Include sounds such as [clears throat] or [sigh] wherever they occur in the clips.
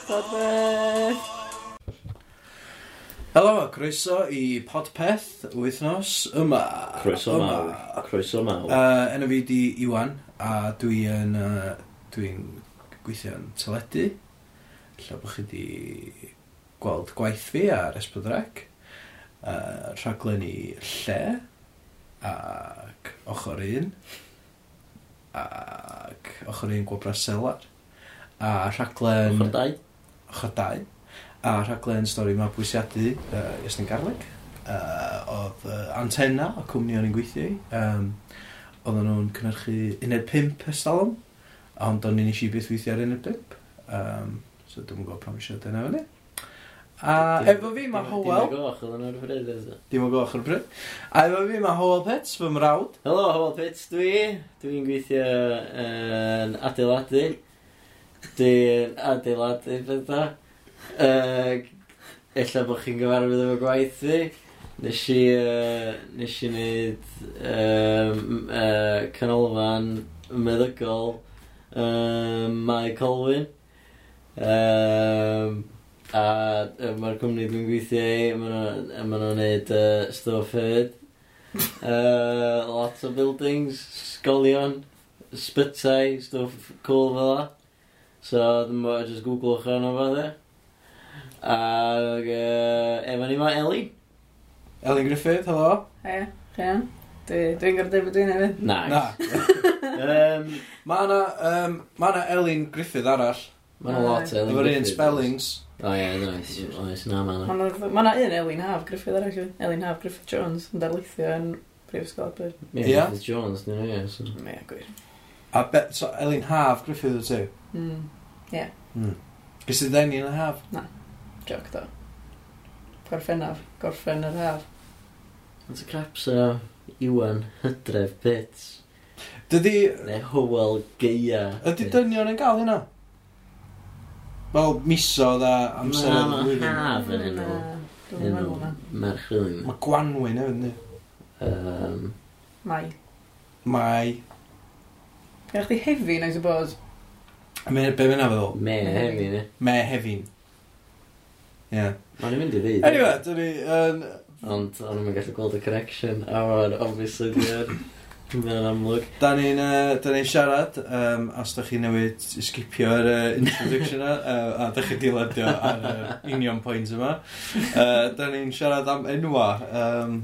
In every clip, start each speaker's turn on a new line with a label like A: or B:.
A: Podpeth!
B: Helo, croeso i Podpeth, wythnos yma.
C: Croeso mawr. Croeso mawr.
B: Uh, enw fi di Iwan, a dwi yn, uh, dwi'n gweithio yn teledu. Lle bod chi di gweld gwaith fi ar Esbydrec. Uh, rhaglen i lle, ac ochr un, ac ochr un gwobras selar. A rhaglen...
C: Ochr dau.
B: Ochr dau. A rhaglen stori mabwysiadu uh, Iestyn Garlic. Uh, oedd uh, antenna o cwmni o'n i'n gweithio i. Um, oedden nhw'n cynnyrchu uned 5 estalwm, ond o'n i'n eisiau beth weithio ar uned 5. Um, so dwi'n gwybod pam eisiau dyna fyny. A efo fi mae Howell,
C: Dim y goch, oedd yn o'r ffryd eto.
B: dim o goch ar y bryd, a efo fi mae Howell Pets, fy mrawd.
C: Helo, Howell Pits, dwi. Dwi'n gweithio yn adeiladu. Dwi'n adeiladu bethau. Uh, Ella bod chi'n gyfarwydd efo gwaith fi. Nes i, uh, nes i wneud um, uh, canolfan meddygol um, Mae Colwyn. Um, a yy, mae'r cwmni dwi'n gweithio i, maen nhw'n gwneud uh, stwff hefyd. Uh, lot o buildings, sgolion, sbytau, stwff cool fel la. So, dwi'n bod just googlwch arno fo dde. Ac uh, efo ni ma Eli.
B: Elin Griffith, helo.
A: Hei, chi iawn? Dwi- Dwi'n gorfod dweud bod dwi'n hefyd.
C: Nice.
B: Na, [laughs]
A: [laughs]
C: Um,
B: mae yna um, ma Elin Griffith arall,
C: Mae'n lot Eli.
B: efo'r un spellings.
C: O ie, oes, oes, na ma na.
A: Mae yna un Elin Haf Griffith arall yw. Elin Haf Griffith Jones yn darlithio yn Brifysgol Aberdeen.
B: Ie.
C: Ie, Griffith Jones, dyn nhw, ie. so.
A: Ie, gwir.
B: A be, so Elin Haf Griffith o ti.
A: Mm,
B: Gys i ddenni yn y haf.
A: joc do. Gorffennaf, gorffen yr haf.
C: Ond y craps o Iwan Hydref Pits.
B: Dydy,
C: Neu Howell Geia.
B: ydy dynion yn gael hynna? Wel, misodd a amser
C: Na,
B: o'r
C: ma'
B: flwyddyn.
C: haf yn enw.
A: Na, Dwi'n
C: Enw
A: meddwl na.
C: Merch Wyn.
B: Mae Gwanwyn hefyd, ni.
C: Um,
A: Mai.
B: Mae...
A: Gynna chdi hefi, I suppose.
B: Me- Be fyna feddwl?
C: me hefyd, ne?
B: Me hefin. Ie. Yeah.
C: Mae'n mynd i ddweud.
B: Anyway, dyn ni yn...
C: Ond o'n i'n gallu gweld y correction. A o'n obviously di ar. Mae'n amlwg.
B: Da ni'n uh, da ni'n siarad, um, os da chi newid i skipio yr uh, introduction yna, [laughs] uh, a da chi diladio ar uh, union points yma. Uh, da ni'n siarad am enwa. Um,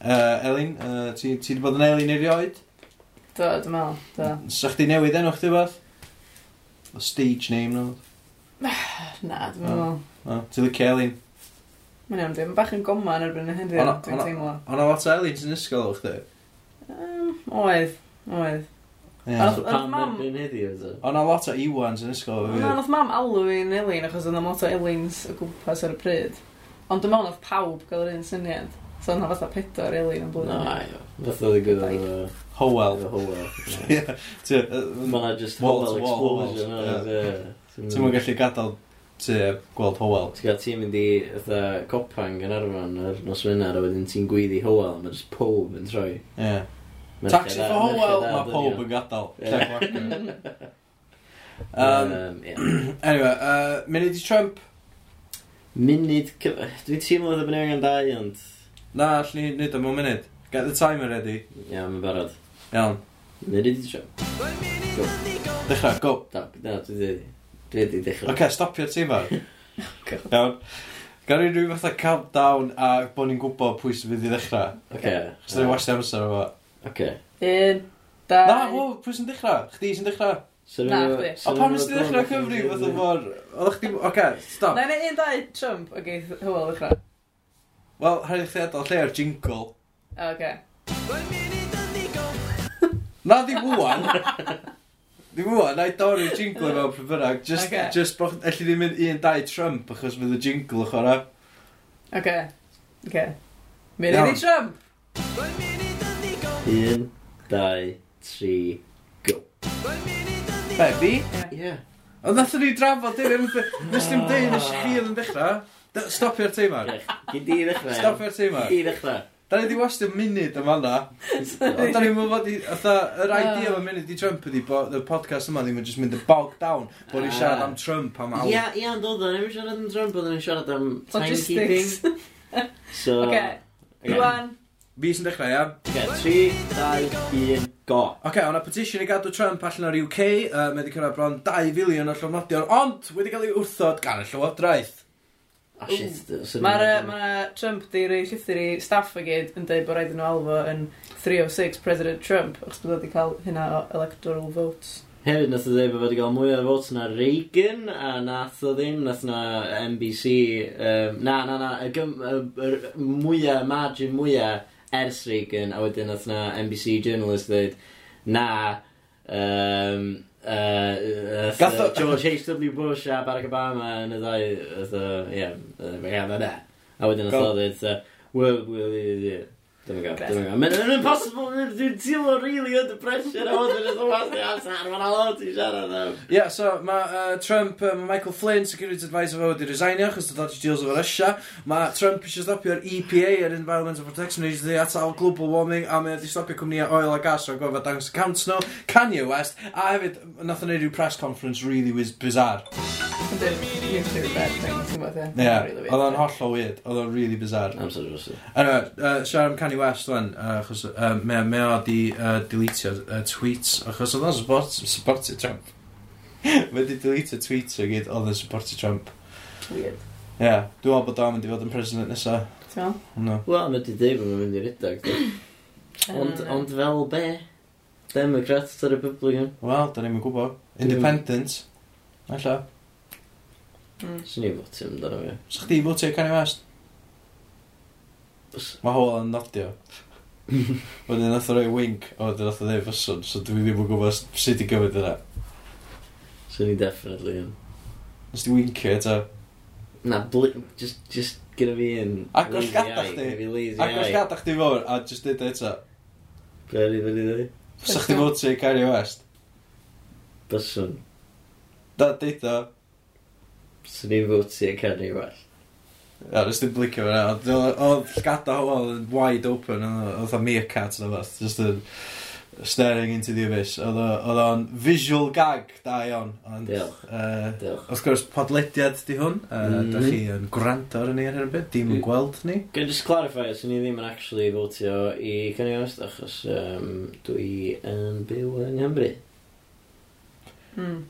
B: uh, Elin, uh, ti, ti wedi bod yn Elin erioed?
A: Do, dwi'n meddwl. Do.
B: Sa chdi newid enw chdi fath? O stage name nhw.
A: Na, dwi'n
B: Na.
A: meddwl.
B: O, Ti licio Elin.
A: Mae'n iawn, dwi'n bach yn goma yn erbyn y hyn,
B: Hwnna-
A: dwi'n
B: hwnna-
A: teimlo.
B: O' na lot o Elin sy'n ysgol o chdi.
A: Yym, Oedd, oedd.
B: Ie.
A: Ond-
C: So
A: ond
C: pam
A: mam-
C: erbyn heddiw, so?
B: O' na lot o Iwans yn ysgol o fi.
A: Na, nath mam alw i'n Elin achos oedd yna lot o Elins o gwmpas ar y pryd. Ond dwi'n meddwl nath pawb gael yr un syniad. So yna fatha pedo'r Elin yn
C: Na,
A: blwyddyn.
C: aio. Fath oedd y gwyd efo
B: Howell. [laughs]
C: efo Howell.
B: Ie. Ti- yy,
C: Mae'n just
B: Wall
C: Howell
B: to wall
C: explosion. e.
B: Howells, ie. Ti'n mwyn
C: Ti'n
B: gallu gadael ti gweld Howell.
C: gael ti'n mynd i fatha copang yn arfon yr nos fynar a wedyn ti'n gwyddi Howell mae'n just pob yn troi.
B: Ie.
C: Merched
B: Taxi
C: a-
B: for Howell,
C: merched a
B: mae pob
C: dynion.
B: yn gadael.
C: Ie.
B: Jack Walker.
C: [laughs]
B: Um,
C: Um, ie.
B: Anyway, uh, munud i Trump.
C: Munud cyfa... Dwi'n teimlo oedd y bynnag yn dau, ond...
B: Na, allwn ni wneud am o munud. Get the timer ready.
C: Ia, mae'n barod.
B: Iawn.
C: Nid i ddechrau.
B: Dechrau, go.
C: Da, na, dwi wedi... Dwi wedi dechrau.
B: Ok, stopio'r
C: [laughs]
B: timer.
A: God.
B: Iawn. Gawn ni rhyw fatha countdown a bod ni'n gwybod pwy sy'n fydd i ddechrau.
C: Oce.
B: Chos ni'n wastio amser efo.
C: Oce.
A: Un,
B: Na,
A: dau,
B: o, pwy sy'n dechrau? Chdi sy'n dechrau?
C: So
A: Na,
C: rhyw-
A: chdi.
C: so
B: O, pam
C: rhyw-
B: nes ti ddechrau cyfri fatha mor... Oeddech chdi... Oce, stop.
A: Na, neu un, dau, Trump, o geith Hywel ddechrau.
B: Wel, rhaid i chdi adael lle ar jingle.
A: O, oce.
B: Na, ddim [laughs] wwan. Ddim wwan, na i dorri'r jingle mewn pryd bynnag. Just,
A: Oce.
B: just broch... Elli ddim mynd un dau Trump achos fydd y jingle o'ch o'na.
A: Oce. Oce. Mynd
B: Iawn.
A: i Trump!
C: Un, dau, tri, go.
B: Be, fi?
C: Ie.
B: Ond nathon ni drafod dim... Nes ddim dweud nes i fi oedd yn dechrau. D- Stopio'r timer.
C: Gyd i ddechrau.
B: Stopio'r timer.
C: Gyd i ddechrau.
B: Da ni wedi wastio munud yn fanna. Ond da ni'n mynd i... Otha, yr idea yma munud i Trump ydi bod y podcast yma ddim yn just mynd yn bog down bod ni'n siarad am Trump am awr.
C: Ia, ia, ond oedd o'n ddim yn siarad am Trump, oedd o'n siarad am timekeeping.
A: Logistics.
C: So,
A: Oce,
C: Oce.
A: Rwan.
B: Fi sy'n dechrau, ia?
C: Oce, 3, 2, 1, go.
B: Oce, okay, o'na petition i gadw Trump allan o'r UK, uh, mae wedi cyrraedd bron 2 filiwn o llofnodion, ond wedi cael ei wrthod gan y Llywodraeth.
C: Ah, shit. swn i'n-
A: Mae'r yy, ma' Trump di rei llithyr i staff y gyd yn dweud bod rhaid i nhw alw fo yn 306 President Trump achos bod o wedi cael hynna o electoral votes.
C: Hefyd nath o ddeud bod wedi cael mwy o votes na Reagan, a nath o ddim, nath na NBC, um, na, na, na, y, gym, y, y mwyaf, margin mwyaf ers Reagan, a wedyn nath na NBC journalist ddeud, na, um, uh,
B: Gath o-
C: George H.W. Bush a Barack Obama yn y ddau, nath o, ie, yy, ie, na, na, a wedyn nath o
B: Go.
C: ddeud, yy, well, well, ie, ie, Dwi'n gael, dwi'n gael. Mae'n yn impossible, mae'n- dwi'n teimlo really under pressure a wedyn yn ymwneud â'r amser, mae'n alod i siarad am.
B: Ie, yeah, so mae uh, Trump, uh, mae Michael Flynn, Security Advisor fo wedi resignio, chos dod o'r deals efo Russia. Mae Trump eisiau stopio'r EPA, yr Environmental Protection Agency, atal global warming, a mae wedi stopio cwmnïau oil a gas o'r gofod dangos accounts nhw, Kanye West, a hefyd, nath o'n neud rhyw press conference really was bizarre.
A: Yndyn, un sy'n bad thing, ti'n gwybod, ie?
B: Ie, yeah, oedd o'n hollol weird, oedd o'n really bizarre.
C: Amser dros i.
B: Anyway, uh, siarad am Kanye West wan, uh, achos uh, mae mae o di uh, deletio uh, tweets, achos oedd o'n support, supportio Trump. [laughs] mae di deletio tweets o gyd oedd yn supportio Trump.
A: Weird.
B: Ie, yeah, dwi'n meddwl bod o'n mynd i fod yn president nesaf.
A: Ti'n meddwl?
B: No.
C: Wel, mae wedi dweud bod mae'n mynd i'r redag. Ond, ond fel be? Democrat a Republican.
B: Wel, da ni'n gwybod. Independent. Alla.
A: Mm.
C: Swn i'n fod ti'n dod o fi.
B: Sa chdi fwtio Kanye West?
C: Bys-
B: Mae hol yn nodio. Wedyn nath o roi wink, o wedyn nath o ddeud fyswn, so dwi ddim yn gwybod s- sut i gymryd yna.
C: Swn i'n definitely yn.
B: Nes di winkio eto.
C: Na, bli, just, just gyda fi yn...
B: Agos gadach chdi.
C: Gyda fi lazy
B: Ac os
C: eye.
B: gadach di fawr, a just dweud eto.
C: Be ar i fyny dweud?
B: Sa chdi fwtio Kanye West?
C: Byswn.
B: Da, deud o.
C: Swn i'n fod ti'n canu well.
B: Ia, nes dim blicio fe na. Oedd- Oedd llgada hwnnw yn wide open, oedd o- oedd a meerkat na fath, just yn staring into the abyss. Oedd o- oedd o'n visual gag, da iawn. Ond,
C: Diolch.
B: yy,
C: Diolch.
B: Wrth gwrs, podlediad di hwn. Uh,
C: Mhm.
B: Da chi yn gwrando ar ni ar hyn o beth, dim yn
C: Dwi-
B: gweld ni.
C: Gwyd just clarify, swn i ddim yn actually fotio i Kanye West achos um, dwi yn byw yng Nghymru.
A: Mm.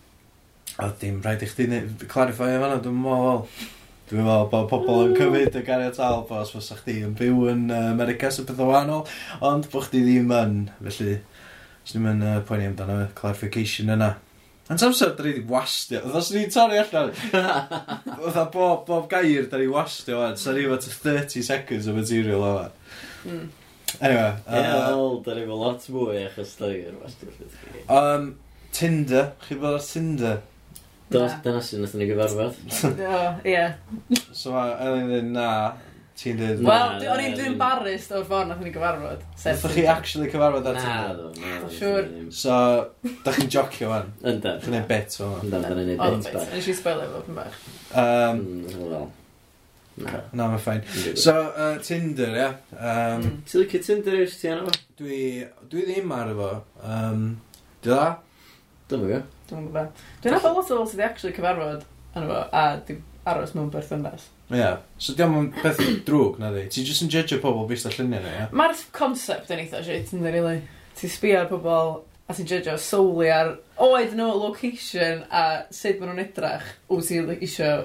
B: A dim rhaid i chdi neud- clarify efo hwnna, dwi'n meddwl. Dwi'n meddwl bod pobl yn cymryd y gariatal bo os fysa chdi yn byw yn uh, America sy'n beth o wahanol, ond bod chdi ddim yn, felly, os ddim yn uh, poeni amdano y clarification yna. Yn samser, da ni wedi wastio. Oedd os ni'n torri allan, [laughs] oedd bob, bob gair da ni wastio fan. So ni fod 30 seconds o material o fan.
A: Mm.
C: [laughs]
B: Anyway.
C: Ie, wel, da ni efo lot mwy achos da ni yn wastio ffyd.
B: um, Tinder. Chi bod ar Tinder?
C: Dos, dyna sy'n nath ni gyfarfod.
A: O, ie.
B: So mae Elin yn na. Ti'n dweud...
C: Na,
A: Wel, dwi- o'n i'n
C: na,
A: dwi'n
C: na.
A: embarrassed o'r ffordd nath ni gyfarfod. Sef-
B: Fythoch chi actually cyfarfod ar
C: Na,
B: Tinder?
C: ddo, na.
A: Dwi'n siŵr.
B: So, da chi'n jocio fan.
C: Ynda.
B: Chi'n ei bet o fan.
C: Ynda, da ni'n
A: O,
C: neud
A: bit.
C: bit bach.
A: Nes i spoilio fo, pyn bach.
B: Um,
C: Mm, Wel, na.
B: na, mae'n ffain. So, uh, Tinder, ia. Um,
A: Mm.
C: Ti'n licio Tinder yw'r ti anna fo?
B: dwi, dwi ddim ar efo. Um, dwi dda?
C: Dwi'n mwyn
A: Dwi'n gwybod. Dwi'n meddwl lot o bobl sydd wedi actually cyfarfod yn efo, a di aros mewn berthynas.
B: Ia. Yeah. So, diolch yn beth drwg, na di. Ti'n just yn judge pobl beth o'r lluniau na, ia.
A: Mae'r concept yn eitha shit yn rili. Ti'n sbio ar pobl a ti'n judge o solely ar oed nhw, location a sut maen nhw'n edrach wyt ti'n isio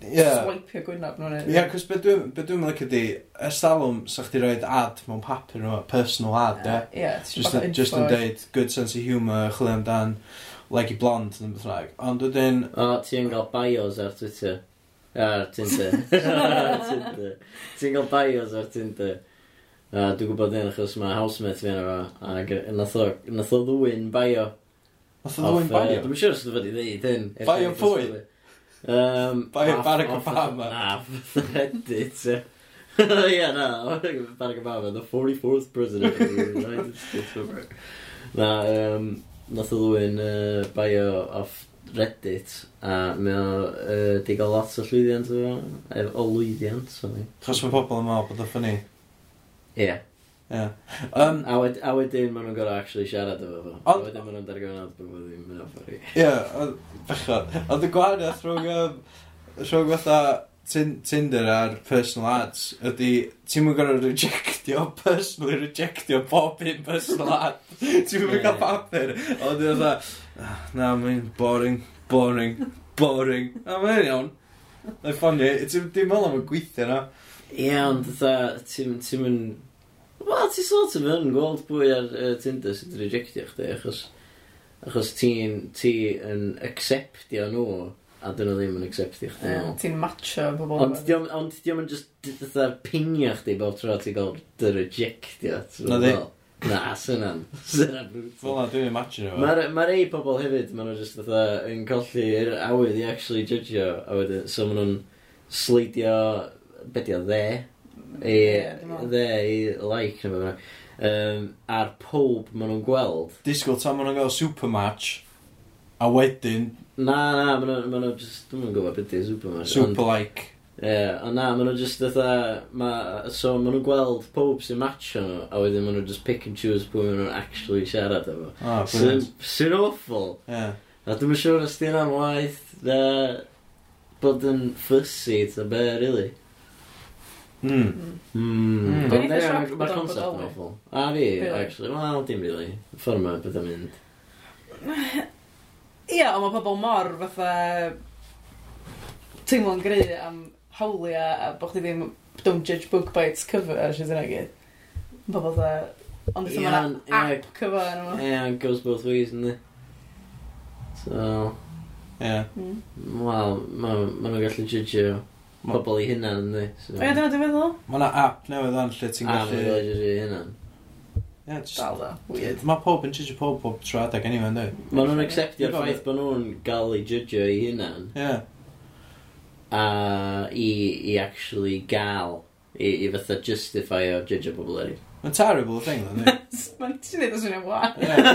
B: Ia.
A: swipeio gwynaf nhw'n e-
B: Ie, yeah, cos beth dwi'n be dwi lycio di, ers dalwm, sa chdi roed ad mewn papur nhw, personal ad, ie.
A: Ie, ti'n
B: Just,
A: bach o
B: yn- just yn
A: info.
B: deud, good sense of humour, chwilio amdan, like i blond, yn beth rhaeg. Ond wedyn,
C: O, ti'n cael bios ar Twitter. Ar Tinder. Ar Tinder. Ti'n cael bios ar Tinder. A dwi'n gwybod hyn achos mae housemate fi yna fo. Ac nath o nath o ddwy'n bio.
B: nath o ddwy'n
C: Off,
B: baio.
C: Dwi'n siŵr os dwi'n fod i ddeud hyn.
B: Bio pwy?
C: Um,
B: Bio
C: off-
B: Barack
C: off- [laughs]
B: Obama.
C: Na, Reddit. [laughs] ie. Ie, na, [laughs] Barack Obama, the 44th President of
B: [laughs]
C: the United States of America. Na, um, nath o ddwy'n uh, bio off Reddit a mae o uh, di gael lot o llwyddiant efo, ef- o lwyddiant, sori.
B: Chos mae pobl yn meddwl bod o'n ffynnu.
C: Ie.
B: Ie. Yym,
C: A wed- a wedyn maen nhw'n gorau actually siarad efo fo. A
B: Um, Ond-
C: wedyn maen nhw'n darganfod bod bod ddim yn offer i.
B: Ie, oedd- bechod. Ond y gwahaniaeth rhwng, um, rhwng fatha Tin- Tinder a'r personal ads ydy, ti'n mwyn gorau rejectio, [laughs] personally rejectio bob un personal ad. Ti'n mwyn
C: Ie.
B: cael papur. Ond ydy fatha, "Ah, na, mae'n boring, boring, boring. A mae'n iawn. Mae'n ffoni, ti'n dim ond am y gweithio na.
C: Ie, ond ta, ti'n ti'n mynd... Wel, ti sort of yn gweld bwy ar uh, Tinder sydd rejectio chdi, achos... Achos ti'n ti yn acceptio nhw, a dyn nhw ddim yn acceptio chdi.
A: Ie, Ti'n matcho pobl.
C: Ond diom, ond diom yn just dda pingio chdi bob tro ti'n gael dy rejectio. ti'n
B: Na di.
C: gwbod? Na, syna'n, syna'n
B: Fel
C: brutal.
B: na, dwi'n imagine efo.
C: Mae ma rei pobl hefyd, maen nhw just fatha yn colli yr awydd i actually judgeio, a wedyn, so maen nhw'n sleidio, be di o, dde, i,
A: Ie, dwi'n meddwl.
C: dde, i like, neu beth um, a'r pob maen nhw'n gweld.
B: Disgwyl tan maen nhw'n gael supermatch, a wedyn
C: Na, na, maen nhw, maen nhw just, dwi'n yn gwybod beth di supermarket.
B: superlike.
C: Ie, ond na, maen nhw just fatha, ma, so maen nhw gweld pob sy'n matcho nhw, a wedyn maen nhw just pick and choose pwy maen nhw'n actually siarad efo.
B: Ah,
C: Sy'n
B: brilliant.
C: sy'n awful.
B: Ie.
C: A dwi'n siŵr os di'n am waith na bod yn fussy ta be, really.
B: Mm.
A: Mm.
C: Mm.
B: Mm.
C: Ond
A: Dwi'n eitha
C: ie,
A: shocked bod
C: Mae'r
A: o'n
C: concept yn
A: bodoli.
C: awful. A fi,
A: Really?
C: actually. Wel, dim really. Ffordd ma, beth am mynd.
A: Ie, ond mae pobl mor fatha teimlo'n gry am hawliau a bod chdi ddim don't judge book by its cover a sydd yna gyd. Mae Pobl fatha, ond
C: Ie,
A: ddim yna
C: ond- ie.
A: app cyfa yna
C: Ie, yeah, it goes both ways, ynddi. So,
B: Ie.
A: fo.
C: wel, maen ma nhw'n gallu judge
B: Ma-
C: pobl i hunan, ynddi. So-
A: Ie, dyna dwi'n meddwl.
B: Mae yna app newydd o'n lle ti'n
C: A, mae'n
B: gallu...
C: gael jyst i hynna.
B: Ie, jyst-
A: Dal da,
C: [laughs]
A: weird.
B: Mae pob yn judge pob pob tro adag anyway, ynddo?
C: Mae nhw'n acceptio'r
B: Digon-
C: ffaith bod nhw'n gael ei judgeio i hunan
B: Ie.
C: a i, i actually gael i, i fatha justify o judgeio pobl eraill.
B: Mae'n terrible thing, ynddo?
A: Mae'n ti'n dweud os yw'n wael.
B: Ie.
C: Dwi'n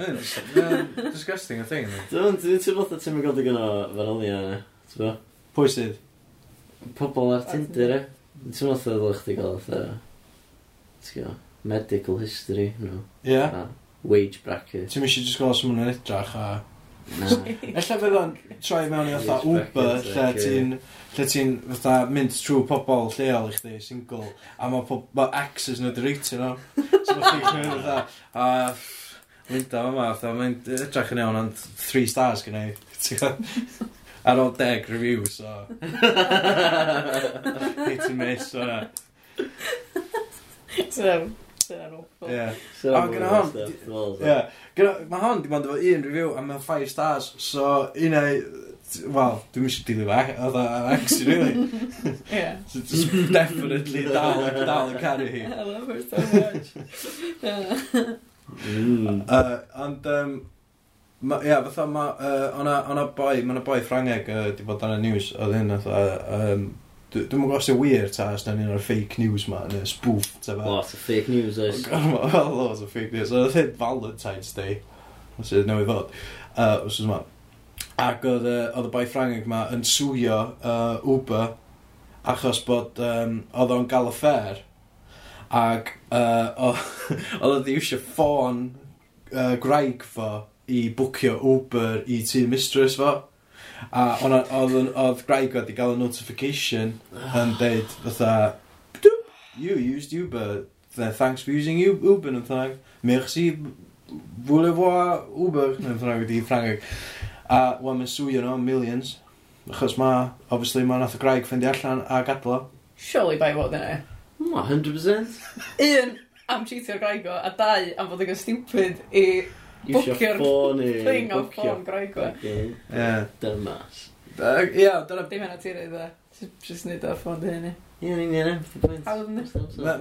B: Mae'n mae'n disgusting a thing, ynddo?
C: [laughs] dwi'n teimlo fatha ti'n gweld digon o fanylia yna. ti'n gwbo?
B: Pwy sydd?
C: Pobl ar Tinder e. Dwi'n teimlo fatha ddylech chdi gael fatha... ti'n gwbo, Medical history, no.
B: Ie.
C: A wage bracket.
B: Ti'n mysio just gweld sy'n mwyn yn edrach a...
C: [laughs] Na.
B: Ella fydd o'n troi mewn i fatha
C: Yes,
B: Uber
C: brackets,
B: lle
C: like,
B: ti'n... Lle ti'n fatha mynd trwy pobol lleol i chdi, single, a mae pob... Mae exes nhw direitio nhw. So mae chdi'n gwneud fatha... A... Linda yma, fatha, mae'n edrach yn iawn, ond 3 stars gen i. Ti'n gwbod? Ar ôl deg review, so... Hit and miss, o'na.
A: Dyna'n awful.
B: Ie.
C: So,
B: O, gyda hwn, Ie. Gyda- Mae hon di bod efo un review a mae 5 stars, so un ei... Wel, dwi'n mysio dilio fe, oedd o ex i really.
A: Ie.
B: So it's definitely dal, dal yn caru hi.
A: I love her so much. Ie.
C: Mm.
B: Uh, ond, um, ma, ia, fatha, ma, uh, ona, ona boi, ma na boi Ffrangeg uh, di bod ar y news, oedd hyn, fatha, um, dw- dwi'n mwyn gos i wir, ta, os da ni'n o'r fake news ma, neu spoof, ta fe.
C: Lot of fake news oes.
B: Gormod, well, loads of fake news. Oedd hyn Valentine's Day, os ydy newydd fod, uh, os yma. Ac oedd yy, oedd y boi Ffrangeg ma yn swio uh, Uber achos bod um, oedd o'n gael affair ac uh, [laughs] oedd oedd eisiau ffôn uh, graig fo i bwcio Uber i tu mistress fo a o'na- oedd yn- oedd graig wedi gael y notification yn deud fatha "Doop, you used Uber Th- thanks for using U- Uber yn thang merci voulez-vous Uber yn thang wedi Ffrangeg a wan mae'n swio nhw millions achos ma obviously ma nath y graig ffindi allan a gadlo
A: Surely by fod yna.
C: Ma, 100%.
A: Un, am cheatio'r graigo, a dau, am fod yn gael stupid i
C: Bwcio'r
A: Bwcio'r
C: ffôn i... [laughs]
A: thing o ffôn graigo.
C: Graigo.
B: Ie.
C: Dymas.
B: Ia, dyna...
A: Dim hynna ti'n rhaid e. Just nid o'r ffôn dy hynny.
C: Ie, ni, ni, ni.
A: Hawdd yndi?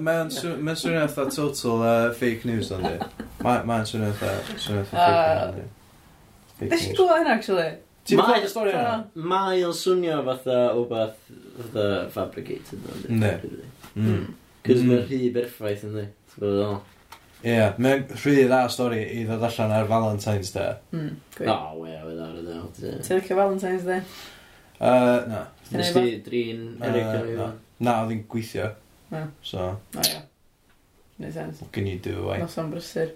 B: Mae'n swnio eitha total uh, fake news, ond i. Mae'n swnio eitha swnio eitha
A: Ah.
B: fake news, ond
A: Nes i gwybod hynna, actually.
B: Ti'n
C: Mae-
B: gwybod y stori yna?
C: Mae o'n swnio fatha o beth fatha fabricated. yndi?
B: Yndi.
A: Hmm.
B: Mm.
C: Cos
B: Mm.
C: mae'r rhy berffaith yn di. O,
B: Ie, mae'n rhy dda stori i ddod allan ar Valentine's Day.
A: Hmm, gwych.
C: we, we, dar, dar.
A: Ti'n licio Valentine's Day?
B: Uh, na.
C: Nes di drin, Eric,
B: Na, na. Na, oedd hi'n gweithio.
A: Hmm.
B: So,
A: O ia. Neud sens.
B: what can you do, I?
A: Nos o'n brysur.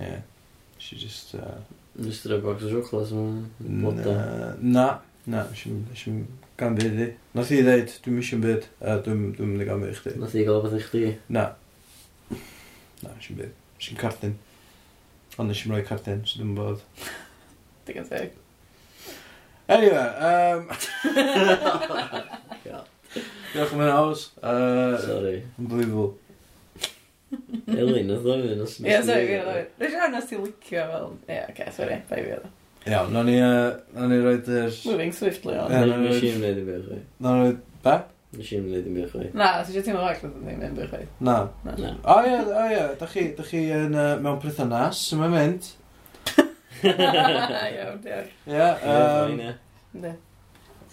B: Yeah. She just... Uh,
C: Just a box o chocolates yma. Bloda.
B: Na, na, na, eisiau gan byd i. Nath i ddeud, dwi'n eisiau'n byd, a dwi'n dwi'n mynd i gan byd i chdi.
C: Nath i gael beth i chdi.
B: Na. Na, eisiau'n byd. Eisiau'n cardyn. Ond eisiau'n rhoi cardyn, so dwi'n bod.
A: Digon teg.
B: Anyway, um,
C: God.
B: diolch am hynna, Ows. Uh,
C: Sorry.
B: unbelievable.
C: Elin, nath o'n mynd. os-
A: Ie, sorry, fi'n rhaid. Rwy'n rhaid nes ti licio fel... Ie, oce, sorry. Bai fi oedd. o.
B: Iawn, nawn ni, uh, nawn ni roed yr...
A: Moving swiftly on.
B: Ie.
C: Na, Nes i'n mynd i beth chwi.
B: Nawn ni roed... Be?
C: Nes i'n mynd i beth chwi.
A: Na, os eisiau teimlo fach, dwi'n ddim yn bychwyd.
C: [laughs]
B: Na.
C: Na.
B: O ie, o ie, da chi, da chi yn, uh, mewn perthynas, sy'n mynd mynd.
A: Iawn, diolch.
B: Ie, yym,
C: [laughs] Ie,
A: Yndi.
B: Ie,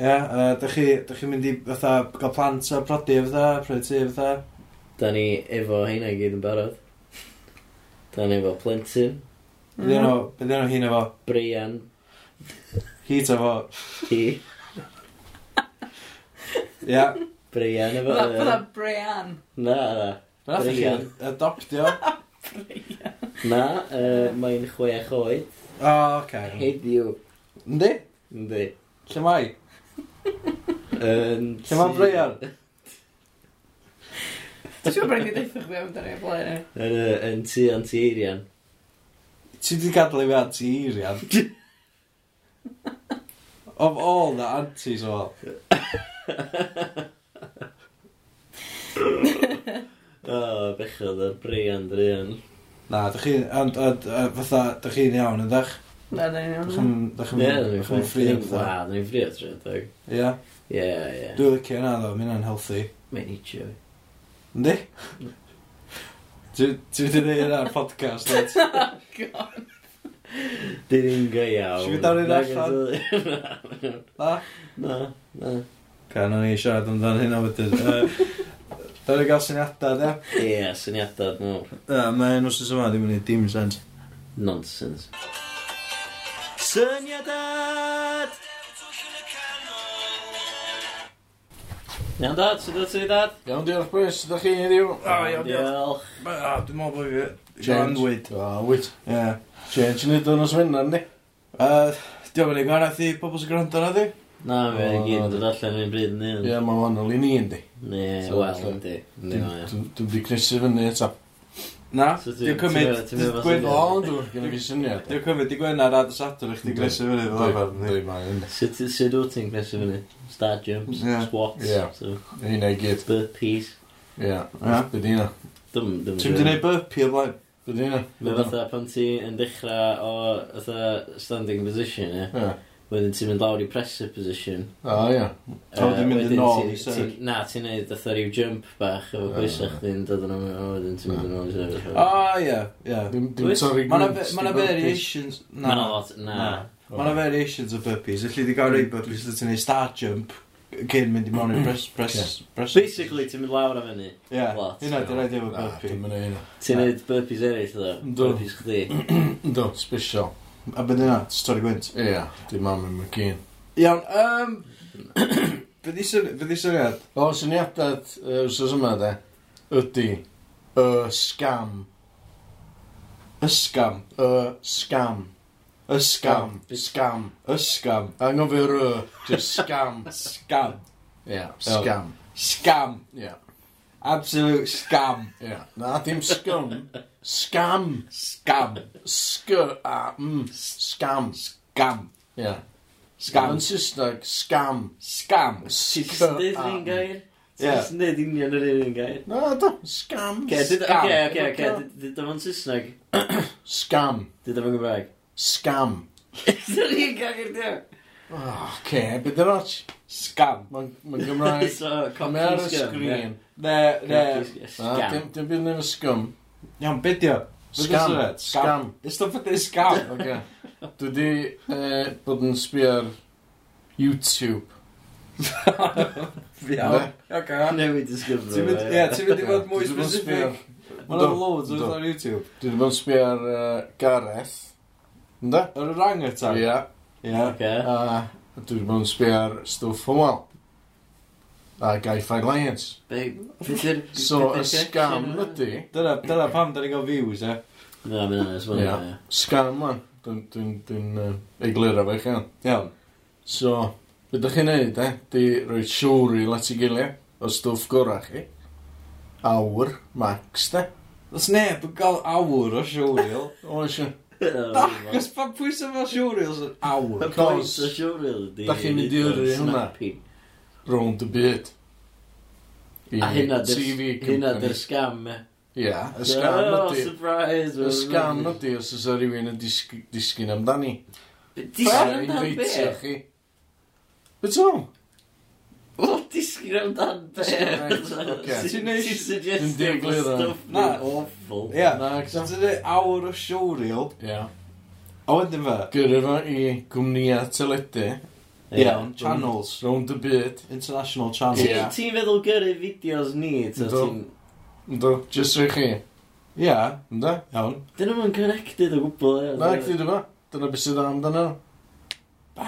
B: yeah, uh, chi, dych chi'n mynd i fatha gael plant a prodi a fatha, prodi ti a fatha.
C: Da ni efo heina i gyd yn barod. Da ni efo plentyn,
B: Bydde nhw, bydde nhw hi'n efo,
C: Brian,
B: hi ta fo.
C: hi,
B: Ie. Yeah.
C: Brian efo...
A: Fydda fydda Brian.
C: Na, na.
B: Nath i chi
C: Brilliant.
B: adoptio. O,
A: Brian.
C: Na, uh, mae'n chwech oed.
B: oh, oce. Okay.
C: Heddiw.
B: Yndi?
C: Ynddi.
B: Lle mai?
C: Yn
B: Lle mae
C: tŷ-
B: Brian?
A: Dwi'n siŵr bod ni'n deithio chdi amdano i'r blaen. ie.
C: Yn yy, yn tu anti-eirian.
B: Ti di gadael i fi anti Irian? of all the antis o.
C: O, bechod ar Brian, Brian.
B: Na, dych chi'n, and, and, uh, fatha, dych chi'n iawn, ydych?
A: Na, da ni'n
B: Dych
A: iawn.
B: chi'n, dych
C: Ie, da ni'n
B: chi'n ffri a fatha.
C: Wa, da ni'n ffrio trwy'n
B: Ie.
C: Ie, ie.
B: Dwi'n licio yna ddo, mi'n unhealthy.
C: Mae'n i joy.
B: Yndi? Dwi dwi wedi gwneud hynna ar podcast, [laughs] dweud.
C: Dyn ni'n go iawn.
B: Swn i dal i'r
C: allan?
B: Na?
C: [laughs] Na, na.
B: Ca, na ni siarad amdan hynna wedyn. Yy, Dawn ni gael syniadau, de?
C: Ie, syniadad mawr.
B: Mae nos yma ddim yn gwneud dim sens.
C: Nonsense. Syniadad! Iawn dad, sydd o ti dad?
B: Iawn, diolch Brys, ydych chi heddiw? O, iawn, diolch.
C: Diolch.
B: Dwi'n meddwl bod fi... John
D: Change.
B: Wyd.
D: O, wyt.
B: Ie.
D: Change yn ei dod nos fynd arni.
B: Yy, Diolch yn ei gwahaneth i pobl sy'n gwrando arna di.
C: Na, mi oedd i
D: O,
C: gyd
D: na,
C: yn dod allan yn bryd yn un.
D: Ie, mae wahanol i ni, yndi.
C: Ne,
D: So,
C: wel,
D: allan.
C: yndi. Yndi, mae.
D: Dwi'n di cnesu fyny eto.
B: Na,
C: So ti-
B: dwi'n
C: ti'n
B: cymryd...
C: meddwl- ti'n
B: Dwi'n
C: meddwl
B: gweud
D: O,
B: o.
D: dwi'n gynnu fi syniad.
B: Dwi'n cymryd i gwenar a dy sadwr i chdi
D: Yndi.
B: gresu fyny ddod o'r ffordd ni.
D: Dwi'n mae hynny.
C: Sut sut wyt ti'n gnesu fyny? Star jumps,
B: Ie.
C: squats,
D: Ie.
C: so,
D: Hynna i gyd.
C: burpees.
D: Ie.
B: Ie.
D: Be di hynna?
C: Dym, dym.
B: Ti'n mynd i neud burpee o blaen?
D: Be di hynna?
C: Mae fatha pan ti yn dechrau o fatha standing position, ie.
D: Ie.
C: Wedyn ti'n mynd lawr i presser position.
D: O, ie.
B: A wedyn mynd yn
C: wedyn
B: ôl
C: ti-
B: i sefyll.
C: ti- Na, ti'n neud fatha rhyw jump bach efo
D: Ah.
C: pwysau chdi'n dod yn ymwneud, a wedyn ti'n mynd yn ôl i sefyll.
B: O, ie, ie.
D: Dim
C: Wyt?
D: dim torri
B: Mae
D: gwynt,
B: yna
D: dim
B: variations...
C: Mae yna
B: Na,
C: lot, na.
B: Na.
D: burpees.
B: Mae yna variations o burpees. Yllu di gael rei burpees lle ti'n neud star jump cyn mynd i mewn i'r press... press, press.
C: Basically, ti'n mynd lawr am hynny.
B: Ie,
C: lot.
B: hynna di'n rhaid efo
D: Na,
B: burpee.
D: dim yn ei hynna.
C: Ti'n
B: Na.
C: neud burpees eraill, dda.
D: Yndw.
C: Burpees chdi.
D: Ynddo, special.
B: A byd yna, stori gwynt.
D: Ie, dim mam yn McGean.
B: Iawn, yym... [clears throat] Byddi syniad?
D: O, syniadad yy, wsos yma, de, ydi y scam.
B: Ysgam.
D: Y scam.
B: Ysgam.
D: Scam. Scam.
B: Ysgam.
D: Anghofio ry, just
B: [laughs]
D: scam.
B: Scam.
D: Ie, scam.
B: Scam.
D: Ie,
B: Absolute scam.
D: ie. Na, dim scum. Scam.
B: Scam.
D: Sc a m. Scam.
B: Scam.
D: Ie.
B: Scam.
D: Yn Saesneg, scam.
B: Scam.
D: Sc
C: Ti'n neud un
D: a m.
C: gair?
B: Ie.
C: Ti'n neud union yr un gair?
D: Na, da, scam.
C: Oce, dyd-
B: Scam.
C: oce, oce, oce, dyd o'n Saesneg,
D: Scam.
C: dyd o'n [laughs] Gymraeg.
D: Scam. Ah,
C: Ti'n un gair, dio?
D: O, ce, beth yn och?
B: Scam.
D: Mae'n Gymraeg.
C: [laughs] So,
D: Mae ar y
C: cocky
D: sgrin.
C: sgym.
B: Ne, ne.
C: Scam.
D: Dim byd yn efo scum.
B: Iawn, bydio.
D: Scam. Scam.
B: Ys dwi'n ffyddi [laughs] scam.
D: Oce. Dwi di uh, bod yn sbio ar YouTube.
B: Iawn. Iawn.
C: Newid y
B: Ti'n
C: sgym.
B: mynd, ie, ti'n mynd i fod mwy
D: Dwi 'di bod yn
B: specific.
D: sbio-
B: Mae yna
D: Do,
B: loads o
D: do.
B: beth ar YouTube.
D: Dwi wedi bod yn sbio ar uh, Gareth. Ynda?
B: Yr orangutan.
D: Ia.
B: Ie.
C: Oce.
D: A dwi wedi bod yn sbio ar stwff o wal. a Gaethai Lions. So, y scam ydy...
B: Dyna, dyna pam da ni'n gael views, e?
C: Na, mae'n anodd,
D: Ie.
C: mae'n anodd.
D: Scam, man. Dwi'n dwi, dwi, dwi, egluro fe chi'n.
B: Iawn.
D: So, beth ydych chi'n neud, e? Di roi siwri let i gilydd o stwff gorau chi. Awr, max, de.
B: Does neb yn gael awr o showreel. [laughs]
D: O, eisiau. [laughs]
C: Oh,
B: Achos pa pwys yma showreels yn [laughs] awr?
D: Cos,
C: Y siwrwyl ydy...
D: Dach chi'n mynd i yrru hwnna? round y byd. I
C: A hynna
D: TV
C: dy'r- hynna
D: company.
C: dy'r scam, e.
D: Ie, y scam
C: Oh,
D: ydy.
C: surprise!
D: Y scam ydy os oes rhywun yn disg- disgyn amdani.
C: Disgyn amdan be?
D: Invitio chi. Beth o?
C: Wel, disgyn amdan be?
D: Right, ocê.
B: Ti'n neud-
C: Ti'n
D: Dim di
C: suggestio bod
D: egluro.
C: stuff
B: Na.
C: yn awful.
B: Ie.
D: Na,
B: So
D: eto.
B: dyna awr o showreel.
D: Ie.
B: A wedyn fe.
D: Gyrra fo i gwmnïa teledu.
B: Iawn. Channels.
D: Round y byd.
B: International
C: Ti-
B: channels.
D: Ie.
C: Ti'n feddwl gyrru fideos ni? ta
D: Yndw.
C: ti'n-
D: Ynddo, jyst rhaid chi.
B: Ie.
D: Ynddo?
B: Iawn.
C: Dyn nhw'n connected o gwbl, ie.
D: Na, gdi dyma. Dyna beth sydd amdano. Be?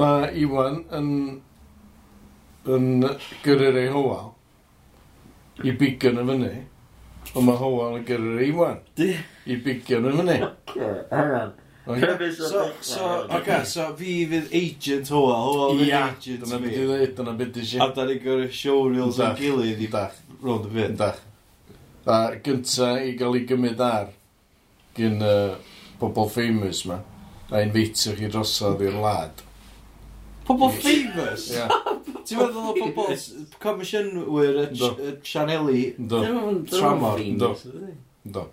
D: Mae Iwan yn... yn gyrru'r ei hywal. I bigan yn fyny. Ond mae hywal yn gyrru'r Iwan.
C: Di-
D: I bigan yn [laughs] fyny.
C: Ocê, hang on.
D: Oce?
C: Premise o
B: So,
C: ddechrau,
B: so,
C: iawn.
B: oce, so fi fydd agent Howell. Howell fydd
D: Ia,
B: agent
D: dyna beth i
B: fi.
D: ddweud, dyna beth i si.
B: A da ni'n gyrru showreels yn
D: Ydach.
B: gilydd i
D: Dach,
B: round y byd.
D: dach. A gynta i gael ei gymryd ar gyn uh, bobl famous ma. A invitio chi drosodd i'r lad.
B: Pobl famous.
D: Ia,
B: Ti'n meddwl o pobl s- comisiynwyr y
D: Do.
B: ch- y Sianeli?
D: ynddo,
C: Dyn nhw'n- dyn nhw'n
D: Tramor,
C: famous, ydi?
D: ynddo.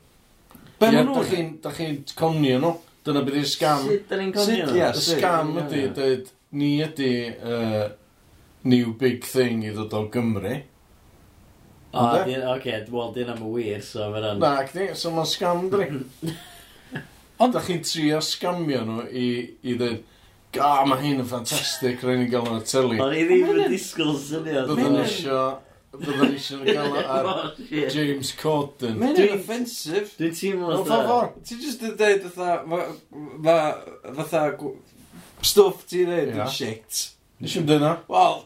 B: Be
D: Ia,
B: maen
D: da
B: nhw'n?
D: chi'n da chi'n conio nhw. Dyna beth i'r scam.
C: Sut dyn ni'n
B: Sut-
C: cofio nhw?
B: ie,
D: Y scam
C: Ie.
D: ydy, dweud, ni ydy uh, new big thing i ddod o Gymru.
C: O,
D: Ynde?
C: dyn- Oce, wel, dyn am y wir, so mae'n rhan.
D: Na, ac ni, so mae'n scam dri.
C: [laughs]
D: Ond da chi'n trio scamio nhw i, i ddweud, ga, mae hyn yn ffantastig, rhaid ni gael nhw ar teli.
C: O'n i ddim
A: Mae'n
C: yn
A: yn-
C: disgwyl syniad.
D: Byddwn
B: Mae'n-
D: isio, byddwn isio gael nhw ar
C: [laughs] Oh, shit.
D: James Corden.
B: Mae'n
C: Dwi'n-
B: yn offensif.
C: Dwi'n teimlo
D: Wel,
C: fatha-
D: ffordd fawr.
B: Ti'n just yn dweud fatha, ma- ma- fatha, gw- stwff ti'n dweud
D: Ia.
B: yn shit.
D: Nes i'n dyna?
B: Wel,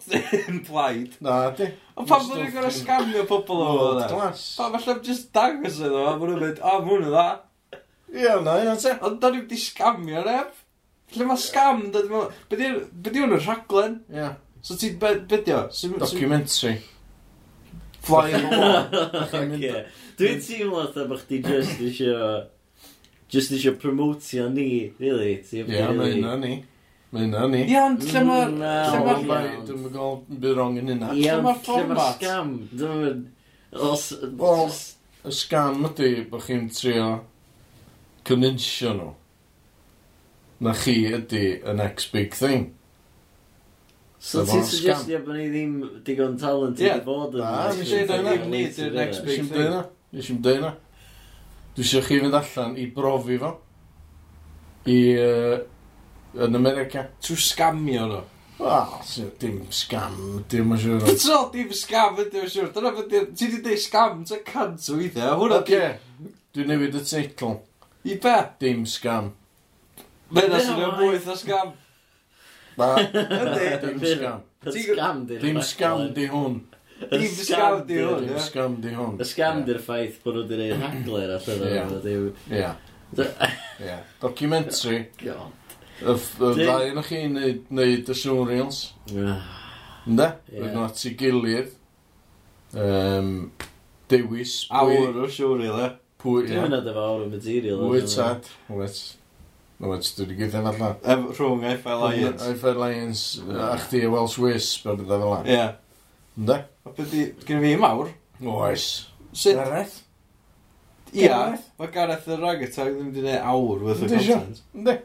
B: [laughs] implied.
D: Na, di.
B: Ond pan
D: Stwff
B: bod ni'n gorau
D: ti'n-
B: scamio pobl o fod
D: World
B: e?
D: class.
B: Pa, falle just dangos iddo, a maen nhw'n mynd, o, maen nhw'n dda.
D: Ie, na, yna te.
B: Ond da ni'n di scamio neb. Lle mae scam, dod i mewn- be di- be di hwn yn rhaglen?
D: Ie,
B: So ti'n, be be di o? Sy'n- sy'n-
D: documentary.
B: Fly on the wall.
C: Ocê. Dwi'n teimlo fatha bod chdi just isio... Just isio promotio ni, really. Ti'n
D: Ie, mae
C: really-
D: hynna ni. Mae hynna ni.
B: Ie, ond lle mae'r...
C: Na,
B: lle
D: Dwi'n
B: ma'r-
D: gweld byd rong yn hynna.
C: Ie,
B: lle
C: ond
B: ma'r
C: lle ma'r
B: format?
C: scam? Dwi'n... Os...
D: Wel, Y scam ydy bod chi'n trio convinsio nhw na chi ydy y next big thing.
C: So
D: Wel,
C: ti'n
D: scam.
C: suggestio bod ni ddim digon talented
B: Ie.
C: i fod yn...
D: Na,
B: nes i ddeud o'n ni di'r next
D: Nes
B: Big
D: i'n
B: thing.
D: dweud yna. Nes i'n dweud yna. Dwi eisiau chi fynd allan i brofi fo. I... Uh, yn America.
B: Trw scamio nhw.
D: Wel, sy- dim scam, dim yn siŵr.
B: Beth o dim scam ydy o'n siwr? Dyna beth ydy... Ti di dweud scam, ti'n cant o weithio. A hwnna
D: Oce, dwi'n newid y teitl.
B: di... I be?
D: Dim scam.
B: Mae yna
C: Dyna
B: sy'n
C: mae.
B: yn mwyth o scam.
D: Na,
B: Ydy.
D: [laughs] dim scam.
C: Y
B: Ti'n-
C: scam di'r
D: Dim
C: ffaith,
D: scam
C: Alan.
D: di hwn.
C: Y
B: Dim scam di hwn,
D: Dim
B: ie.
D: scam di hwn.
C: Y scam di'r ffaith bod nhw wedi gwneud rhagler allan
D: Ie.
C: o'n ddim.
D: Ie. Ie. Documentary.
C: God.
D: Y f- y
C: Dyn-
D: ddau yn chi neud, neud y showreels.
C: Ah,
D: Ynda?
C: Ie.
D: Rydyn nhw at ei gilydd. Um, dewis.
B: Awr o siwr i le.
D: Pwy,
C: Dwi'n
D: ie.
C: mynd efo awr o material.
D: Pwy
C: allan yna.
D: tad. Wet. No, wet. Dwi wedi gyda fel la.
B: Ef- Rhwng FL Lions.
D: Aif Lions. A chdi y Welsh Wisp. A bydda fel la.
B: Ie.
D: Ynda?
B: A beth di... Gyn fi mawr.
D: Oes.
B: Sut?
D: Gareth?
B: Ia.
D: Gareth?
B: Mae Gareth y Raggetag ddim wedi gwneud awr worth o
D: Yndi, sio.
B: content.
D: Ynda?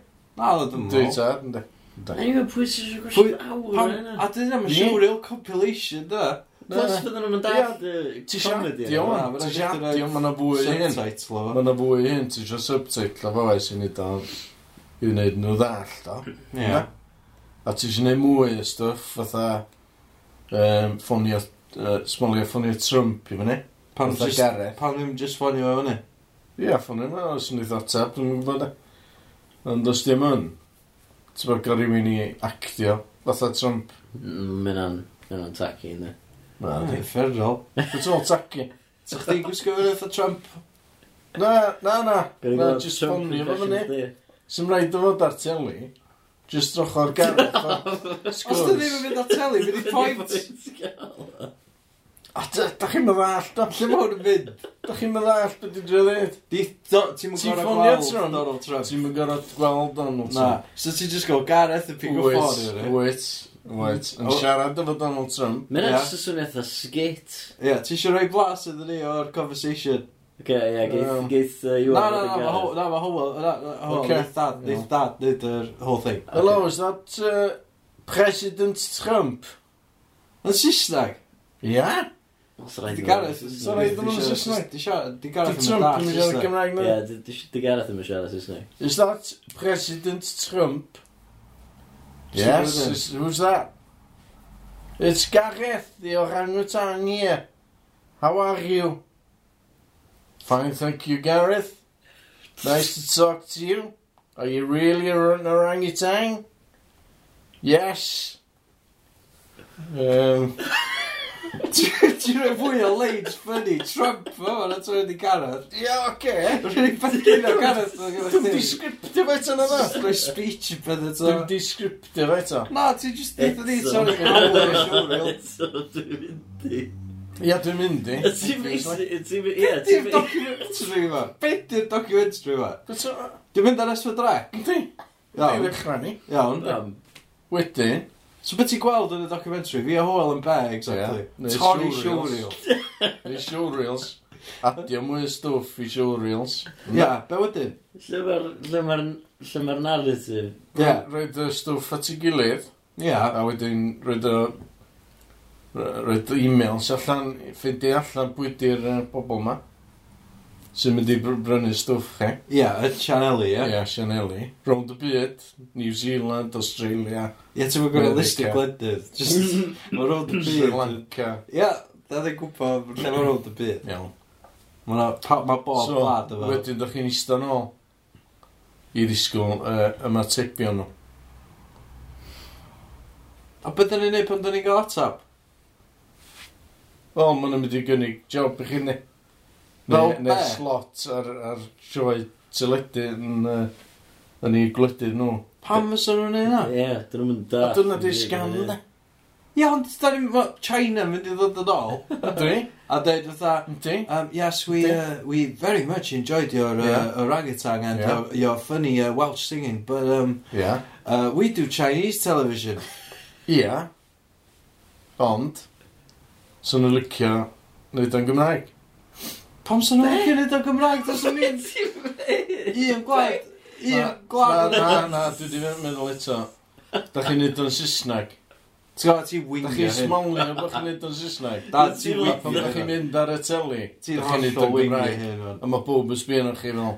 B: Na, oedd yn
D: Dwi
B: mwyth.
D: tad. Ynda? Ynda?
C: Anyway, pwy sy'n siarad gwrs awr
B: Pam,
C: yna?
B: a dyn nhw'n
D: Ie.
B: siwr i'r compilation, da.
C: Plus, fydden nhw'n dad
D: Ti
C: y
D: siad?
C: comedy.
D: Di
C: yna.
B: Na,
D: o'n?
B: ma'
D: Ti
B: raid
D: siad?
B: i
D: Di o'n? Mae'n fwy i hyn.
B: Subtitle o.
D: Mae yna fwy i hyn, ti eisiau subtitle fo eis i ni dal i wneud nhw ddall, do.
B: Ie.
D: A ti eisiau gwneud mwy o stwff, fatha um, ffonio, uh, smolio ffonio Trump i fyny.
B: Pan
D: Fatha
B: jyst...
D: Gareth.
B: Pan ddim jyst ffonio efo ni.
D: Ie, ffonio yma, os yn eitha tab, dwi'n gwybod e. Ond os dim yn, ti'n bod gael rhywun i actio, fatha Trump.
C: Mm, Mae'n an. Yn o'n taci, ynddo.
D: Na, dwi'n fferrol. Dwi'n tol taci. Sa'ch chdi'n [laughs] gwisgo fyny eitha Trump? Na, na, na. Na, just ffonni efo fyny. Sym rhaid dy fod ar teli. Just droch o'r gareth.
A: [laughs]
D: a
A: Os dwi ddim yn
D: Sgwrs.
A: mynd ar teli, fydd i
D: [laughs]
A: pwynt.
D: A da- dach chi'n mynd all, da lle mawr yn fynd. Dach chi'n mynd all, beth dwi'n dweud.
B: Di, do, ti'n
D: Ti'n
B: mwyn
D: ffonio
B: gorau
D: Trump?
B: gweld Donald Trump.
D: Ti'n mynd gorau gweld Donald
B: Na,
D: Trump.
B: so ti'n just go Gareth y pigo ffôn
D: Wyt,
B: i'r
D: wyt, wyt. Yn
B: e. O-
D: siarad efo Donald Trump.
C: Mae'n
B: Ie.
C: yeah. swnio eitha skit.
B: Ie, ti eisiau rhoi blas iddyn ni o'r conversation?
C: Oce, ie,
D: Yym.
C: geith- geith uh,
B: Na,
C: Iwan
B: na,
C: fod yn
B: na, ma' Ho-
C: gareth.
B: na, ma' Howell, na, na, Howell,
D: Ocê.
B: neith dad, neith dad, neith yr whole thing.
D: Hello, is that uh, President Trump?
B: Yn Saesneg?
D: Yeah?
C: Os rhaid
B: Di
C: i
B: Gareth,
C: fod-
D: Sorry,
B: di
D: ddim yn
B: siarad-
D: Saesneg.
B: Di siarad, di
D: Di
B: Gareth yn
D: Trump
B: dad
D: yn mynd
B: [laughs]
D: i'r
B: Saesneg.
D: Gymraeg
C: Ie,
D: na?
C: di- di di Gareth ddim yn siarad Saesneg.
D: Is that President Trump? Yes,
B: Siŵr
D: is- who's that? It's Gareth, the orangutan here. How are you? Fine, thank you, Gareth. Nice to talk to you. Are you really an orangutan? Yes. Um,
B: Ti'n rhoi fwy o leid ffynnu, Trump, fo, na ti'n rhoi di Gareth.
D: yeah, okay.
B: Rwy'n ei beth gyda Gareth, o'n gyda
D: Dwi'n
B: chdi.
D: discriptive eto na
B: Just
D: fe.
B: Rhoi speech i beth eto.
D: Dwi'n discriptive eto.
B: Na, ti'n just neith ni,
C: Eto.
B: sorry, mae'n Howell yn siwrwyl.
C: [laughs] Eto, dwi'n mynd i.
D: Ia, dwi'n mynd i.
C: Ti'n mynd i- ti'n mynd- ie, ti'n
B: Di'r
C: mynd i.
B: documentary yma. Beth di'r documentary yma?
D: Yndi,
B: Dwi'n mynd ar S4C?
D: dwi'n
B: Iawn,
D: ddechrau ni.
B: iawn.
C: Am,
D: Wedyn,
B: So beth ti'n gweld yn y documentary? Fi a Hoel yn be, exactly.
D: Ie. Neu
B: Torri
D: showreels.
B: showreel.
D: neu showreels. Adio mwy o stwff i showreels.
B: Ia, be wedyn?
C: Lle ma'r- lle ma'r- lle ma'r narrative?
B: Ie.
D: Roed y stwff at ei gilydd,
B: Ia.
D: a wedyn roed y... Roed y e-mails allan, ffindi allan pwy di'r yy, bobl ma. Sy'n mynd i br- brynu stwff chi.
B: Ia, y Chaneli,
D: Ie,
B: ie.
D: yeah, Sianeli. Rownd y byd, New Zealand, Australia,
B: Ie, ti'n mynd gwneud
D: America.
B: list o gledydd. Just, mae roedd y
D: Sri
B: byd.
D: Lanka.
B: Ia, da ddim gwybod lle mae roedd y byd.
D: Iawn.
B: Mae bob blad
D: so,
B: efo.
D: wedyn dych chi'n eistedd yn ôl i ddisgwyl uh, ymatebion nhw.
B: A beth ni'n neud pan da ni'n gael atab?
D: Wel, maen nhw'n mynd i gynnig job i chi ni. Neu,
B: Fel
D: neu
B: be?
D: slot ar, ar sioe teledu yn, uh, yn ei gwledydd nhw.
B: Pam fysa nhw'n neud na?
C: Ie, dyn nhw'm yn
D: A
C: dallt.
D: dyna di sgan de.
B: Ia, ond da ni'n... ma' China yn mynd i ddod yn ôl.
D: Ynddi?
B: A dweud fatha,
D: Ynddi?
B: Um, yes, we uh, we very much enjoyed your uh,
D: Yeah.
B: orangutan and
D: Yeah.
B: your, your funny uh, Welsh singing, but um,
D: Ia.
B: uh, we do Chinese television.
D: Ia. Ond, sy'n nhw'n licio wneud o'n Gymraeg.
B: Pam sy'n nhw'n licio neud o Gymraeg? Does yn
D: [laughs]
B: un... Un gwlad. Un
D: Na,
B: gwlad.
D: Na, na, na, dwi di meddwl eto. Da chi'n neud o'n Saesneg.
B: Ti'n gwybod, ti'n
D: Da chi'n
B: wingio hyn.
D: smalio bod chi'n neud o'n Saesneg.
B: Da,
C: Ti'n
B: ti'n
D: Wel, Pan
B: wingio
D: ydych chi'n
B: hyn.
D: mynd ar y teli,
B: Ti'n
D: dach chi'n neud
B: hollol
D: yn
B: wingio
D: Gymraeg.
B: hyn. man.
D: A mae bob yn sbio arnoch chi fel,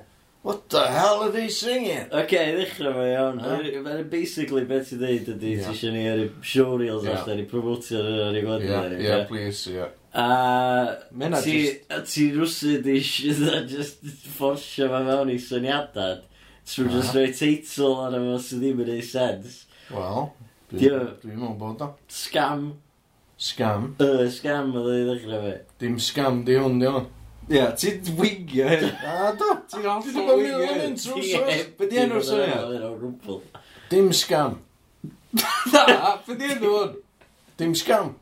D: What the hell are they singing?
C: Oce, i ddechrau fo iawn.
D: Ie.
C: Yr- yr- Basically, beth ti'n dweud ydy,
D: Ie.
C: ti eisiau ni ar y showreels
D: Ie.
C: allan, i promotio ar ar ei
D: Ie,
C: gwledydd. ar ei,
D: ie,
C: oce?
D: please, ie.
C: A
B: Ma' hynna
C: ti-
B: jyst-
C: a ti rwsyd i [laughs] sydd just fforsio fe mewn i syniadau trwy
D: Na.
C: just rhoi teitl ar yma sydd ddim yn ei sens.
D: Wel, dwi-
C: Ie.
D: dwi'n meddwl bod o.
C: Scam.
D: Scam.
C: Y scam oedd ei ddechrau fe.
D: Dim scam di hwn, di hwn.
B: Ie, ti'n wingio hyn.
D: A do,
B: Ti'n hollol
D: Dwi'n meddwl
B: wingio
D: yn
B: hyn.
D: intro sos.
B: Be' di enw'r syniad?
C: Ti'n enw'r [laughs] gwbl.
D: Dim scam.
B: Na, beth yw'n hwn?
D: Dim scam.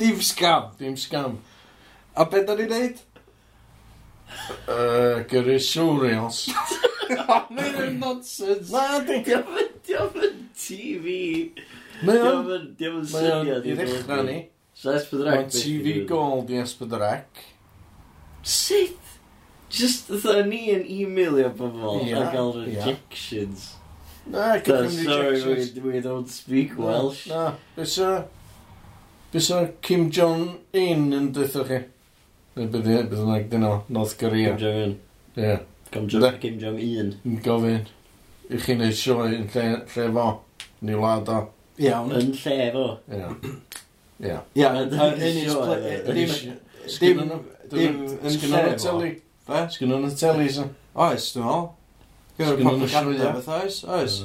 B: Dim scam.
D: Dim scam.
B: A beth da ni'n neud?
D: Yy, gyrru showreels.
B: Mae'n un nonsense.
D: [laughs] Na, di.
C: Diolch yn diolch yn TV.
D: Mae o'n,
C: Diolch yn diolch yn
D: mae o'n,
C: syniad
D: i ddechrau ni,
C: Saes bydrac.
D: mae'n TV Gold i Esbydrac.
C: Sut? Just dda ni yn e-mailio pobol
D: Ie,
C: a gael
D: ie.
C: rejections.
D: Na,
C: Da,
D: gyda
C: sorry, we, we don't speak Welsh.
D: Na, bysa... Bysa Kim Jong-un yn dweud chi. Neu bydd e, bydd yna gyda North Korea.
C: Kim Jong-un.
D: Ie,
C: Kim
D: Ynde?
C: Jong- Kim Jong-un.
D: yn gofyn. I chi neud sioe yn lle, lle fo. Ni wlad o.
B: Iawn.
C: Yn lle fo.
D: Ie. Ie.
B: Ia,
C: A
B: yn
C: dyna ni
B: his
C: sure,
B: pla-
C: ie.
B: dim-
D: Sgyn
B: dim-
D: nhw.
B: dim yn
D: Sgyn nhw'n
B: lle
D: y
B: fo.
D: teli.
B: Be?
D: Sgyn nhw'n y teli, sa.
B: Oes, dwi'n meddwl. Gyda'r
D: Sgynnon nhw
B: propaganda
D: sioe.
B: beth oes, oes.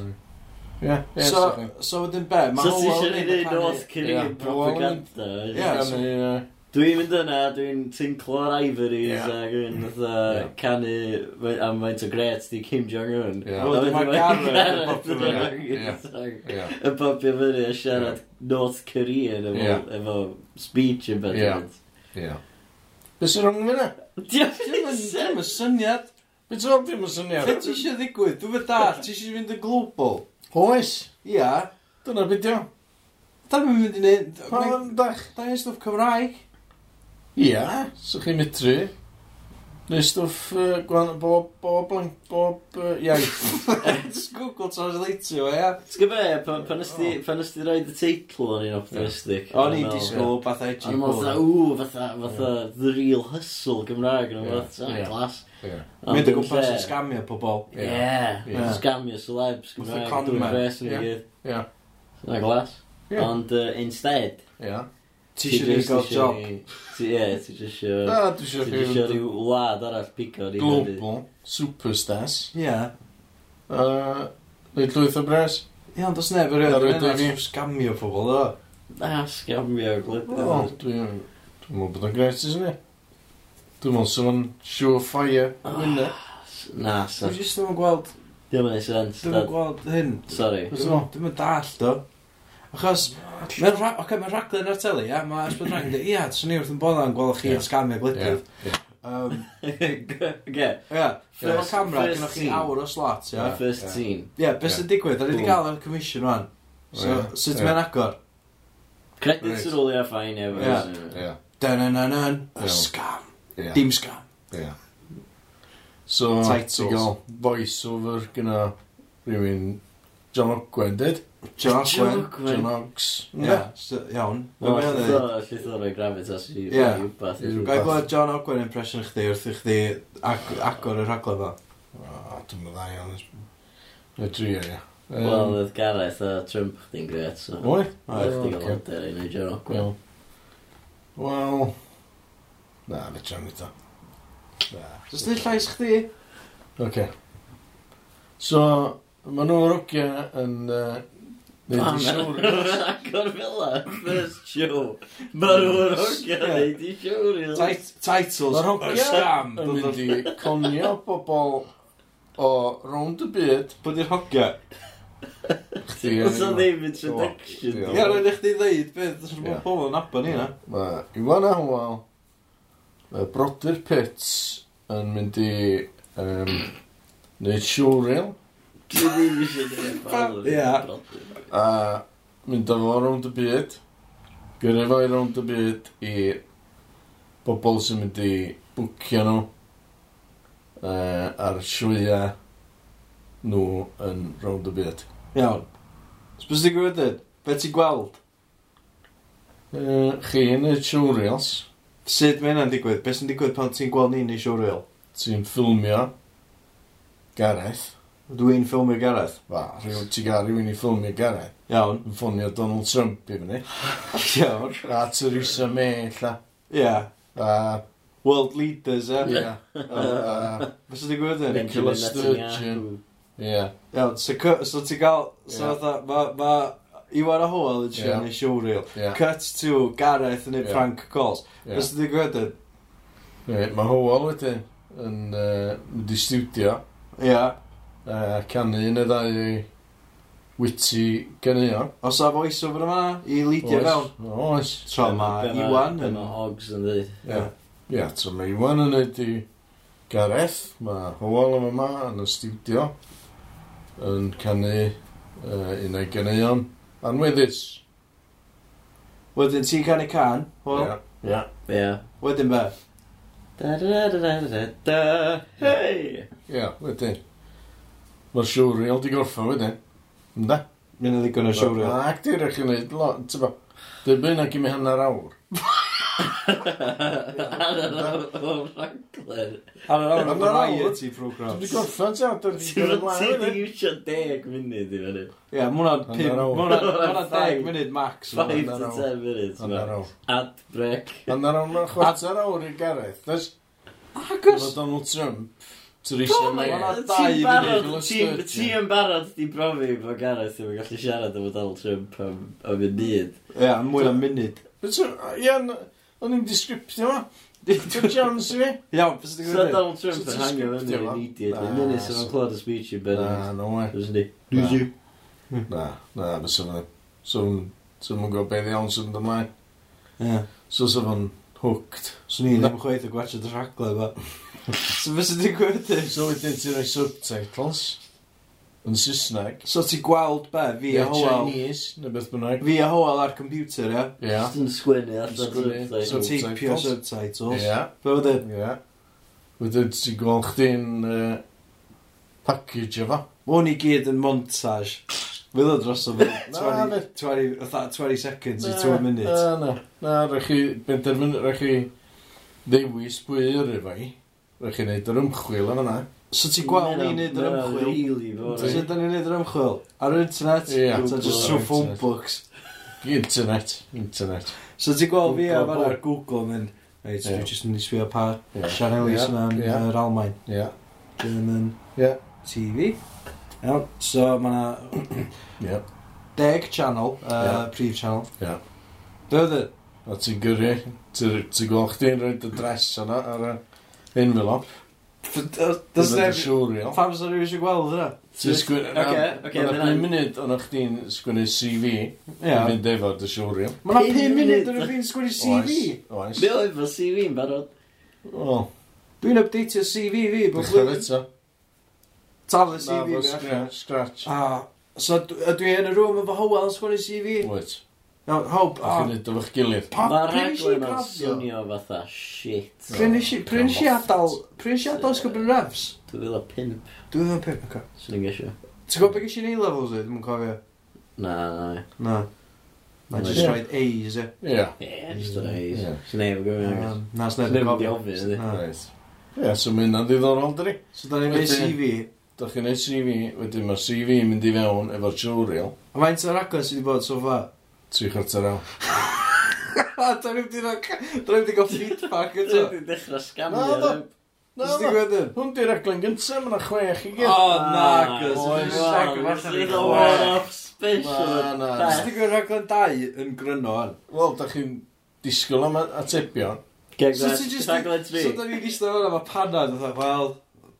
D: Yeah, yeah,
B: So,
D: so,
B: so wedyn be? Mae
C: So ti
B: Hywel
C: eisiau
B: yn
C: neud
B: rhan-
C: North Korean
D: Ie.
C: propaganda?
B: Ie,
C: Jyst-
B: so-
C: Dwi'n mynd yna, dwi'n tinclo'r ivories
D: Ie.
C: ac yn
D: Ie.
C: fatha canu fe- am faint o gret di Kim Jong-un.
D: Ie.
C: A
B: Wel,
C: wedyn
B: dyma
C: mae
B: Gareth
C: Gareth
B: yn popio
C: yn
D: fyny.
C: angen
D: Ie.
C: song.
D: yeah.
C: Yn popio fyny a siarad North Korean efo,
D: Ie.
C: efo speech yn bethau.
D: Ie. Beth sy'n rhwng fyna?
B: Dim yn- dim yn syniad.
D: Beth sy'n rhwng yn syniad?
B: Be ti eisiau ddigwydd? Dwi'n fy dall, ti eisiau fynd yn global.
D: Oes,
B: Ia.
D: dyna beth yw.
B: Da ni'n mynd i neud...
D: Pan yn dach?
B: Da ni'n stwff Cymraeg.
D: Ie, sy'ch chi'n mitri. Neu stwff yy, gwan- bob, bob, blank, bob yy, iaith.
B: [laughs] Just Google Translate o, ia.
C: Sgwb e, pan pan ysdi- pan ysdi roed y teitl o'n i'n optimistic.
B: O'n i
C: O'n meddwl-
B: disgwyl o bath edgy.
C: O'n i'n meddwl, fatha, ww, fatha, fatha, the real hustle Gymraeg yn
D: Ie.
C: o'n
D: Ie.
C: fatha, glas.
D: Ie.
C: Ond
B: Mynd o
C: dim
B: gwmpas yn
C: lle.
B: scamio pobol.
D: Ie. Ie.
C: Ie, scamio celebs
B: Fatha
C: Gymraeg,
B: con
C: dwi'n
B: man.
C: fes yn i
D: Ie.
C: gyd.
D: Ie.
C: Na glas.
D: Ie.
C: Ond uh, instead,
D: Ie.
B: Ti eisiau ni
C: jyst
B: gael
C: isio
B: job.
C: ni- ti- Ie, ti jyst isio...
D: Na, dwi
C: Ti
D: eisiau
C: jyst isio
D: chi
C: rhyw wlad arall bigo ni.
D: global superstars.
B: Ia.
D: Yy, Neu llwyth o bres.
B: Ia, ond os neb yr hyn,
D: Ar y
B: dwi'n
D: dynnu.
B: meddwl scamio pobol, o.
C: Na, scamio
D: Wel,
C: gwledydd.
D: Dwi'n dwi'n meddwl bod o'n gret sy'n ni. Dwi'n meddwl sy'n o'n surefire. winner.
C: Na, sa.
B: Dwi'n just ddim yn gweld,
C: Dwi'n mynd i sens.
B: ddim yn gweld hyn.
C: Sorry. [laughs]
B: Dwi'n yn dall, do. Achos, mae'n rha okay, mae rhaglen ar teli, ia, mae Esbyd Rhaid yn dweud, ia, swn i wrth yn bodda yn gweld chi
D: Ie.
B: yn scamio gwledydd.
D: Ie.
B: Um,
C: Ge,
B: Ia, ffilm
C: First-
B: camera,
C: first
B: gynnwch chi
C: scene.
B: awr o slot, ia.
C: first
D: Ie.
C: scene.
B: Ia, beth sy'n digwydd, ar i wedi
C: Boom.
B: gael ar y commission rwan. So,
D: Ie.
B: sut
D: Ie.
B: mae'n agor?
C: Credits
D: Reit.
C: yn ôl i'r ffain efo.
B: Ie.
C: so-
D: Ie.
B: Dun-dun-dun-dun,
D: Iawn.
B: y scam.
D: Ie.
B: Dim scam.
D: Ie. So,
B: Titles.
D: ti'n gael voice over gyda rhywun John Ogwen, dyd?
B: John
C: John
B: Ogwen.
C: Ogwen.
D: John Oggs.
B: Ia, so- iawn.
C: Wel,
B: Mae'n meddwl-
C: lle ddod o'r gravitas i
B: Ie.
C: wbath.
D: Ie.
B: Ga'i gweld John Ogwen impression chdi wrth i chdi ag- agor y rhaglen fo.
D: O, dwi'n meddwl dda iawn. Y drio, ie. Yym,
C: Wel, eh, oedd Gareth a Trump chdi'n gret, so...
D: Oi?
C: Oedd chdi
D: Ocê.
C: gael hyder i wneud John Ogwen.
D: Wel. Wel. Na, fe tra'n gyda. Na.
B: Just dweud llais chdi.
D: Oce. So, ma nhw rogia yn... Uh,
C: Mam,
D: Neud i siwr.
C: Agor fila, first show. Mae'r o'r organ
B: Ie.
C: neud i siwr i lais.
B: Tit- Titles.
D: Mae'r
B: y
D: hogia
B: scam.
D: yn mynd i conio bobl o rownd y byd.
B: Bwyd i'r hogia.
D: Chdi yn-
C: Os o ddim introduction.
D: Ie.
B: Ia, rhaid i chdi ddeud beth. Dwi'n
D: Ie.
B: bod pobl yn abon i na.
D: Mae Iwan Howell, y brodyr Pits, yn mynd i... Um, Neud siwril
C: Dwi ddim eisiau ddim fawr.
B: Ie.
D: a mynd â fo rownd y byd. Gyrru fo i rownd y byd i bobl sy'n mynd i bwcio nhw uh, ar sioea nhw yn rownd y byd.
B: Iawn. Sbys ti'n gwybod dweud? Be ti'n gweld?
D: Uh, chi yn y siwrils,
B: Sut mae hynna'n digwydd? Be sy'n digwydd pan ti'n gweld ni'n ei siwrwyl?
D: ti'n ffilmio Gareth,
B: Dwi'n ffilmio Gareth.
D: Fa, rhyw, ti gael rhywun i ffilmio Gareth, [laughs]
B: Iawn.
D: yn ffonio Donald Trump i fyny,
B: Iawn.
D: a Theresa May lla,
B: Ia.
D: a,
B: World leaders, e?
D: ia, a,
B: Be sy'n digwydd dweud?
D: Nicola Sturgeon. ia,
B: Iawn, so, cy- so ti'n gael, so
D: Ie.
B: fatha, ma, ma Iwan a Howell yn siarad
D: Ie.
B: yn ei siwril.
D: ia,
B: Cut to Gareth yn ei
D: Ie.
B: prank calls.
D: ia.
B: Os ti'n gwybod yn?
D: Reit, Mae Howell wedyn yn uh, mynd i studio
B: Ia.
D: uh, canu un y ddau ei witty ganeuon.
B: Os a voice over yma i leidio fewn.
D: Oes.
B: Tro ma uh, Iwan yn...
C: Mae Hogs yn dweud.
D: Ie, Ie, so mae Iwan yn neud i Gareth, mae Howell yn yma yn y studio yn canu uh, un o'i ganeuon anweddus.
B: Wedyn ti'n canu can, Howell.
D: Ie, Ie.
C: Ie.
B: Wedyn be?
C: Da da da da da da. Hei!
D: Ie, wedyn. Mae'r siwriol di gorffa wedyn. Ynda?
B: Mynd yn ddigon o siwril.
D: Mae actor eich yn neud, lo- t'bo, dibyn ac i mi hanner awr.
C: Ar Raglen.
B: Ar yr awr
D: Ar
B: o'r
D: yr awr.
B: variety
D: Dwi'n
B: program.
D: di gorffan ti awr, dwi'n di
C: Ti'n
D: gorffan mlaen
C: wedi
D: wedyn.
C: iwsio deg munud i fyny.
B: Ie, mae hwnna'n
D: Hanner
B: pum-
D: awr.
B: ma' hwnna'n- ma' hwnna'n
C: Five.
B: 10 munud max. ma'.
C: Five to
D: awr.
C: ten minutes.
D: Hanner
C: man.
D: awr.
C: Ad break.
D: Hanner awr, mae'n chwarter awr i Gareth. Does?
B: Agos!
D: Efo Donald Trump Teresa
A: my
D: May.
A: God.
C: Ti'n
D: dau i
C: barod-
D: fyny,
C: ti'n-
D: glustod.
C: Ti'n barod di brofi bod Gareth ddim yn gallu siarad efo Donald Trump am am y byd.
B: Ie, mwy na munud. [laughs]
D: Ie, o'n i'n disgriptio ma. Dwi'n chans i fi.
B: Iawn, beth sy'n
C: So
B: gwneud?
C: Donald Trump
D: So
C: yn hangio
D: ti'n
C: fyny
D: sgriptio
C: yn
D: fo?
C: idiot.
D: Na,
C: Yn munud sy'n
D: so-
C: o'n clod y speech i Ben.
D: Na, no way.
C: Dwi'n ni.
D: Lose Na, na, mae sy'n fyny. Sy'n fy'n gwybod beth iawn sy'n fy'n ymlaen.
B: Ie.
D: So sy'n fy'n hooked.
B: Swn i ddim yn chweith o gwaethaf dy rhaglau fa. [laughs] So beth sy'n digwydd?
D: So wedyn ti'n rhoi subtitles yn Saesneg.
B: So ti'n gweld be, fi a
D: Neu
B: Howell.
D: Chinese, neu beth bynnag.
B: Fi a Howell ar computer, ie.
D: Ie.
C: Just yn sgwennu ar
D: Sgwennu.
B: So
C: Donald Trump.
B: ti'n pure
D: Subtitles.
B: subtitles.
D: Ie.
B: Be oedd e?
D: Ie. Wedyn ti'n gweld chdi'n uh, package efo.
B: O'n i gyd yn montage. Fydd o dros o fel
D: Na,
B: 20,
D: fydd.
B: 20, fatha 20 seconds i 2 minutes.
D: Na, na. Na, rhaid chi, benderfyn, rhaid chi ddewis pwy yr efo i. Rhaid chi wneud yr ymchwil yn yna.
B: So ti'n gweld ni'n neud yr
C: Mae'n
B: ymchwil?
C: rili fawr.
B: So sut da ni'n neud yr ymchwil? Ar yr internet?
D: Ie.
B: So just
C: Google
B: through
D: ar
B: phone
D: internet.
B: books.
D: Internet. Internet.
B: So ti'n gweld fi
D: Google
B: am ar
D: book.
B: Google yn mynd, Reit,
D: Ie.
B: dwi jyst yn mynd i sbio pa
D: Ie.
B: Sianelis
D: Ie.
B: yna yn
D: Ie.
B: yr Almain.
D: Ie.
B: Yn yn
D: Ie.
B: TV. Iawn, so mae yna
D: Ie.
B: deg channel, uh,
D: Ie.
B: prif channel. e?
D: Ie.
B: Be oedd y?
D: A ti'n gyrru, ti'n ti gweld chdi'n rhoi dy dres yna ar y envelope.
B: Does
D: Efo dy
B: neb...
D: siwriol.
B: Pam sy'n rhywun eisiau gweld hynna?
D: Ti'n sgwyn...
C: Ocê, ocê,
D: Mae'n
C: ma'
D: pum
C: hynna'n-
D: munud o'n chdi'n sgwynnu CV i
B: Ie.
D: fynd efo dy siwriol.
B: Mae yna 5
C: Pum
B: munud yn
C: munud.
B: y fi'n sgwini CV.
D: Oes.
C: Mae o efo CV yn barod.
D: Wel,
B: Dwi'n updateio CV fi, bod
D: Dechrau
B: blwyddyn.
D: eto.
B: Tal y
D: Na,
B: CV
D: fo
B: fi. allan.
D: scra- Scratch.
B: A, so dw- ydw i yn y rŵm efo Howell yn sgwini CV?
D: Wyt.
B: Iawn, Howell,
D: A chi'n
B: a...
D: neud efo'ch gilydd.
B: Pa,
C: Mae'r
B: pryn eisiau
C: raglen o'n
B: grafio?
C: swnio fatha shit.
B: Pryn eisiau, pryn eisiau adal, pryn eisiau adal sgwbyn refs?
C: Dwi'n fel o pimp.
B: Dwi'n ddim pep, oce.
C: Swn i'n gesio.
B: Ti'n gwybod beth eisiau ni levels i? Dwi'n cofio.
C: Na, na, na.
B: Na. Na, just
D: Ie.
B: roed A's, e.
D: Ie.
C: Ie, just o'n eis.
D: Ie.
C: Swn i'n gwybod.
B: Um, Na,
C: Swn
B: sneb
C: i'n
B: yn
C: gofyn,
B: gofio.
C: ydi.
B: Na.
D: Reit. Ie, so mae hynna'n ddiddorol, dydi?
B: So, da ni'n mynd
D: Wedyn-
B: CV.
D: Da chi'n neud CV, wedyn mae'r CV yn mynd i fewn efo'r tiwriol.
B: A faint o'r agos sydd wedi bod so far?
D: Tri chwarter awr.
B: A, da ni'n mynd i gael feedback eto.
C: Dwi'n dechrau
D: Na,
C: scamio.
D: na.
C: rhywun.
D: Na,
B: Ysdi
D: na.
B: gwedyn?
D: Hwn di'r aglen gyntaf, mae'n chwech i
B: O,
D: gyd.
B: na, gos.
D: oes.
B: Ysdi
C: Little
B: gwedyn?
C: one-off special.
D: Na, na.
B: Ysdi gwedyn rhaglen 2 yn gryno ar?
D: Wel, da chi'n disgwyl am atebion.
B: So ti just...
C: Raglen tri.
B: So da ni'n eistedd fan'na, mae panad yn dweud, wel,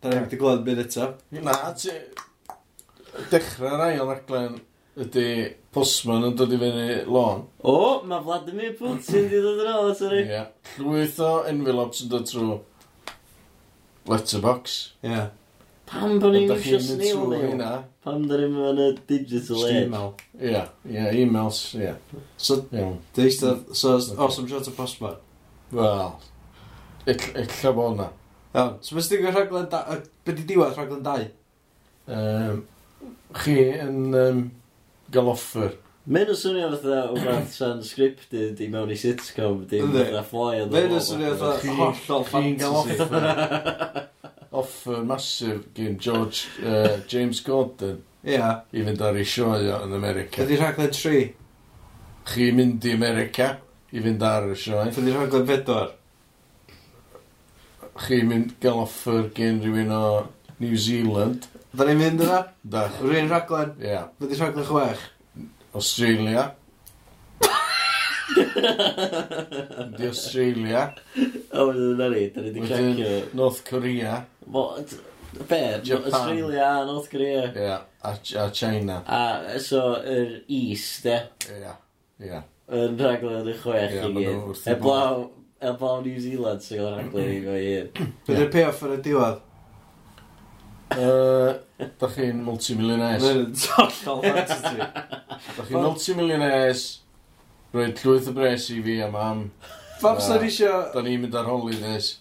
B: da ni'n mynd i glod mynd eto.
D: Na, ti... Dechrau'r ail aglen ydy postman yn dod i fyny lôn.
C: O, mae Vladimir Putin di dod yn ôl at yr
D: Ie. Llwyth o envelopes yn dod trwy letterbox.
B: Ie.
C: Pam bod ni'n
D: Ydach
C: eisiau
D: chi'n mynd
C: snail
D: trwy
C: mail?
D: hynna?
C: Pam da ni'n mynd yn y digital age?
B: Steamel.
D: Ie, ie, e-mails, ie.
B: So,
D: Iawn.
B: da eistedd, so, awesome shot o postman.
D: Wel, illa bod yna.
B: Iawn, so mae'n stigio rhaglen da... y- Be di diwedd rhaglen 2?
D: Um, chi yn um, gael offer.
C: Mae'n yn swnio fatha o fath transcripted i mewn i sitcom, dim
B: Yndi.
C: fatha fly on the
B: Fe'n y swnio
D: Chi-
B: fatha hollol
D: Chi'n gael
B: fantasy.
D: offer. offer masif gen George, uh, James Gordon
B: Ie,
D: i fynd ar ei sioe o yn America.
B: fyddi rhaglen 3,
D: Chi'n mynd i America i fynd ar y sioe.
B: fyddi rhaglen 4.
D: Chi'n mynd gael offer gen rhywun o New Zealand.
B: Da ni'n mynd yna,
D: Da,
B: rhywun rhaglen,
D: ie. Yeah.
B: fyddi rhaglen 6.
D: Australia. Di Australia.
C: O, wedyn yna ni, da ni di
D: Wedyn-
C: cracio.
D: North Korea.
C: Wel, d- Be?
D: Japan.
C: Australia a North Korea.
D: Ia. A, a China.
C: A so, yr East, e?
D: Ia. Ia.
C: Yn rhaglen y chwech
D: Ie,
C: i
D: ma'
C: gyd. Er
D: nhw wrth eu
C: Eblaw, eblaw New Zealand sy'n gael rhaglen i fo i hyn.
B: Fyddi'r payoff yn y diwedd.
D: Uh, da chi'n multimillionaires.
B: Fe'n yn hollol fantasy.
D: Da chi'n multimillionaires. Roed llwyth o bres i fi a mam.
B: Fab sy'n isio...
D: Da ni'n mynd ar holidays.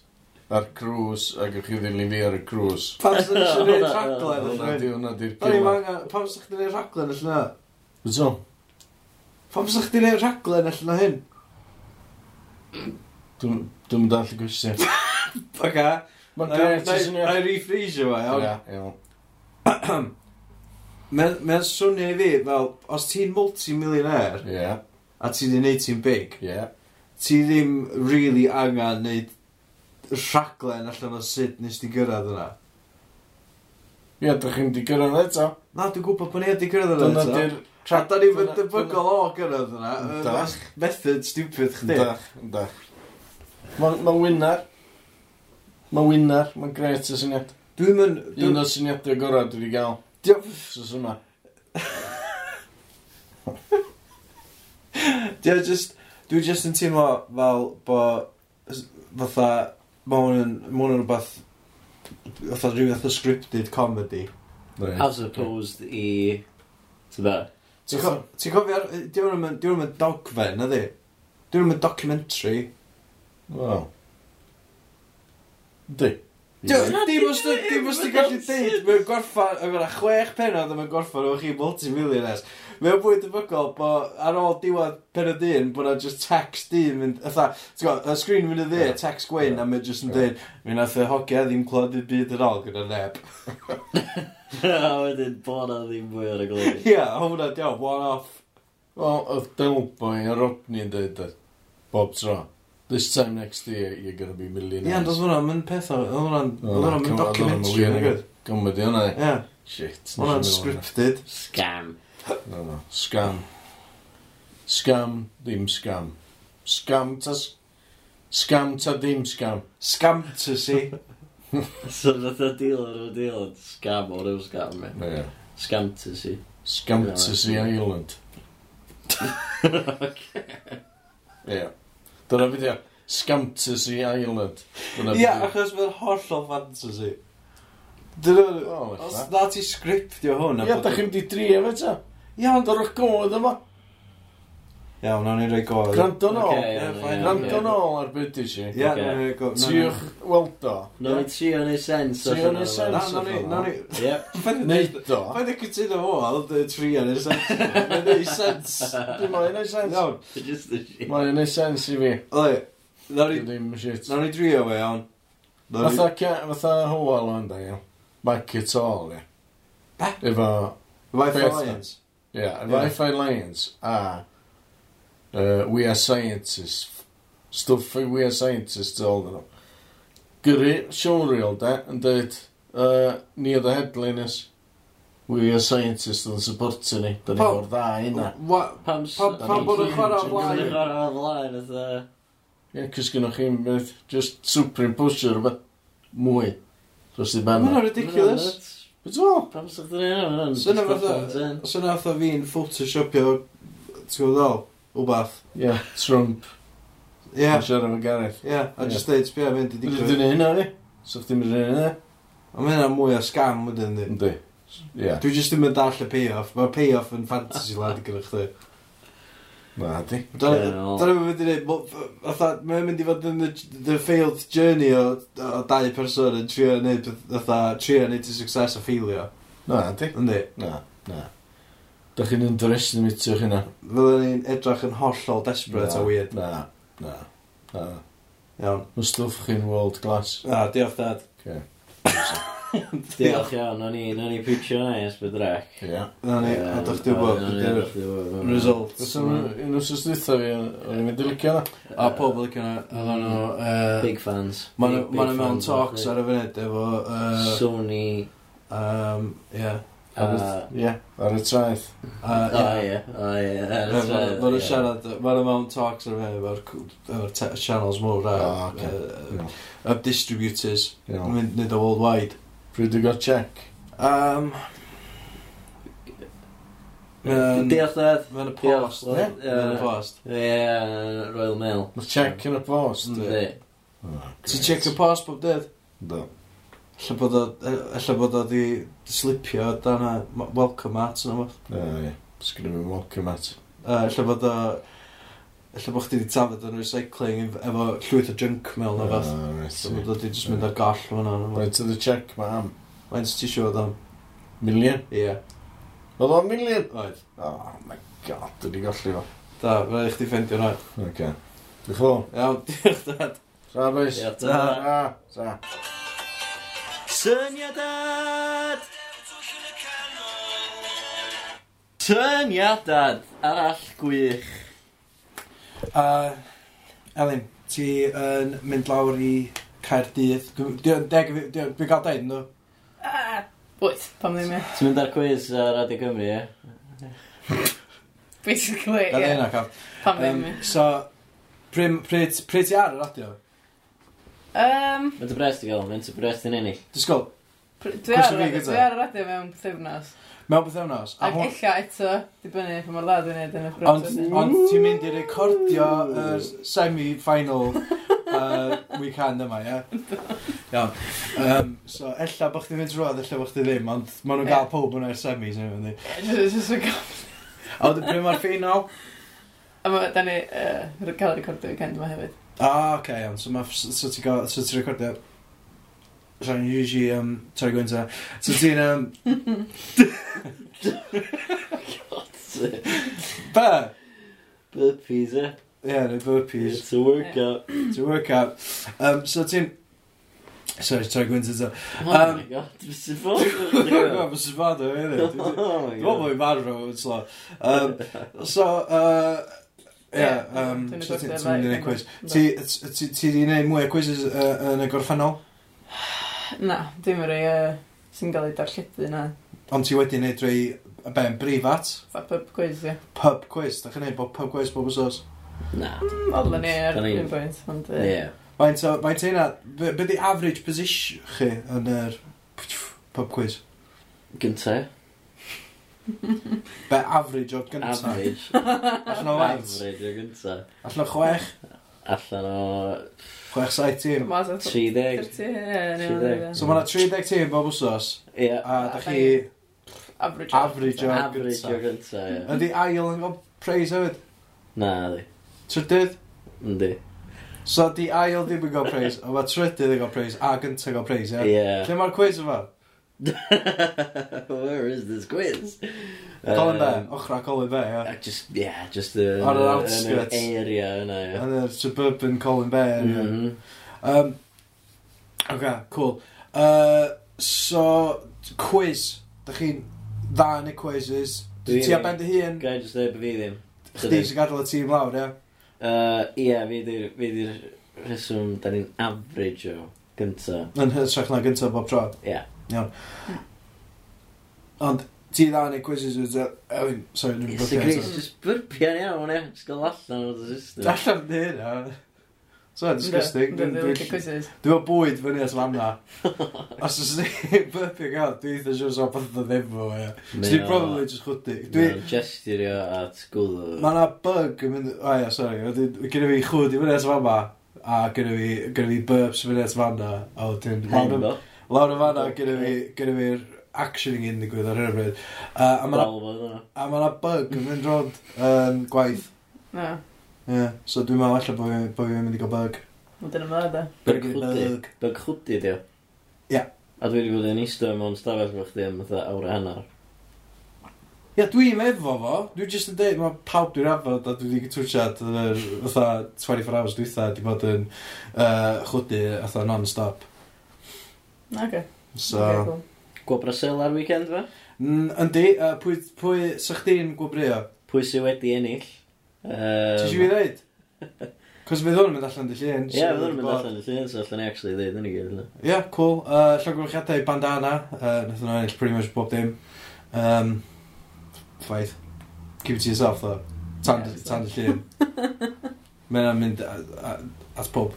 D: Ar cruise. A gwych chi ddilyn fi ar y cruise.
B: Pam sy'n isio
C: O,
B: gwneud
C: na,
B: rhaglen yn
D: Hwna di
B: rhywun?
D: hwnna di'r
B: Da ni'n
D: gila.
B: mangan... Pam sy'n chdi'n gwneud rhaglen allan yna?
D: Bwto?
B: Pam sy'n chdi'n gwneud rhaglen allan o hyn?
D: Dwi'n dall y gwestiwn.
B: Oce.
D: Mae'n gret i
B: Na ah. i e,
D: syniad.
B: refreesio fo, iawn.
D: Ia, iawn.
B: Mae'n mae o'n swnio i fi, fel, os ti'n multi-millionaire
D: Ia,
B: a ti di wneud ti'n big,
D: ia.
B: ti ddim really angen wneud rhaglen allan o sut nes ti gyrraedd yna.
D: Ie, dych chi'n di gyrraedd eto.
B: Na, dwi'n gwybod bod ni wedi gyrraedd yna
D: Dyna
B: eto.
D: di'r...
B: Tra da ni
D: dyna-
B: fynd y bygol o gyrraedd yna. Yy,
D: Yndach.
B: that's Method stupid chdi.
D: Yndach, yndach. Mae'n ma wynar. Mae'n wynar. Mae'n gret y syniad.
B: Dwi'n mynd...
D: Un o syniadau gorau dwi wedi gael.
B: Diolch.
D: Sos yma.
B: Dwi'n just... Dwi'n just yn teimlo fel bo... s- Fatha... Mae hwn yn... Mae hwn yn rhywbeth... Fatha rhyw fath o scripted comedy.
C: As opposed i... Ti'n ba?
B: Ti'n co- ti'n cofio... Dwi'n mynd... Dwi'n mynd dogfen, ydi? Dwi'n mynd documentary.
D: Wel. Di.
B: Dim os dy- dim os ti'n gallu deud, mae'n gorffan, mae'n gorffan chwech penod a mae'n gorffan o chi multi-millionaires. Mae'n bwyd y bygol bod ar ôl diwedd penod un, bod na just text un mynd, ytha, ti'n gwybod, y sgrin mynd y dde, text gwyn, a mae'n just yn dweud, mi nath y hogia ddim clod i byd yn ôl gyda neb.
C: [laughs] A wedyn bod na ddim mwy ar y glwyr.
B: Ia, hwnna diolch, one off.
D: Wel, oedd Delboy a Rodney yn dweud e. Bob tro. This time next year, you're gonna be millionaires.
B: Ia, ond oedd hwnna'n mynd peth, oedd hwnna'n
D: Wel,
B: oedd hwnna'n
D: come
B: mynd
D: on, oedd
B: documentary,
D: hwnna'n
B: nag oedd?
D: Gymryd i hwnna. i.
B: Ia,
D: Shit. nes i
B: hwnna'n
D: meddwl hwnna.
B: scripted.
C: Scam.
D: No, no. Scam. Scam, ddim scam. Scam ta... s- Scam ta ddim scam.
B: Scamtasy.
C: So nath o deal ar y deal yn scam o'r yw scam e.
D: Yeah.
C: Scam to see.
D: Scam
C: Yeah,
D: to
C: that's
D: see
C: it.
D: Ireland. Yeah. Dyna fideo. Scam to see Ireland.
B: Ia,
D: Dyna fideo.
B: achos mae'n hollol fantasy. Dyna,
D: O,
B: Os
D: ella.
B: na ti sgriptio hwn a
D: Ie,
B: bod-
D: da chi'n di drio fe ta.
B: Iawn, do-
D: Dyrwch gwrdd yma.
B: Iawn, nawn ni roi gol.
D: Gwrando nôl.
C: Ocê, iawn,
B: fine.
C: iawn,
D: Gwrando
C: iawn.
D: nôl ar beth i si.
B: Ia,
C: Ocê.
B: nawn ni roi gol. nawn ni-
D: Tiwch weld o.
C: No, i trio neu sens.
D: Trio
C: allan
D: neu
C: o'r
D: sens.
B: Na, nawn ni- nawn ni-
C: fo. Yep.
B: Paid â
D: Neud
B: neud-
D: o.
B: paid â cytuno fo, a oedd y tri yn y sens. Mae'n neud [laughs] sens.
D: Dwi'n mae'n ei sens.
B: Iawn,
C: [laughs] Just the shit.
D: Mae'n ei sens i fi.
B: oi, nawn ni-
D: Dwi'n shit.
B: nawn ni drio fe, iawn. Nawn ni-
D: Fatha, ca- fatha hoel o'n da, iawn. Mike it all, ie.
B: Be?
D: Efo,
B: Wi-Fi
D: Beth?
B: Lions.
D: ie, efo
B: Ie.
D: Fi Lions a uh, We Are Scientists. Stuff We Are Scientists, all nhw. Gyrru showreel, da, yn dweud, uh, ni oedd y headliners. We Are Scientists yn supportio ni. Da ni
B: Pam-
D: o'r dda yna.
B: Wa-
C: Pam
B: Pam-
D: pam
C: [laughs]
D: bod yn chwarae o
C: Pam
D: blaen?
C: bod yn chwarae o blaen,
D: Ie, cys gynnwch chi'n beth, just superimposio rhywbeth mwy. Dros i ben.
B: Hwnna'n
C: oedd
B: ridiculous.
D: Beth o?
C: Pam sy'n dyn nhw?
B: Swnio fatha- swnio fatha fi'n photoshopio, ti'n gwbod be dwi'n feddwl? Wbath.
D: Ie, Trump. Ie.
B: Ie,
D: Siarad efo Gareth.
B: ie, a
D: Ie.
B: jyst deud, sbia, mynd i
D: Dwi'n
B: digwydd.
D: dwi'n hynna, ni. So chdi'n mynd i hynna?
B: A mae hynna mwy o scam wedyn, yndi?
D: Ynddi. Ie.
B: Dwi jyst ddim yn dall y payoff. Mae'r payoff yn fantasy land gyda chdi.
D: Na, di.
B: Dyna
C: Ie, wel.
B: dyna mae'n mynd i wneud... Mae'n mynd i fod yn the, the failed journey o, o dau person yn trio wneud peth- fatha trio wneud i success a ffeilio.
D: Na, di.
B: Yndi.
D: Na, na. Da chi'n underestimatio chi na?
B: Fydden ni'n edrych yn hollol desperate a weird.
D: Na, na. Na.
B: Iawn.
D: Mae stwff chi'n world glass.
B: Na, diolch dad.
D: Ie.
C: Diolch iawn, o'n i, o'n i pwysio na i esbyd drac.
D: Ie.
B: Na ni,
C: Ie,
B: a dych chi'n bod
C: o'n i-
B: ydy'r
C: o'ch chdi wbod.
B: result.
D: Dwi'n sôn un o'r sysdwytha fi, o'n i'n mynd i licio na.
B: A pobl yn cynnal, oedden nhw... yy,
C: Big fans.
B: ma' nhw-
C: Big-
B: Ma'
C: big
B: nhw mewn
C: fans,
B: talks ar
C: actually.
B: y funud efo... yy,
C: Sony.
B: yym, Ie.
C: uh,
D: Ie, ar y traeth.
B: A-
C: O ie, o ie.
B: Mae
C: that's right,
B: nhw'n
C: ie.
B: siarad, mae nhw'n mewn talks ar fe, efo'r cw- efo'r te- channels mowr a
D: O, ocê.
B: yy, y distributors, yn
D: Iawn.
B: mynd nid o worldwide.
D: Pryd i gael check.
B: Um, Mae'n
C: Diolch dad.
B: mae'n y post,
C: Diolch,
B: ie?
C: wel, ie.
B: Mae'n y post.
C: Ie, Royal Mail.
D: Mae check yn y post.
C: Yndi.
B: Ti'n check y post bob dydd?
D: Do.
B: Alla bod o, e- ella bod o di slipio dan y m- welcome mat yna fo.
D: Na, ie. Sgrin i'n welcome at.
B: Alla bod o, alla bod chdi di tafod yn recycling ef- efo llwyth o junk mail na fath. So bod o di just mynd ar goll fyna.
D: Right to the check, mae am.
B: Mae'n ti siwod am?
D: Milion.
B: Ie.
D: Oedd o'n milion?
B: Oedd.
D: Oh my god, dwi wedi golli fo.
B: Da, mae'n eich di ffendio rhaid.
D: Ok. Dwi'n chlo.
B: Iawn, diolch dad.
D: Sa, boys.
C: Diolch dad.
D: Sa, sa.
C: Syniadad! Syniadad! Arall gwych.
B: A, Elin, ti yn mynd lawr i Caerdydd. Dwi- Dwi'n deg- dwi'n- dwi'n cael deud, no?
E: Ah,
A: [laughs] Wyt, pam ddim e.
C: Ti'n mynd ar quiz ar Radio Cymru, ie?
A: Basically,
B: Na
A: ie.
B: ddeun ac
A: Pam
B: Yym,
A: ddim e.
B: So, pryd pryd- pryd ti ar y radio?
A: Yym,
C: Mae'n brest i gael, mae'n brest i'n ennill.
B: Disgwyl,
A: pr- dwi ar
B: Cwestiwn fi
A: y radio-
B: gyda.
A: dwi ar y radio mewn pethefnos.
B: mewn beth ewnos.
A: Ac illa eto, dibynnu pa mor dda dwi'n neud yn y
B: Ond
A: brwyd.
B: ond ti'n mynd i recordio y semi-final uh, weekend yma, ie? Iawn. Um, so, ella bo chdi'n mynd drwodd, ella bo chdi ddim, ond maen nhw'n
A: Ie.
B: gael pob yn o'r semis, yn fynd.
A: Just yn gael.
B: A wedyn pryd mae'r final?
A: A ma, da ni yy, cael recordio weekend yma hefyd.
B: O, oce, iawn. So, ma, so ti'n gael, so ti'n recordio... So, yn usually, um, sorry, Gwynta. So, ti'n, um, be?
C: [laughs] Burpees, ie?
B: Ie, yeah, neu burpees.
C: It's a workout.
B: Ti'n workout. Um, so, ti'n... Sorry, sorry, Gwynta. So, [laughs]
C: Oh
B: Um,
C: my god, dwi'n
B: [laughs]
C: sy'n
B: Dwi'n
C: ffwrdd.
B: gwybod, sy'n fad o, ie.
C: Oh my
B: Dwi'n meddwl bod fi'n
C: god.
B: farw yn slo. Um, so, uh, ie,
A: Ie,
B: um,
A: dwi'n
B: so ti- ti'n
A: recordio
B: mynd i
A: live,
B: neud quiz.
A: yndw.
B: Ti ti- ti- ti di neud mwy o quizzes uh, yn y gorffennol,
A: Na, dim yr ei sy'n gael ei darlledu na.
B: ond ti wedi neud rei, y ben, brifat,
A: Fa pub quiz, ie.
B: pub quiz. Da chi'n neud bod pub quiz bob ysos.
C: Na.
A: Mm, Oedden ni ar
C: Da ni-
A: un pwynt, ond... yy,
C: Ie.
B: Mae'n te, mae'n te na, be be di average position chi yn yr pub quiz?
C: Gynta, ie?
B: Be average o gynta? [laughs]
C: Average.
B: Allan o faint?
C: Average o gynta.
B: Allan o chwech,
C: Allan o
B: chwech saith tîm.
A: Mas o
C: 30.
A: 30, ie,
C: Tri
A: neu rywbeth,
C: deg.
A: ie.
B: So mae yna 30 tîm bob wsos,
C: Ie.
B: a da chi
A: Average.
B: average o
C: Average o
B: gynta.
C: gynta, ie.
B: Ydy ail yn gael praise hefyd?
C: Na, di.
B: Trydydd?
C: Yndi.
B: So di ail ddim yn gael praise, a mae trydydd yn gael praise, a gyntaf gael praise, ie?
C: Ie.
B: Lle mae'r quiz yma?
C: [laughs] Where is this quiz?
B: Colin Bear,
C: Um,
B: ochra Colin Bear, ie?
C: I just, yeah, just the...
B: Ar yr
C: yn y-
B: outskirts.
C: Yn yr area yna, ie.
B: Yn yr suburban Colin Bear, ie?
C: Mhm.
B: Um, OK, cool. Uh, so, quiz. Da chi'n dda yn y quizzes.
C: Dwi-
B: Ti a ben dy hun,
C: Gai just dweud bod fi ddim.
B: chdi sy'n gadael y tîm lawr, ie?
C: Uh, Ie, fi di'r- fi di'r rheswm, da ni'n average o gynta.
B: Yn hytrach na gyntaf bob tro.
C: Ie.
B: Iawn. Ond, ti dda yn y quizzes, wyt ti? I mean, sorry, dwi'n
C: Yes,
B: gwybod.
C: Grace, just byrpian iawn, ie. Just gael allan o'r system.
B: Allan ni hynna. So, disgusting. Dwi'n
A: Dwi'n dwi'n licio
B: dwi'n-
A: quizzes.
B: dwi'n meddwl bwyd fyny at fan na. Os oes ni [laughs] burping out, dwi'n eitha siwr so beth o ddim o. ie. So,
C: Mae
B: Dwi'n
C: o-
B: probably just chwdy.
C: mae
B: Dwi...
C: o'n gesturio at gwddw.
B: Mae yna bug yn mynd... O ia, sori. wedyn Gyda fi chwd i fyny at fan na. A gyda fi, gyda fi burps fyny at fan na. A wedyn... lawr y-
C: Henbo.
B: Lawr y fan na, gyda fi... Gyda fi'r actioning yn digwydd ar hyn o bryd. Uh, A mae
C: Dalfod yna.
B: yna bug yn mynd rond yn gwaith.
A: Na,
B: Ie. So dwi'n meddwl allan bod fi- bod fi'n mynd i gael bug.
A: ond dyna ma da.
C: Bug
B: Bug.
C: chwdi. Bug chwdi, dio.
B: Ie.
C: A dwi wedi bod yn eistedd mewn stafell fo chdi am fatha awr a hanner.
B: Ia, dwi'n efo fo. Dwi'n just yn dweud, mae pawb dwi'n afod a dwi wedi twsiad yn yr fatha 24 hours dwi'n di bod yn uh, chwdy fatha non-stop.
A: Na, oce.
B: So,
A: Oce, cool.
C: Gwa Brasel ar weekend fe?
B: N- yndi, uh, pwy, pwy, sa chdi'n gwybrio?
C: Pwy sy'n wedi ennill?
B: Um, Ti'n siw i ddeud? Cos fydd hwn yn mynd allan dy llun.
C: Ie, fydd hwn yn mynd allan y llun, so allan ni actually ddeud yn i gyd. yna.
B: Ie, yeah, cool. Uh, Llogwyrchiadau bandana. Uh, Nath nhw ennill pretty much bob dim. Um, ffaith. Keep it to yourself, though. Tan
A: Ie,
B: tan dy
C: [laughs]
B: llun. Mae'n mynd at, at, at pob.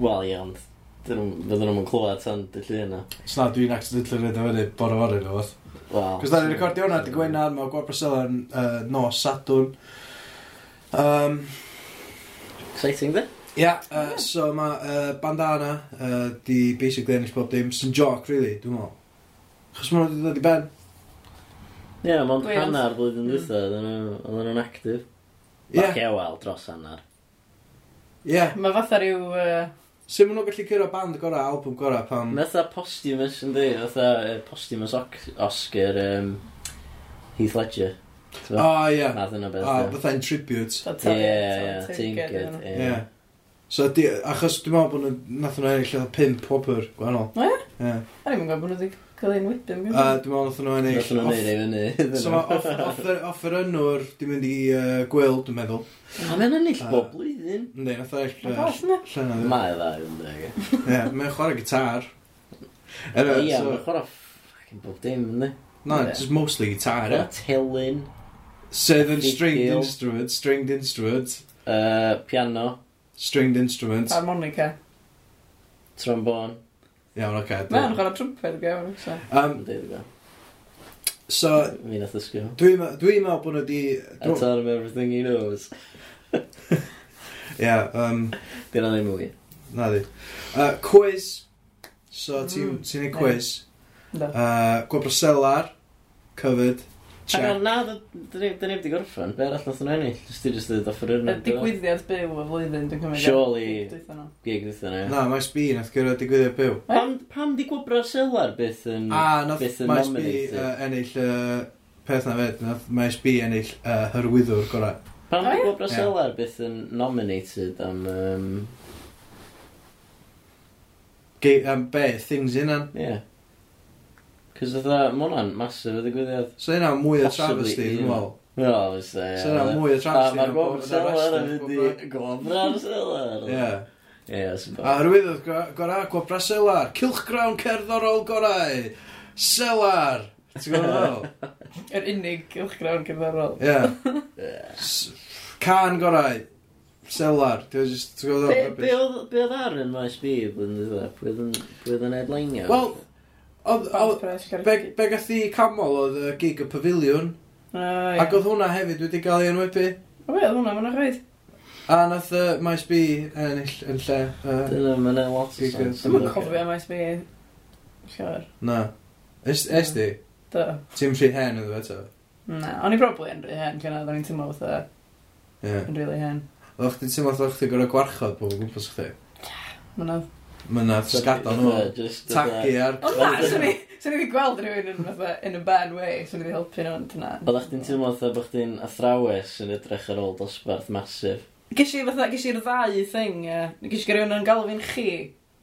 C: Wel, ie, ond dyn nhw- fydden nhw'n clywed tan dy llun yna.
B: Sna, dwi'n accidentally rhaid o fyny bore fory nhw, oedd.
C: Wel.
B: Cos da ni'n recordio hwnna, di gwenar, mae Gwab Brasel yn uh, nos Sadwrn. Um,
C: Exciting, de?
B: Ia, uh, so mae uh, bandana uh, di basically ennill bob dim. Sy'n joc, really, dwi'n meddwl. Chos mae nhw wedi dod i ben.
C: Ie, mond
A: Wales.
C: hanner blwyddyn
A: Mm.
C: dwytha, oedden nhw- oedden nhw'n actif.
B: Ie,
C: Ac e, wel, dros hanner.
B: ie.
A: Mae fatha rhyw... yy,
B: Sut maen nhw'n gallu cyrra band gorau, album gorau, pam...
C: Mae fatha posthumous yn di, fatha yy, posthumous oc- Oscar um, Heath Ledger.
B: O,
C: T'bo?
B: ie. Ah,
C: Math yna beth.
B: O,
C: ie.
B: bethau'n tribute.
A: fatha
C: Ie,
A: target,
C: ie,
A: fatha target
C: Tinkered.
A: iddyn nhw.
B: Ie.
C: Ie.
B: So, di, achos dwi'n meddwl bod nhw, nath nhw ennill oedd pimp wobr, gwahanol.
A: O, ie? Mm-hmm.
B: Ie.
A: A ni'n gwybod bod nhw wedi cael ein wytym.
B: A dwi'n meddwl nath nhw ennill...
C: Nath nhw'n
B: off-
C: neud ei fyny.
B: So mae off, off, off yr ynnwr, di mynd i uh, gwyl, dwi'n meddwl.
C: A [laughs] mae'n ennill
B: A-
C: bob blwyddyn.
B: Ynddi, nath o
A: Mae'n
B: eill...
A: goll, ne?
B: Llen oedd.
C: Mae dda e. yn deg.
B: Ie, mae'n chwarae gitar.
C: Ie,
B: Anyway,
C: mae'n
B: so,
C: chwarae... ff- Gyn bob dim, ynddi?
B: No,
C: Ie.
B: just mostly guitar,
C: Gyda
B: eh?
C: Tilyn,
B: Southern
C: Big
B: stringed
C: deal.
B: instrument, stringed instrument,
C: uh, piano,
B: stringed instrument.
A: Harmonica.
C: trombone,
B: Iawn, oce.
A: Mae o'n
B: dwi-
A: chwarae trwmped gawn. so.
B: Um,
C: yn deud o.
B: so,
C: e. Mi nath ysgwyl.
B: Dwi'n me- dwi'n meddwl bod nhw wedi...
C: I taught him everything he knows.
B: Ie, um,
C: Dyna ddim yn wir.
B: na di. Uh, quiz. So, ti'n
A: Mm,
B: ti neud
A: neis.
B: quiz.
A: Yndw.
B: Uh, Gwobraselar, covered,
C: Ac ar
B: check.
C: na, dyn ni wedi gorffan. Be arall nath nhw ennill? Just i just dweud offer yr
A: Y digwyddiad byw y flwyddyn, dwi'n cymryd.
C: Surely.
A: Dwi'n nhw.
C: Gig dweud yna.
B: Na, Maes B, nath gyrra digwyddiad byw.
C: Pam, pam di gwybod Braselar byth yn...
B: A, nath
C: Byth Mm. yn
B: Maes B
C: nominated.
B: uh, ennill uh, peth na fed, nath Maes B ennill uh, hyrwyddwr gorau.
C: Pam
A: O,
C: di
A: ie?
C: gwybod Braselar byth yn nominated am... Um,
B: Ge- Am be, things unan.
C: yeah. Cos oedd hwnna'n masif y digwyddiad.
B: So yna mwy o
C: Possibly,
B: travesty, dwi'n
C: ie.
B: meddwl.
C: Wel, oes e.
B: So yna mwy o
C: A
B: travesty.
C: mae'r
B: na
C: gwybod
B: bod yn
C: Braselar yn
B: arrested,
C: mynd i gwybod Braselar.
B: Ie.
C: Ie, sy'n
B: A rhywbeth gorau, gwa braselar, cilchgrawn cerddorol gorau, selar. Ti'n gwybod fel?
A: Yr unig uwchgrawn gyfarol.
B: Ie. S- Can gorau, selar. Ti'n just- ti'n gwybod
C: Be
B: fel?
C: be
B: rubbish?
C: oedd be oedd ar yn maes fi blwyddyn dda? Pwydd yn pwydd yn edlainio?
B: Wel, oedd-
A: Band
B: oedd-
A: Crash Garage
B: be- be gath i camol oedd y gig y pavilion,
A: Ah, ie.
B: ac oedd hwnna hefyd wedi cael ei enwebu.
A: O, be, oedd hwnna, mae'n rhaid.
B: A nath y Maes B ennill yn lle. yy,
C: Dyna mae'n ei lot o sens.
A: Dwi'n mynd cofio maes fi. Siar.
B: Na. Es es di?
A: Do.
B: Ti'n rhy hen oedd eto?
A: Na, o'n i probably yn rhy hen, gyna, o'n i'n teimlo fatha
B: Ie.
A: yn rili hen.
B: Oedd chdi teimlo oedd chdi gorau gwarchod bob o gwmpas chdi?
A: Mynodd.
B: Mynadd sgadael nhw. Tagu ar...
A: O na, swn i swn i wedi gweld rhywun yn fatha, in a bad way, swn i wedi helpu nhw yn dyna.
C: Oeddach chdi'n teimlo fatha bod chdi'n athrawes yn edrych ar ôl dosbarth masif.
A: Ges i fatha, ges i'r ddau thing, ie. Ges i gyrwyn yn galw fi'n chi,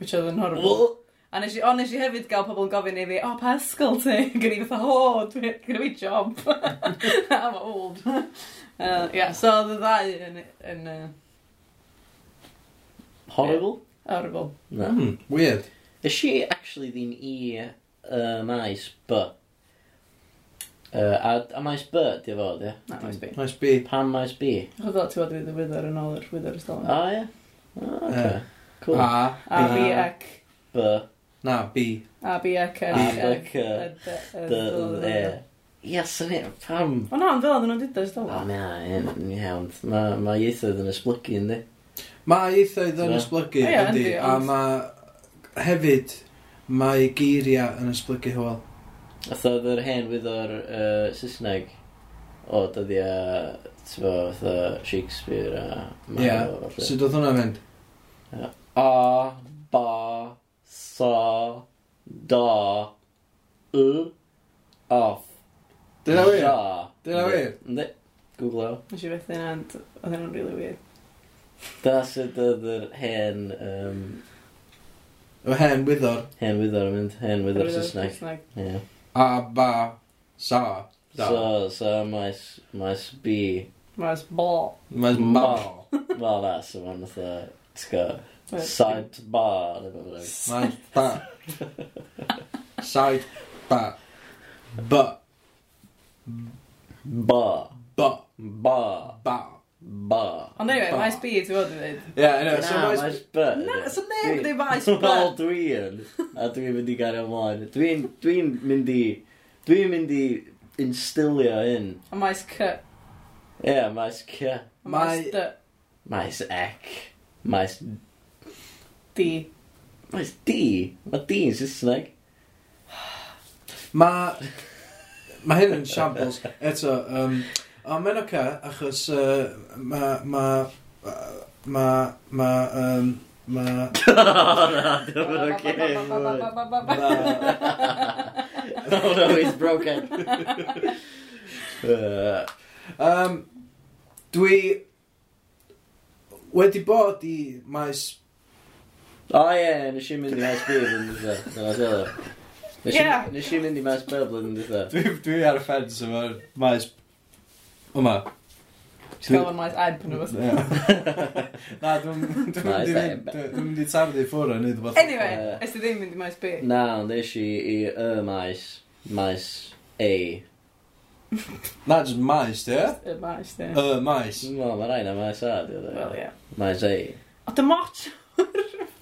A: which oedd yn horrible. A nes i, o, nes i hefyd gael pobl yn gofyn i fi, o, pa ysgol ti? [laughs] Gyn i fatha, o, dwi- gynna fi job. [laughs] I'm old. [laughs] Uh, yeah, so oedd y ddau yn, yn uh,
C: Horrible?
A: horrible.
C: Na.
B: Hmm, weird.
C: Is she actually ddim i yy, maes B? Yy, A a maes B di o fod, ie?
A: Na, mae'n sbi.
B: Nice B.
C: Pam maes B?
A: Chwyd o, ti'n fawr dwi'n wydder yn ôl i'r wydder ysgol.
C: A, ie? A, oce.
B: Ie.
C: Cool.
B: A.
A: A,
B: B.
A: B, ec.
C: B,
B: Na, B.
A: A, B, ec,
C: A,
A: ec,
C: B,
A: ec.
C: C, D, E. Ie, sy'n ie, pam?
A: O na, ond fel oedd nhw'n dydw ysgol.
C: O, na, yn iawn. Mae ma ieithoedd yn esblygu, ynddi?
B: Mae eithoedd yn
C: Na.
B: ysblygu,
A: O ie,
B: yndi,
A: yndi,
B: a
A: ond-
B: mae hefyd mae geiriau yn ysblygu hwyl.
C: Oedd oedd yr hen wydd o'r uh, Saesneg o dyddi a tyfo oedd Shakespeare eh, a
B: Ie,
C: Marlowe a
B: sut oedd hwnna'n mynd?
C: A, ba, sa, da, y, off,
B: Dyna wir?
C: ja.
B: Dyna wir?
C: Ynddi, Google o.
A: Nes i beth yna, ond oedd hynny'n really weird.
C: Dyna sut oedd yr hen, um,
B: O hen wyddor.
C: hen wydd o'r mynd, hen wydd o'r Saesneg.
A: Saesneg.
C: Ie.
B: A, ba, sa, da.
C: So, so maes, maes B.
A: Maes bol.
B: Mae'n
C: Ma.
B: ma.
C: Wel, na, so ma'n fatha, ti'n gwybod, side bar, neu beth bynnag.
B: Mae'n ba. Said, ba. Ba.
C: Ba.
B: Ba.
C: Ba.
B: Ba.
C: Ba.
A: Ond anyway,
B: Ba.
A: maes B, ti'n fawr dwi'n dweud.
B: Ie, yna, so
C: Na,
B: mae'n...
C: maes B.
A: Na, so neb ddim maes
C: [laughs] Wel,
A: B.
C: dwi yn. A dwi'n mynd i gario ymlaen. Dwi'n dwi mynd i... Dwi'n mynd i instilio hyn.
A: A maes C.
C: Ie, yeah, maes C.
A: A maes
B: Mae-
A: D.
C: Maes Ec. Maes...
A: D.
C: Maes D. Mae D yn Saesneg.
B: Mae... Mae hyn yn shambles. Eto, um, ond mae'n oce, achos uh, mae... Mae... Mae... Mae... Um, mae...
C: O, na, [laughs] dwi'n mynd o'r gêm.
A: Ba-ba-ba-ba-ba-ba-ba-ba-ba.
C: Oh, no, he's broken. Uh,
B: Um, dwi... Wedi bod i maes...
C: O ie, nes i mynd i Maes B blwyddyn dda. Dyna dda. Nes i-
A: Ie.
C: nes i mynd i Maes B blwyddyn dda.
B: Dwi, dwi ar y ffens efo'r maes... Yma.
A: Gael o'n maes eb yn ymwneud.
B: Na, dwi'n
C: Maes e,
B: mynd i fynd-
C: Eb.
B: dwi'n mynd i tarddu ffwrdd a wneud o beth.
A: Mm. Anyway, ys ti ddim mynd i maes B.
C: Na, ond nes i i y maes Maes A.
B: Na, just maes, di? e?
A: Y maes, di.
B: Y maes.
C: Dwi'n meddwl, mae rai na maes A, dwi'n
A: Wel,
C: meddwl.
A: ie.
C: Maes A.
A: O, dy mot!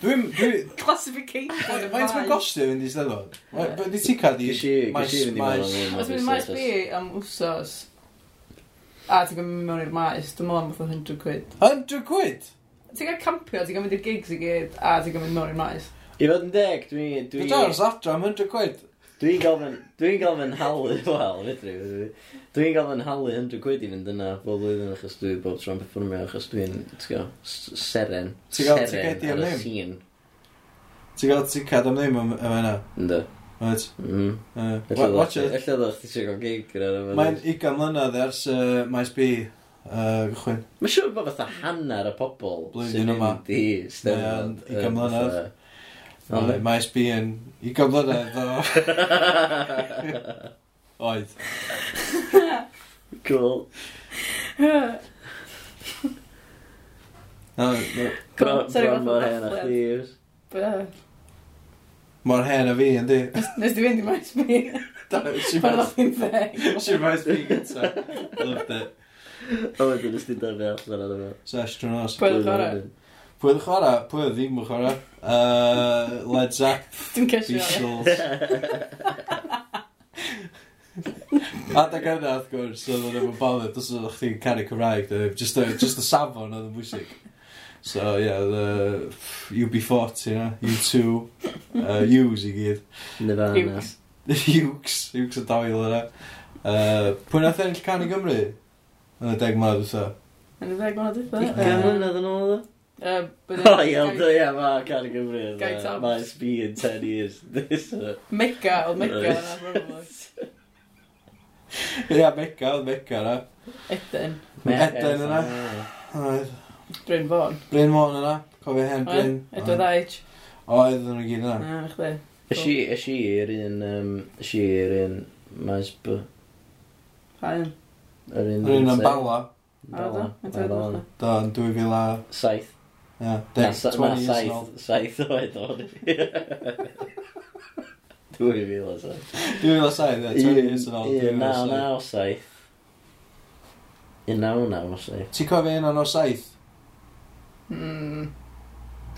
B: Dwi'n... dwi-
A: Classification y
B: Faint mae'n
A: maes.
B: gostio fynd i steddfod? Mae- be- Di ti cad i...
C: Gysi, gysi fynd i mewn am un.
A: Os mi'n maes B am wsos, a ti'n gwybod mewn i'r maes, dwi'n meddwl am fatha 100 quid.
B: 100 quid?
A: Ti'n gael campio, ti'n gael mynd i'r gigs i gyd, a ti'n gael mynd mewn i'r maes.
C: I fod yn deg, dwi'n...
B: Dwi'n
C: Dwi'n
B: dod o'r saftra am 100 quid.
C: dwi'n gael fy'n... Dwi'n gael fy'n halu, [laughs] wel, fydri. fydri. Dwi'n gael fy'n halu 100 quid i fynd yna bob blwyddyn achos dwi bob tro'n performio achos dwi'n, ti'n gael, seren.
B: Ti'n gael
C: Seren
B: ticedi am
C: ar y
B: ddim?
C: scene.
B: Ti'n gael ti cad am ddim am am yna?
C: Ynddo.
B: Right.
C: Mhm.
B: Uh,
C: Ella
B: wa-
C: ddoch-
B: Watch it.
C: ella ddech chi eisiau gael gig ar y
B: Mae'n 20 mlynedd ers uh, maes B uh, gychwyn.
C: Mae'n siŵr bod fatha hanner y pobol
B: Blwyddyn
C: sy'n
B: yma.
C: mynd i steddfod.
B: Ie, ugain mlynedd.
C: Ond-
B: Mae- Maes B yn 20 mlynedd o [laughs] oed.
C: Cool.
B: Na, na,
C: Bron
A: Sorry,
C: bron
A: fatha
C: mor hen a
A: dathliad.
C: thieves.
A: Be-
B: Mor hen a fi yn di.
A: Nes di fynd i maes B,
B: Da, She
A: pan
B: maes-
A: o'ch chi'n ddeg.
B: she maes B gyda. Loved it.
C: A wedyn ysdi dyfu allan ar yma.
B: So astronauts.
A: Pwy oedd yn chwarae?
B: Pwy oedd chwarae? Pwy oedd ddim yn chwarae? Uh, Led Zepp,
A: Dwi'n cysio.
B: Beatles. Adag yna, wrth gwrs, oedd yn efo bothered, os oedd chdi'n caru Cymraeg, doedd- just y just y safon oedd y bwysig. So, ie, yeah, UB40, na, U2, uh, U's i gyd.
C: Nirvana.
A: Ukes.
B: Ukes, Ukes y dail yna. Uh, pwy nath ennill can i Gymru? Yn y deg mlynedd wrtho.
A: Yn y ddeg mlynedd
C: Gan
A: dwi'n
C: mlynedd yn ôl O, iawn,
A: ddeg.
C: da, ia, ma, car y Gymru.
A: Gai Thomas.
C: Mae SB in 10 years. This, uh,
A: Mega, oedd mega
C: Nice.
A: yna, probably.
B: Ie, yeah, meca, oedd meca yna.
A: Eden,
B: Eden yna. Oedd
A: Bryn Fawn.
B: Bryn Môn yna, cofio hen Bryn.
A: Edward Aich.
B: Oedd yn nhw gyd yna.
A: Na, na chdi.
C: Ys i, ys i, yr un, yym, ys i, yr un, maes B.
A: Pa'n.
C: Yr un...
B: Yr un yn bala,
A: Bala. Edward Aich.
B: da yn 2000 a...
C: Saith.
B: Ie,
C: Na,
B: deg-
C: sa-
B: 20
C: na,
B: years yn ôl.
C: saith. Saith oed o'n i. [laughs] Dwy fil o saith.
B: 2000 a 7, ie, 20 years yn ôl. 2000
C: Un
B: a saith.
C: naw naw saith. Un naw naw saith.
B: Ti'n cofio un o'n o 7?
A: Mm,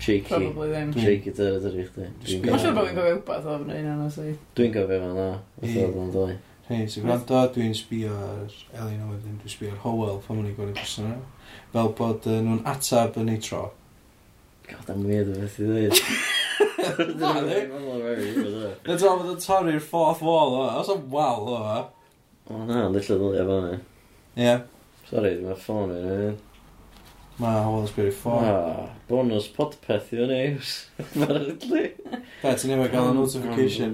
C: Cheeky.
A: probably ddim.
B: Dwi'n-
C: Cheeky dyr ydy'r i chdi. Dwi'n
A: Mae'n siŵr bod fi'n
C: cofio-
A: gofio wbeth o'n un o'n [laughs] sydd.
C: Dwi'n gofio fel na. Oedd
B: Ie.
C: oedd yn dwy.
B: Hei, sy'n gwrando, dwi'n sbio ar Elin a wedyn, dwi'n sbio ar Howell, pan mwyn i gwneud gwrs yna. Fel bod uh, nhw'n atab yn ei tro.
C: God, am weird o beth i ddweud.
B: [laughs] Na,
C: Dwi'n
B: ddi.
C: meddwl o'r very good, oedd e.
B: Dwi'n dweud bod yn torri'r fourth wall o, os o'n wal o, e.
C: O na, little ddylia fan ni.
B: Ie,
C: Sorry, dwi'n meddwl ffôn i'n
B: mae Howell sbio'r ei ffordd.
C: Ah, bonus podpeth i fyny. [laughs] Apparently.
B: Be, ti'n efo gael y notification.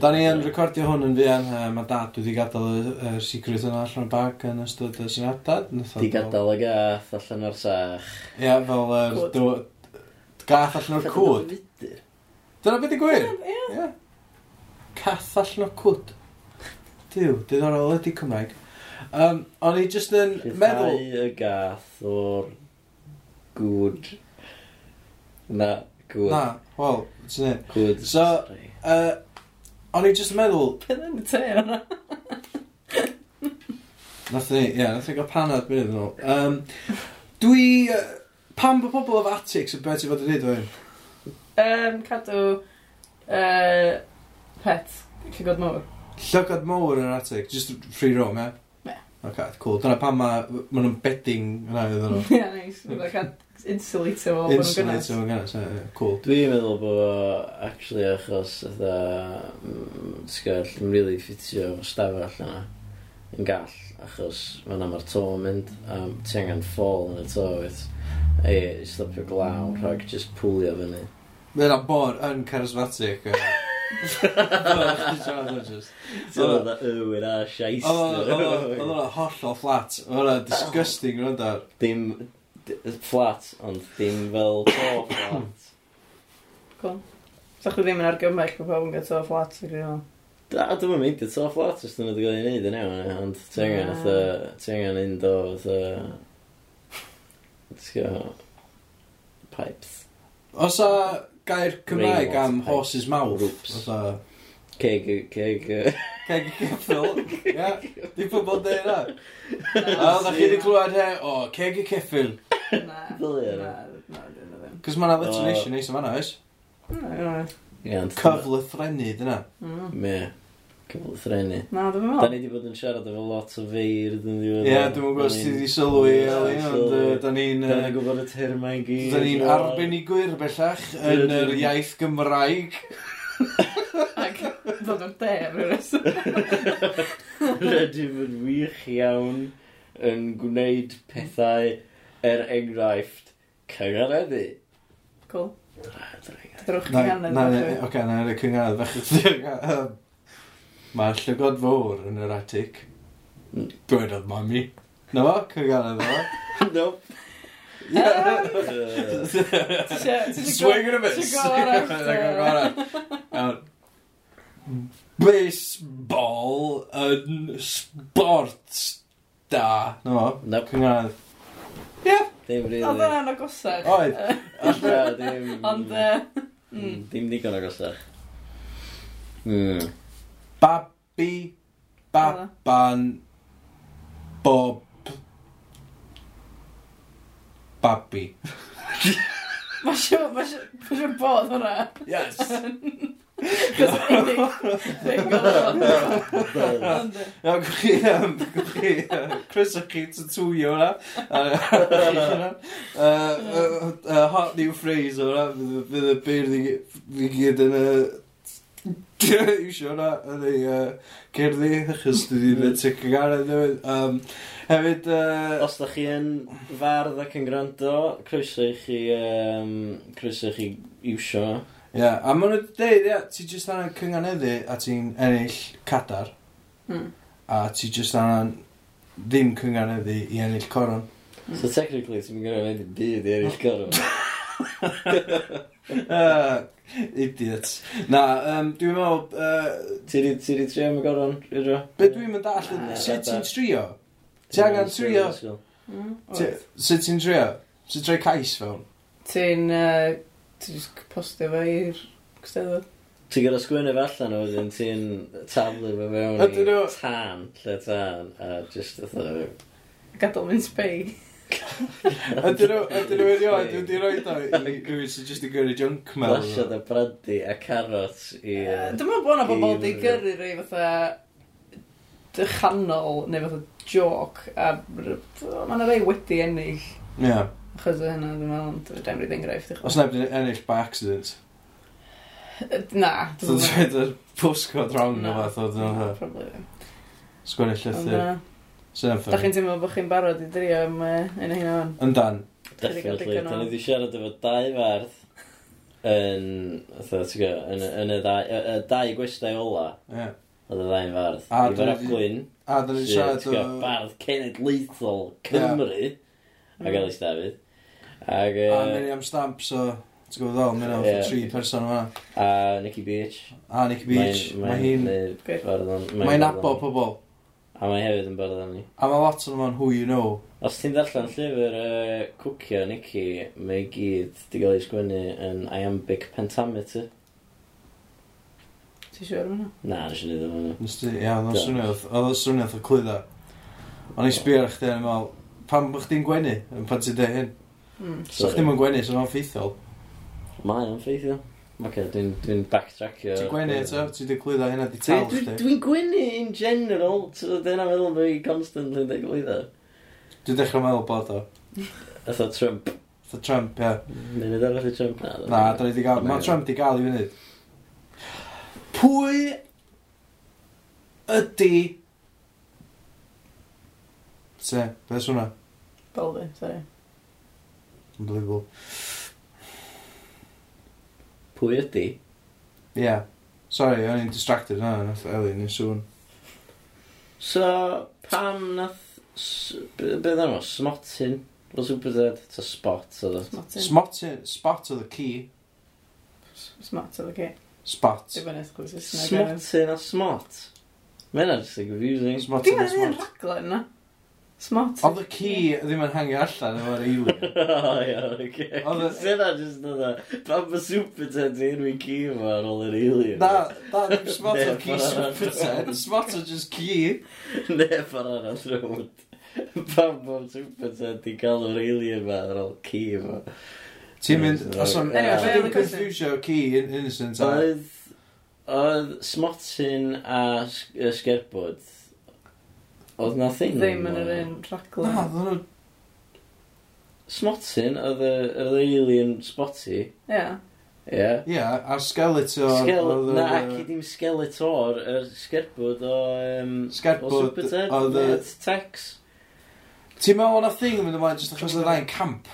B: Da ni yn recordio hwn yn fuan, uh, mae dad wedi gadael y, y secret yna allan o'r bag yn ystod y syniadad. Nath o-
C: Di gadael y gath allan o'r sach.
B: Ie, fel yr...
A: Cwd.
B: dw- Gath allan o'r cwd. Dyna beth i gwir? Ie. Cath allan o'r cwd. Diw, diddorol ydi Cymraeg. Um, o'n i jyst yn meddwl...
C: Meddwl. y gath o'r gwd. Na, gwd.
B: Na, wel, ti'n neud.
C: Gwd.
B: So-
C: sorry.
B: Uh, o'n i jyst yn meddwl...
A: Peth yn y te yna.
B: Nath ni, ie, nath ni gael panad mynd yn ôl. Um, dwi... Uh, pam bod pobl efo attics yn beth i fod yn neud o hyn?
A: Um, cadw... Uh, pet. Llygod mowr.
B: Llygad mowr yn yr attic, just free roam, ie?
A: Ie.
B: Ok, cool. Dyna pam ma, ma nhw'n bedding yna iddyn
A: [laughs]
B: nhw.
A: Ia, neis. Fydda cad insulator o bod yn gynnas.
B: Insulator yn gynnas, ie, ie, cool.
C: Dwi'n meddwl bod, actually, achos, mm, ytha, sgall, yn really ffitio stafell yna, yn gall, achos mae'n am ar to yn mynd, a ti angen ffôl yn y to, wyt, ei, stopio glaw, rhag just pwlio
B: [laughs]
C: fyny.
B: Mae yna bor yn charismatic. yy. Chdi siarad o jyst.
C: Ti'n meddwl, ywyr a
B: Oedd o- oedd o-
C: [laughs]
B: oedd
C: siaist.
B: o'n hollol flat. Oedd o'n disgusting rwy'n dar.
C: Dim, d- flat, ond dim fel to flat.
A: Cool. Sa chdi ddim yn argymell bod pawb yn gael flat, dwi'n gwybod.
C: Da, dwi'n mynd meindio to flat os dyn nhw'n gael ei wneud yn iawn, ie, ond ti angen,
A: Na.
C: fatha- ti angen un do, fatha, ti'n gael, pipes.
B: Os a gair Cymraeg am
C: Railways.
B: horse's mouth.
C: Roops.
B: Oedd
C: Ceg, ceg... yy,
B: Ceg y ceffil. Ia. Di pobl dweud na. A oeddech chi wedi clywed he, o, ceg y ceffil.
A: Na.
C: Brilliant.
A: Na, na, dyn nhw ddim.
B: Cos mae'n alliteration neis yma na, oes?
A: Na, dyn nhw ddim.
C: Ie, ond...
B: Cyfle threnu, dyna.
A: Mm.
C: Me. Cyfle threnu.
A: Na, dwi'n
C: Da
A: meddwl.
C: ni wedi bod yn siarad efo lot o feirdd yn ddiwedd.
B: Oh. Ie, dwi'n mwyn gwybod sydd wedi sylw i, Eli, ond yy, da ni'n...
C: Da ni'n gwybod y terma i gyd.
B: Da ni'n arbenigwyr bellach yn yr iaith Gymraeg.
A: Ac ddod o'r de, rwy'n rhywbeth.
C: Rydym yn wych iawn yn gwneud pethau er enghraifft cyngareddu.
A: Cool. Drwch
B: Na,
A: chi hanner.
B: na, na, oce, na, na, cyngardd, fach [laughs] Mae'r llygod fawr yn yr atig.
C: Mm.
B: Dwedodd mami. Na fo, cyngardd o.
C: Nope.
A: [laughs] Yym,
C: Yy,
B: [laughs]
A: ti isio- ti isio
B: Swing
A: go-
B: and a miss.
A: ti isio go arall,
B: Ti'n
A: yy?
B: gwybod arall. Iawn. Baseball yn sport da. Na fo,
C: Nope.
B: cyngardd.
C: Dim rili.
A: Oedd yna'n agosach.
B: Oedd.
C: Na, dim-
A: Ond, yy, mm.
C: Dim digon agosach. Mm.
B: Babi,
A: e.
B: baban, bob, babi.
A: Mae siw- mae siw- mae siw'n bod hwnna. [laughs]
B: Yes!
A: Cos unig thing oedd hwnna. Ond, e. yy,
B: Iawn, gwch chi, yym, gwch chi, yy, Chris o'ch chi tatwio hwnna. Yy, gwch chi hwnna. Yy, yy, yy, Hot new phrase o hwnna, fydd y- fydd y beirdd i gy- i gyd yn y... Isio hwnna yn ei yy, cerddi, achos dwi wedi tic yn gara newydd. Yym, Hefyd, yy,
C: Os da chi yn fardd ac yn gwrando, croeso i chi, um, croeso i chi iwsio.
B: Ie, yeah, a maen nhw wedi dweud, ia, ti jyst anna'n cynganeddu a ti'n ennill cadar,
A: mm.
B: a ti jyst anna'n ddim cynganeddu i ennill coron.
A: Mm.
C: So technically, ti'n mynd i wneud i byd i
A: Oh.
C: eraill gorau.
B: uh, idiot. Na, um, dwi'n meddwl, uh,
C: Ti di, ti di trio am y gorau, Idro?
B: be dwi'n mynd all,
C: Na,
B: sut
C: fatha-
B: ti'n trio? Ti angen trio?
A: Mm,
B: Ti-
A: oedd.
B: Sut ti'n trio? Sut troi cais fewn?
A: Ti'n, yy, ti'n jyst postio fe i'r Gwsteddfod.
C: Ti'n gyda sgwynnu fe allan o wedyn, ti'n taflu fe fewn
B: Ydyn
C: i
B: nhw-
C: tan, lle tan, a just oedd o...
A: Gadol mynd sbei.
B: Ydyn nhw, ydyn nhw erioed, wedi roi o i rhywun sy'n jyst yn gyrru junk mail.
C: Glasiad o brandy a carrots i...
A: Dwi'n meddwl bod yna bobl
C: I'r-
A: wedi gyrru rei fatha dychanol neu fatha joc a mae yna rei wedi ennill
B: Ie,
A: achos o hynna dwi'n meddwl ond dwi'n rhaid enghraifft i
B: os neb wedi ennill by accident.
A: chdi. Na,
B: So
A: dwi'n
B: dwi'n dweud y postcode wrong o fath o
A: Na,
B: ddyn
A: probably ddim.
B: Sgwennu
A: Ond,
B: llythyr.
A: na,
B: Sy'n
A: Da chi'n teimlo bod chi'n barod i drio am yy, un o hynna fan.
B: Yndan.
C: Definitely,
A: digon o-
C: da ni wedi siarad efo dau fardd yn, fatha, ti'n gwybod, yn, yn y ddau, y, y dau gwestai ola,
B: Ie.
C: oedd y ddau'n
B: A
C: fardd. I
B: dyna
C: fardd
B: di-
C: Glyn,
B: A dyn ni'n
C: sydd,
B: siarad
C: ti'n gwybod,
B: o...
C: bardd cenedlaethol Cymru, ac Elis Dafydd. Ac,
B: A
C: yy,
B: Miriam Stamp, so... Ti'n gwybod ddol, mae'n
C: Ie.
B: awful tri person yma.
C: a Nicky Beach.
B: A Nick Beach. Mae hi'n...
A: Great.
C: Mae'n
B: Mae'n abo pobl.
C: A mae hefyd yn bardd am ni.
B: A mae lot o'n who you know.
C: Os ti'n darllen llyfr uh, Cwcio Nicky, mae i gyd di gael ei sgwennu yn iambic pentameter.
A: Ti'n Mm. siŵr am hynna?
C: Na, nes i ni ddim yn...
B: Nes ti- Ie, oedd o'n swniaeth. Oedd o'n swniaeth o clydda. O'n i sbio ar chdi yn ymlaen. Pam bych ti'n gwenu? Yn pan ti'n dweud hyn.
A: Mm.
B: So chdi'n mwyn gwenu, so mae'n ffeithiol.
C: Mae o'n ffeithio. Ok, dwi'n dwi backtrackio.
B: Ti'n gwenu eto? Ti'n dweud clydda hynna di
C: Dwi-
B: tal
C: dwi-
B: chdi.
C: Dwi'n gwenu in general, so dyna meddwl bod i constantly yn dweud o.
B: Dwi'n dechrau meddwl bod o.
C: Atho Trump.
B: Tha Trump, ie.
C: Mynd arall i Trump na.
B: Na, da ni di gael... Mae Trump di gael i fyny. Pwy ydi... Se, beth swnna?
A: Baldi, sori.
B: Unbelievable.
C: Pwy ydi?
B: Ie. Yeah. Sorry, o'n i'n distracted na, nath Eli ni sŵn.
C: So, pam nath... s- Be be ddyn nhw? Smotin? O Superdead? Ta Spot, oedd o.
A: Smartin.
B: Smotin, spot oedd y ci.
A: Smart oedd y ci.
B: Spot.
A: Dwi'n fan eithaf gwrs Saesneg.
C: Smotin a Smot? Mae yna just yn confusing. [laughs]
B: Smotin,
A: Dwi'n fan eithaf
B: smot.
A: raglen na. Smart.
B: Oedd y ci ddim yn hangio allan efo'r
C: [laughs]
B: alien.
C: O, iawn, oce.
B: Ond-
C: Sena jyst yna, pam mae Superted i enwi ci yma ar ôl yr alien?
B: Na, na, ddim smart o
C: Neb
B: ci
C: ar arall.
B: superten, smart o just ci.
C: [laughs] Neb ar arall rhwyd. Pam bod Superted i gael o'r alien yma ar ôl ci yma?
B: Ti'n mynd, os o'n...
A: Anyway,
B: os
A: be'
B: o'n
A: oedd y cwestiwn?
B: confusio ci yn innocent a...
C: Oedd... Oedd Smotin a s- y Sgerbwd... Oedd na thing
A: Ddim yn
C: yma?
A: yr un rhaglen.
B: Na, ddyn nhw...
C: Smotin, oedd y oedd yr alien Spotty,
A: Ie.
C: ie.
B: Ie, a Skeletor...
C: Sgel...
B: oedd yr,
C: Na,
B: yy,
C: ac i ddim Skeletor, yr sgerbwd o... Um,
B: Sgerbwd
C: o Superted,
B: oedd y-
C: neu Tex.
B: Ti'n meddwl o'na thing yn mynd ymlaen jyst achos oedd rhain camp?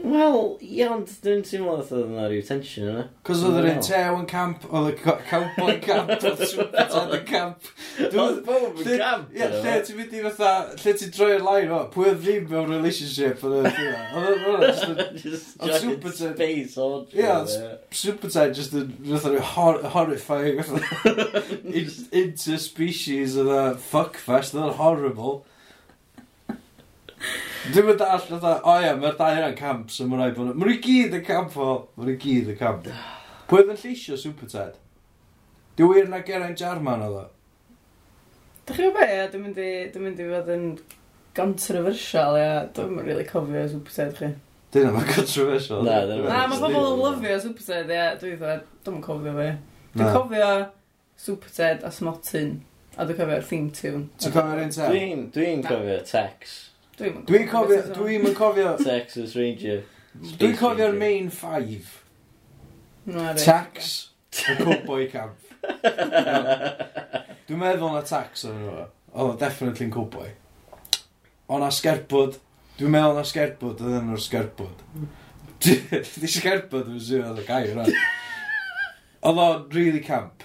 C: Wel, iawn, dwi'n teimlo oedd oedd yna rhyw tension yna.
B: Cos oedd yr un
C: No.
B: tew yn camp, oedd y co- cowboy camp, oedd Superten yn camp. Dwi'n...
C: bob
B: Lle, ie, lle ti'n mynd i fatha, lle ti'n droi'r line o, pwy oedd ddim mewn relationship yn y thing yna? Oedd e, o'n just yn
C: [laughs] Just
B: Oedd
C: giant
B: Superted-
C: space orgy.
B: Ie, oedd Supertide just yn rhywbeth rhyw hor horrifying
C: [laughs]
B: fatha. In- interspecies of a fuckfest e, oedd o'n horrible Dwi'n mynd all fatha, e, o ia, mae'r dau yna'n camp so mae'n rhaid bod nhw- ma' nhw i gyd yn camp o Mae nhw i gyd yn camp Pwy oedd yn lleisio Supertide? Dwi wir na Geraint Jarman oedd e? o
A: Dych chi'n gwybod be? Dwi'n mynd i, dwi'n mynd i fod yn controversial, ie. Dwi'n mynd really cofio Supersed chi.
B: Dyna mae'n [laughs] controversial
C: Na, dyna
A: Na, mae
C: Dwi'n
A: pobl yn
C: gwybod.
A: lyfio Supersed, ie. Dwi'n dweud, dwi'n cofio fe.
B: Na.
A: Dwi'n cofio Supersed a Smotin. A dwi'n cofio'r theme tune.
B: Ti'n cofio'r un te?
C: Dwi'n dwi'n cofio Tex.
A: Dwi'n
B: Dwi'n cofio, dwi'n mynd cofio
C: Texas Ranger.
B: Dwi'n cofio'r main five
A: Tax.
B: Tax Y cowboy camp Dwi'n meddwl na tax o'n nhw Oedd o definitely yn cowboy O'na sgerbwd Dwi'n meddwl na sgerbwd oedd yn o'r sgerbwd [laughs] Di sgerbwyd yn sy'n oedd y gair rhan Oedd o'n really camp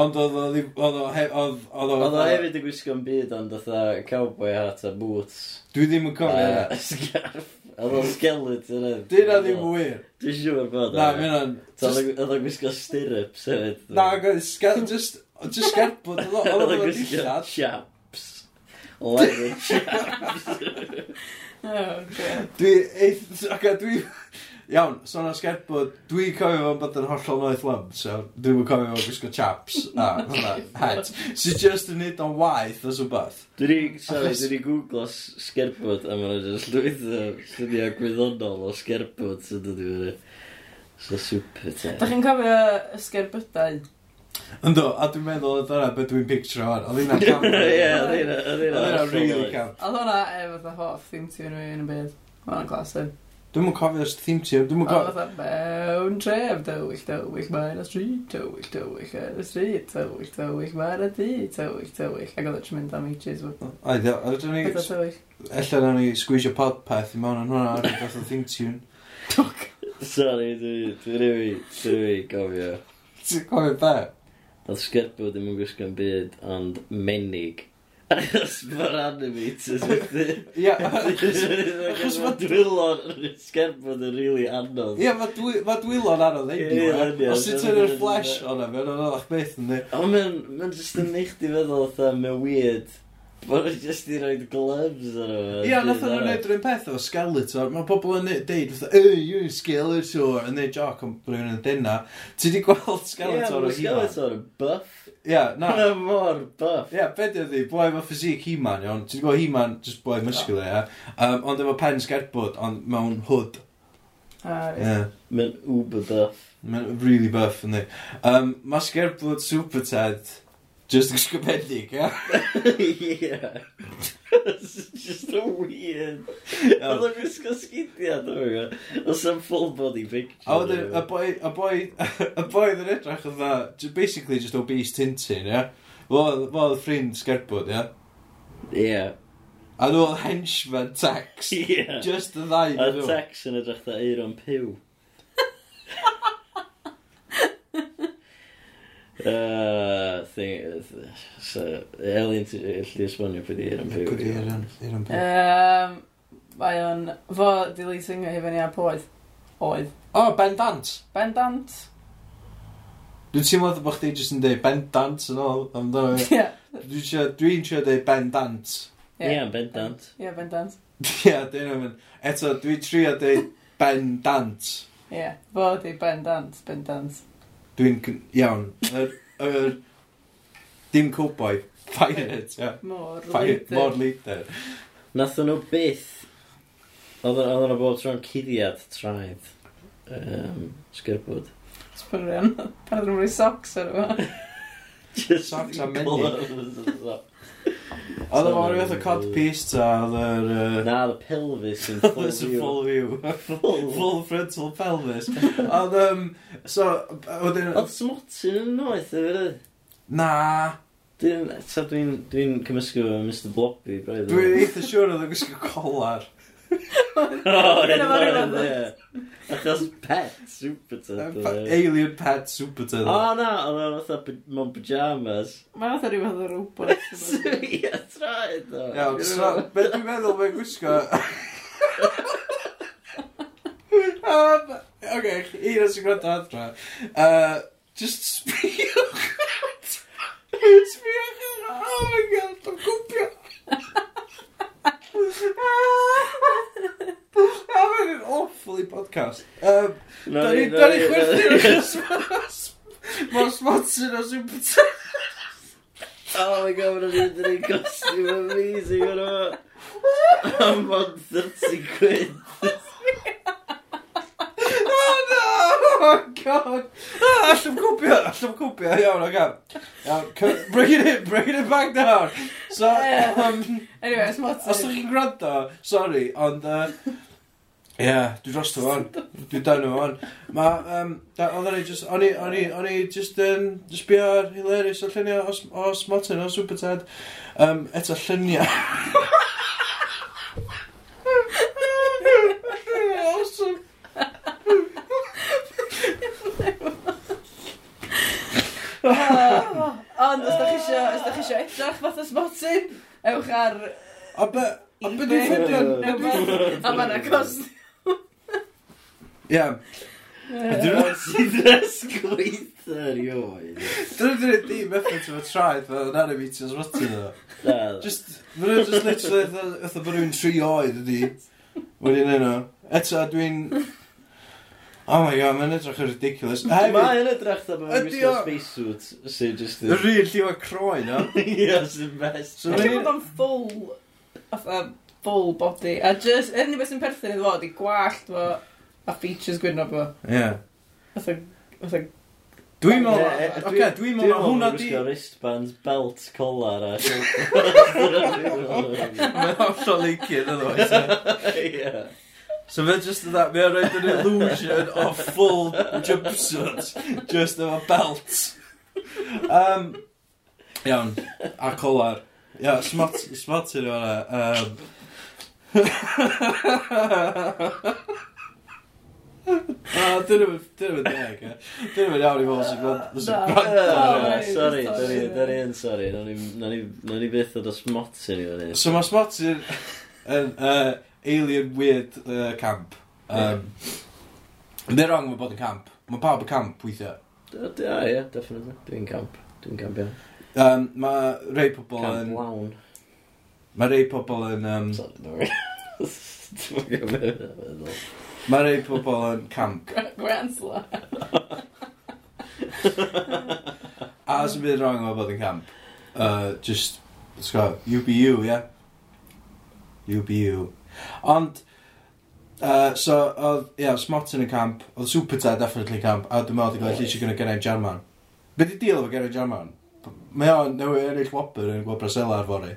B: Ond oedd o ddim- oedd o he- oedd- oedd
C: Oedd o
B: o
C: hefyd yn gwisgo'n byd ond fatha cowboy hat a boots.
B: Dwi ddim yn cofio hynna.
C: A scarf. Oedd o'n skeleton. yn-
B: Dyna ddim yn wir
C: Dwi'n siŵr bod
B: Na,
C: o.
B: mae hynna'n
C: Ta Oedd o'n gwisgo stirrups hefyd.
B: Na, go- sger- just Just sgerbwyd Oedd o- oedd
C: Oedd
B: o'n
C: o'n gwisgo
B: dillad
C: chaps. Leather chaps.
B: Dwi, eith, ac dwi, iawn, sôn o sgerbwd, dwi'n cofio fo'n bod yn hollol noeth lym, so dwi'n yn cofio fo'n gwisgo chaps, a fatha, head, sy'n just yn neud o'n waith os wbeth.
C: Dwi di, sorry, dwi di googlo s- sgerbwd a mae'n just llwyth o llunio gwyddonol o sgerbwd sy'n dod i fyny. So super te.
A: Dych chi'n cofio ysgerbydau?
B: Ynddo, a dwi'n meddwl oedd hwnna beth dwi'n picture o'n, oedd [laughs]
C: [laughs]
B: hynna'n
C: Ie,
B: cam.
C: oedd hynna, oedd
B: Oedd
C: hynna.
B: hynna'n really cam.
A: Oedd hwnna efo fatha hoff theme tune fi yn y byd. Oedd hwnna'n glasau.
B: Dwi'n mwyn cofio os theme tune, dwi'n mwyn
A: Oedd
B: cofio...
A: fatha mewn tref, dywyll, dywyll, mae'n y stryd, dywyll, dywyll, yn y stryd, dywyll, dywyll, mae'n y dŷ, dywyll, dywyll. Ac oedd o'n mynd am ages fo.
B: Oedd, oedd ni,
A: Oedd o'n dywyll.
B: ella na ni sgwisio podpeth i mewn yn hwnna, oedd oedd o theme tune.
C: Sorry, dwi dwi rili, dwi rili gofio.
B: Ti'n cofio be?
C: Oedd sgerbwd ddim yn gwisgo'n byd, ond menig. [laughs] Achos mae'r animators wrthi.
B: [laughs] Ia,
C: Achos mae dwylo'r sgerbwd yn rili anodd.
B: ia, mae dwi- mae dwylo'n anodd ei
C: Ie, ie,
B: Os ti'n
C: ie.
B: tynnu'r flash o'na, mae'n anoddach beth yn
C: Ond mae'n mae'n just yn neich di feddwl oedd mae'n weird. Mae'n just i roed gloves ar yma.
B: Ia, nath o'n wneud rhywun peth o Skeletor, mae pobl yn ne- deud, fatha, e, you're a Skeletor, yn neud joc am rhywun yn dynna. Ti di gweld Skeletor o He-Man?
C: Skeletor yn buff.
B: Ia, na.
C: Mae'n mor buff.
B: Ia, be di oedd boi efo ffysig He-Man, iawn. Ti di gweld He-Man, just boi muscular, ia. Um, ond efo pen sgerbwd, ond mewn hood.
A: A-
B: Ia.
C: Mae'n uber
B: [laughs]
C: buff.
B: Mae'n really buff, ynddi. Um, mae sgerbwd Super Ted, just ysgybedig, ia.
C: yeah. [laughs] It's just a weird. Oedd o'n gwisgo sgidiau, dwi'n gwybod. Oedd o'n full body picture.
B: A wedyn, y boi, y boi, [laughs] y boi oedd yn edrych oedd basically just obese Tintin, ia. Fo oedd- fo oedd ffrind sgerbwd, ia.
C: Yeah.
B: A nhw oedd henchman tax.
C: Yeah.
B: Just y ddau
C: A
B: yn nhw.
C: Tex yn edrych da eiron
B: [laughs]
C: piw. Uh, thing, so, Elin, lle esbonio pwy di eiron piw.
A: Yym, Mae o'n, fo deleting ei fyny a poeth. Oedd.
B: O, Ben Dant.
A: Bendant.
B: Dwi'n teimlo bod chdi jyst yn dweud Ben Dant yn ôl. amdano fi.
A: Ie.
B: Dwi'n trio- Dwi'n trio dweud Ben Dant.
C: Ie, bendant.
A: Ie, bendant.
B: [laughs] Ie, dyn nhw'n mynd. Eto, dwi trio dweud ben dant.
A: Ie, fo di bendant, bendant.
B: Dwi'n cyn- iawn. Yr, yr, dim cowboy. Pirate, ie.
A: Mor
B: Pirate,
A: leidr.
B: Lord Leader.
C: Nathon nhw byth. Oedd oedd yna bob tro'n cuddiad traed. Um, Sgyrbwyd.
B: [laughs]
A: Sbwrion. Pan ydyn nhw'n rhoi socks ar efo.
B: Socks a mendy.
C: Na,
B: Oedd o'n rhywbeth o cod piece ta, oedd yr... yy,
C: the pelvis yn
B: [laughs] Oedd
C: full
B: yn
C: view.
B: full view.
C: [laughs]
B: Full frontal pelvis. Oedd, um, so, wedyn...
C: Oedd smotyn yn noeth efo.
B: Na,
C: Dwi'n, ta dwi'n, dwi'n cymysgu efo Mr Blobby, braidd.
B: dwi'n
C: [laughs]
B: eitha siŵr oedd yn gwisgo colar.
A: Dyna fo rywun.
C: Achos pet, super tyd.
B: Alien pet super
C: O
B: turtle.
C: na, oedd o'n fatha mewn pyjamas.
B: [laughs]
A: Mae'n fath o rhywbeth o robot.
C: [laughs] Ie, traed o.
B: Iawn, so, [laughs] be dwi'n meddwl mae'n gwisgo... um, Oce, un o'n sy'n gwrando adra. Uh, just sbiwch at... [laughs] Sbiwch at... Oh my god, Ah. dwi'n gwybio. A mae'n an awfully podcast. Um, da ni da ni chwerthin achos ma- ma sponsor o Super Tech.
C: [laughs] Oh my god, mae'n rhaid i'n rhaid costume amazing o'n o. Am bod 30 quid.
B: Oh no! Oh god! Ah, allwn cwpio, allwn cwpio, iawn, oce. Iawn, c- bring it in, bring it back down. So,
A: Ie.
B: um,
A: Anyway, it's not...
B: os ydych chi'n gwrando, sorry, ond, uh, Ie, yeah, dwi dros o fan. Dwi dan o fan. Ma, um, da- oedden ni just, o'n i, o'n i, o'n i just, um, just bi ar hilarious o lluniau o, S- o Smotin, o Super Ted. Um, eto lluniau. awesome.
A: Ah, [laughs] Ond os da chi isio, os da chi isio edrych fath o smotin, ewch ar...
B: A be, a be
A: eBay.
B: dwi'n ffeindio'n...
A: Neu wbath. A mae'n agos.
B: Ie,
C: Ti'n dres gweithio'r ioed.
B: Dyna dyn ni di methu ti'n fod traed fel yn anna meetings rotyn nhw.
C: Na,
B: Just, mae'n just literally fatha- fatha bod rhywun tri oed ydi. Wedi'n enw. Eto, dwi'n... Oh my god, mae'n edrych yn ridiculous. Hefyd,
C: Mae yn edrych da bod yn
B: Ydi
C: gwisgo
B: o-
C: spacesuit sy'n just...
B: y rhywun lliwa croen o.
C: Ie, sy'n best.
B: So
A: Dwi'n
B: dwi'n...
A: meddwl bod o'n full... Fatha full body. A just, yr unig beth sy'n perthyn iddo fo, di gwallt fo. A features gwyno fo.
B: Ie.
A: Fatha... Fatha...
B: Dwi'n
C: Ie,
B: meddwl...
C: e, e,
B: Oce,
C: dwi-
B: dwi'n meddwl ma' hwnna di...
C: Dwi'n meddwl bod yn gwisgo wristbands, belt, collar a...
B: Mae'n hollol leicid ydw i.
C: Ie.
B: So fe just yna, mae'n rhaid an illusion of full jumpsuit, just efo belt. Um, iawn, a colar. Ia, smart, smart yn yna. Um, [laughs] Ah, dyn nhw'n dyn nhw'n deg, e. Dyn nhw'n iawn i bobl sy'n gwrando- sy'n
A: Na.
B: gwrando.
A: Na.
B: ar
C: Sorry,
B: hyn.
C: sorry, sorry, sorry, yn sorry, nawn ni- nawn ni- nawn ni byth ddod o smotyn i fyny.
B: So mae smart yn yn, uh, alien weird uh, camp. Um, Nid wrong mae bod yn camp. Mae pawb yn camp weithiau.
C: O, d- o, ie, definitely, dwi'n camp, dwi'n camp iawn.
B: Um, mae rei pobl
C: Camp
B: yn...
C: lawn.
B: Mae rei pobl yn... Um,
C: Sorry, [laughs] dwi'n meddwl.
B: mae rei pobl yn camp.
A: Gwansla.
B: A sy'n byd wrong mae bod yn camp. Uh, just, let's go, you be you, yeah? You be you. Ond, uh, so, oedd, ia, yeah, Smot yn y camp, oedd Superta definitely camp, a dwi'n meddwl oedd gael eisiau gyda Geraint Jarman. Be di deal efo Geraint Jarman? Mae o'n newid ennill Whopper yn gweld Brasela ar fory.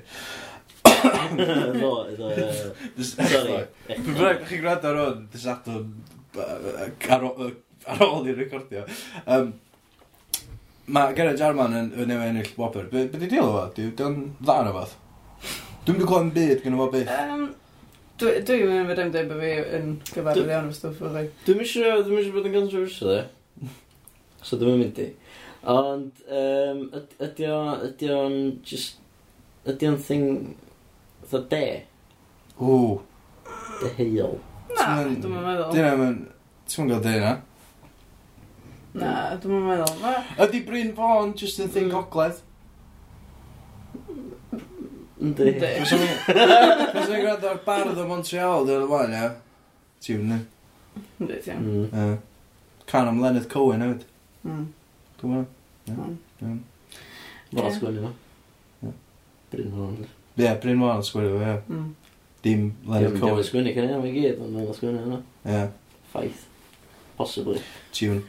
C: Iddo, iddo, ie. Sorry.
B: Pwy bynnag chi'n gwrando ar hwn, dy sadwn yy, ar o- yy, ar ôl i'r recordio. Um, mae Gerard Jarman yn, yn newid ennill Whopper. Be, be di deal o fo? Dwi'n dda yn o fath. Dwi'n mynd i glod yn byd gyda fo byth.
A: Um, Dwi'n mynd i dweud bod fi yn gyfarwydd iawn o'r stwff o'r rhaid.
C: Dwi'n eisiau, dwi'n eisiau bod yn controversial, e.
B: [laughs]
C: So dwi'n mynd i. Ond, um, yd- ydi o, ydi o'n just, ydi o'n thing, fatha de,
B: O,
C: deheol.
A: Na,
B: Ti'n-
A: dwi'n meddwl.
B: dyna mae'n... Ti'n mynd gael dweud yna?
A: Na, dwi'n meddwl. Ma-
B: Ydi Bryn Fawn just yn thing
A: Mm.
B: gogledd?
C: Yndi.
A: Yndi.
B: Fes o'n i'n gwrando ar bardd o Montreal dyn nhw'n fan, ia? Tiwn ni.
A: Yndi, ti iawn.
C: Mm.
B: Yy, Can am Leonard Cohen hefyd.
A: Mm.
B: Dwi'n meddwl.
C: Fel
A: Ie.
C: sgwennu fo.
B: Ie.
C: Bryn hwn.
B: Ie, Bryn Mawr yn sgwyrdd, ie.
A: Mm.
B: Dim Leonard
C: Dwi'n meddwl
B: Cohen.
C: sgwennu cyn i gyd, ond dwi'n sgwennu hwnna.
B: Ie,
C: Ffaith. Possibly.
B: tiwn.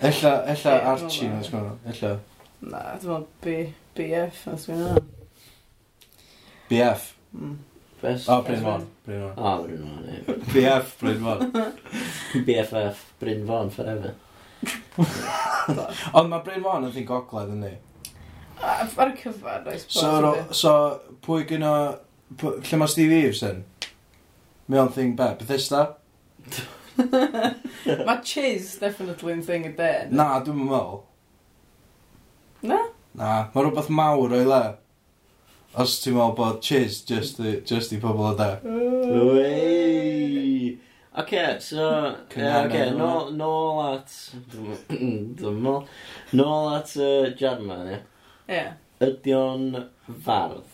B: Ella, ella
A: Ie,
B: Archie
A: wel,
B: yn sgwyrdd. Ella.
A: Na, dwi'n meddwl B, BF, os dwi'n meddwl.
B: BF.
A: Mm.
C: Best.
B: O, Bryn Mawr. Bryn [laughs] Mawr.
C: Ah, Bryn Fawn, ie.
B: BF, Bryn Mawr.
C: BFF, Bryn Fawn forever.
B: Ond mae Bryn Mawr yn ddyn gogledd yn ni.
A: A- Ar y cyfan, I suppose.
B: So, ro-
A: [laughs] yndi.
B: so pwy gyno... pw- Lle mae Steve Eves yn? Mae o'n thing be? Bethesda?
A: Mae cheese definitely yn thing y de. yndi?
B: Na, dwi'n meddwl.
A: Na?
B: Na, mae rhywbeth mawr o'i le. Os ti'n meddwl bod cheese just i, just i pobl o da.
C: Wey! Oce, so...
B: Cynghanedd
C: Oce, okay, nôl nôl at... Dwi'n mol. Nôl at yy, Jarman, ie.
A: Ie.
C: Ydy o'n fardd?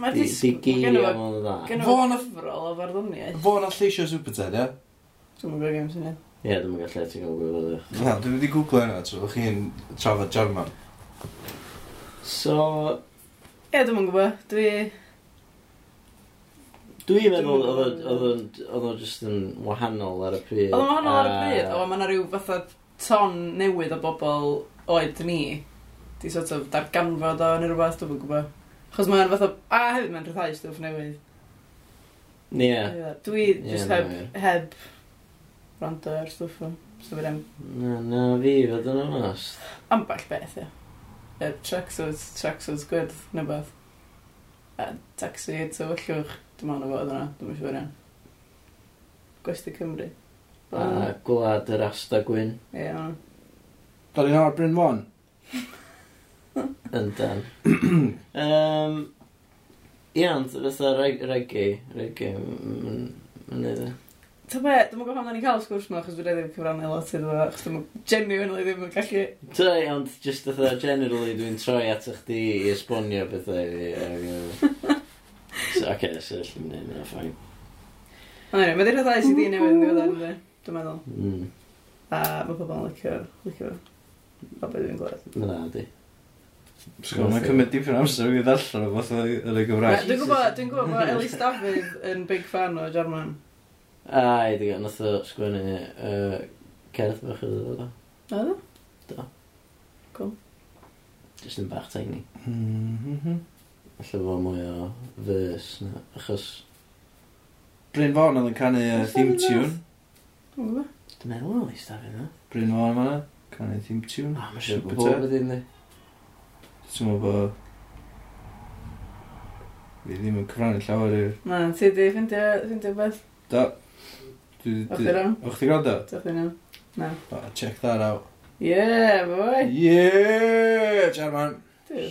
A: Mae
C: Di
A: dis...
C: di
A: ma'
C: gei
A: gynno
C: am o'n dda?
A: fo-
C: Ie,
A: Gynno
B: Fo
A: fo
B: na-
A: cyfrol o farddoniaeth.
B: Fo na lleisio Superted, ie?
A: Dwi'n meddwl gael syniad.
C: dwi'n meddwl lle ti'n gwybod gwybod e.
B: Na, dwi'n wedi googlo hynna, so o'ch chi'n trafod German.
C: So,
A: Ie, dwi'n meddwl gwybod. Dwi...
C: dwi'n meddwl oedd o- oedd o'n oedd o'n just yn wahanol ar y pryd.
A: Oedd o'n wahanol ar y
C: a-
A: pryd, o, mae yna rhyw fatha ton newydd o bobl oed ni. Di sort of darganfod o neu rhywbeth, dwi'n gwybod. Chos mae'n fatha... A hefyd mae'n rhyddhau stwff newydd.
C: Ie.
A: Ie, Dwi
C: Ie,
A: just
C: na,
A: heb...
C: ie.
A: heb... Rando ar stwff o. Stwff o
C: Na, na fi, fod yn onast.
A: amball beth, ie. Y tracksuits, tracksuits gwyrdd, neu beth. A taxi, tywyllwch, dim ond o fod yna, dim ond siwr iawn. Gwesti Cymru.
C: A gwlad yr Asta Gwyn
A: Ie, iawn.
B: Da ni'n awr Bryn Mawr.
C: yn [clears throat] dan. um, Ie, ond fatha reg- reggae, reggae, yn neud e.
A: Ta be, dwi'n gwybod pan o'n i'n cael sgwrs yma, achos dwi'n edrych cyfrannu lot iddo fo, achos dwi'n genuinely ddim yn gallu...
C: Trai, ond just fatha generally dwi'n troi at chdi i esbonio bethau i fi. ag, yy, So, oce, okay, so allan ni wneud yna, ffain.
A: Ond anyway, mae di'r rhaid sydd i newydd yn ddiweddar, ynddi, dwi'n meddwl.
C: Mm,
A: A mae pobl yn licio, licio fo. O beth dwi'n gweld.
C: na, di.
B: Sgol, mae'n cymryd dipyn o amser i ddarllen o fath yn y
A: Na,
B: Gymraeg.
A: Dwi'n gwybod, dwi'n gwybod bod Elis Dafydd yn big fan o Jarman.
C: A, i di gael, nath o sgwennu yy, cerdd bach iddo fo, do.
A: Na, ddo?
C: Just yn bach tiny.
B: Mhm.
C: Alla fo mwy o verse, na, achos
B: Bryn Mawr oedd yn canu uh, theme tune.
A: Dwi'n gwybod.
C: Dwi'n meddwl o'n eistedd yna.
B: Bryn Mawr yma, canu theme tune.
C: A, mae'n siŵr bod
B: Bwyta.
C: pob ydy'n di.
B: Ti'n meddwl bod... Fi ddim yn cyfrannu llawer i'r...
A: Na, ti di ffindio, ffindio beth?
B: Da. Dwi-
A: O'ch
B: dwi-
A: chdi rawn?
B: O'ch ti'n gwrando?
A: Dach chi'n iawn?
B: Oh, check that out.
A: Yeah, boy!
B: Yeah, German.
A: Dude,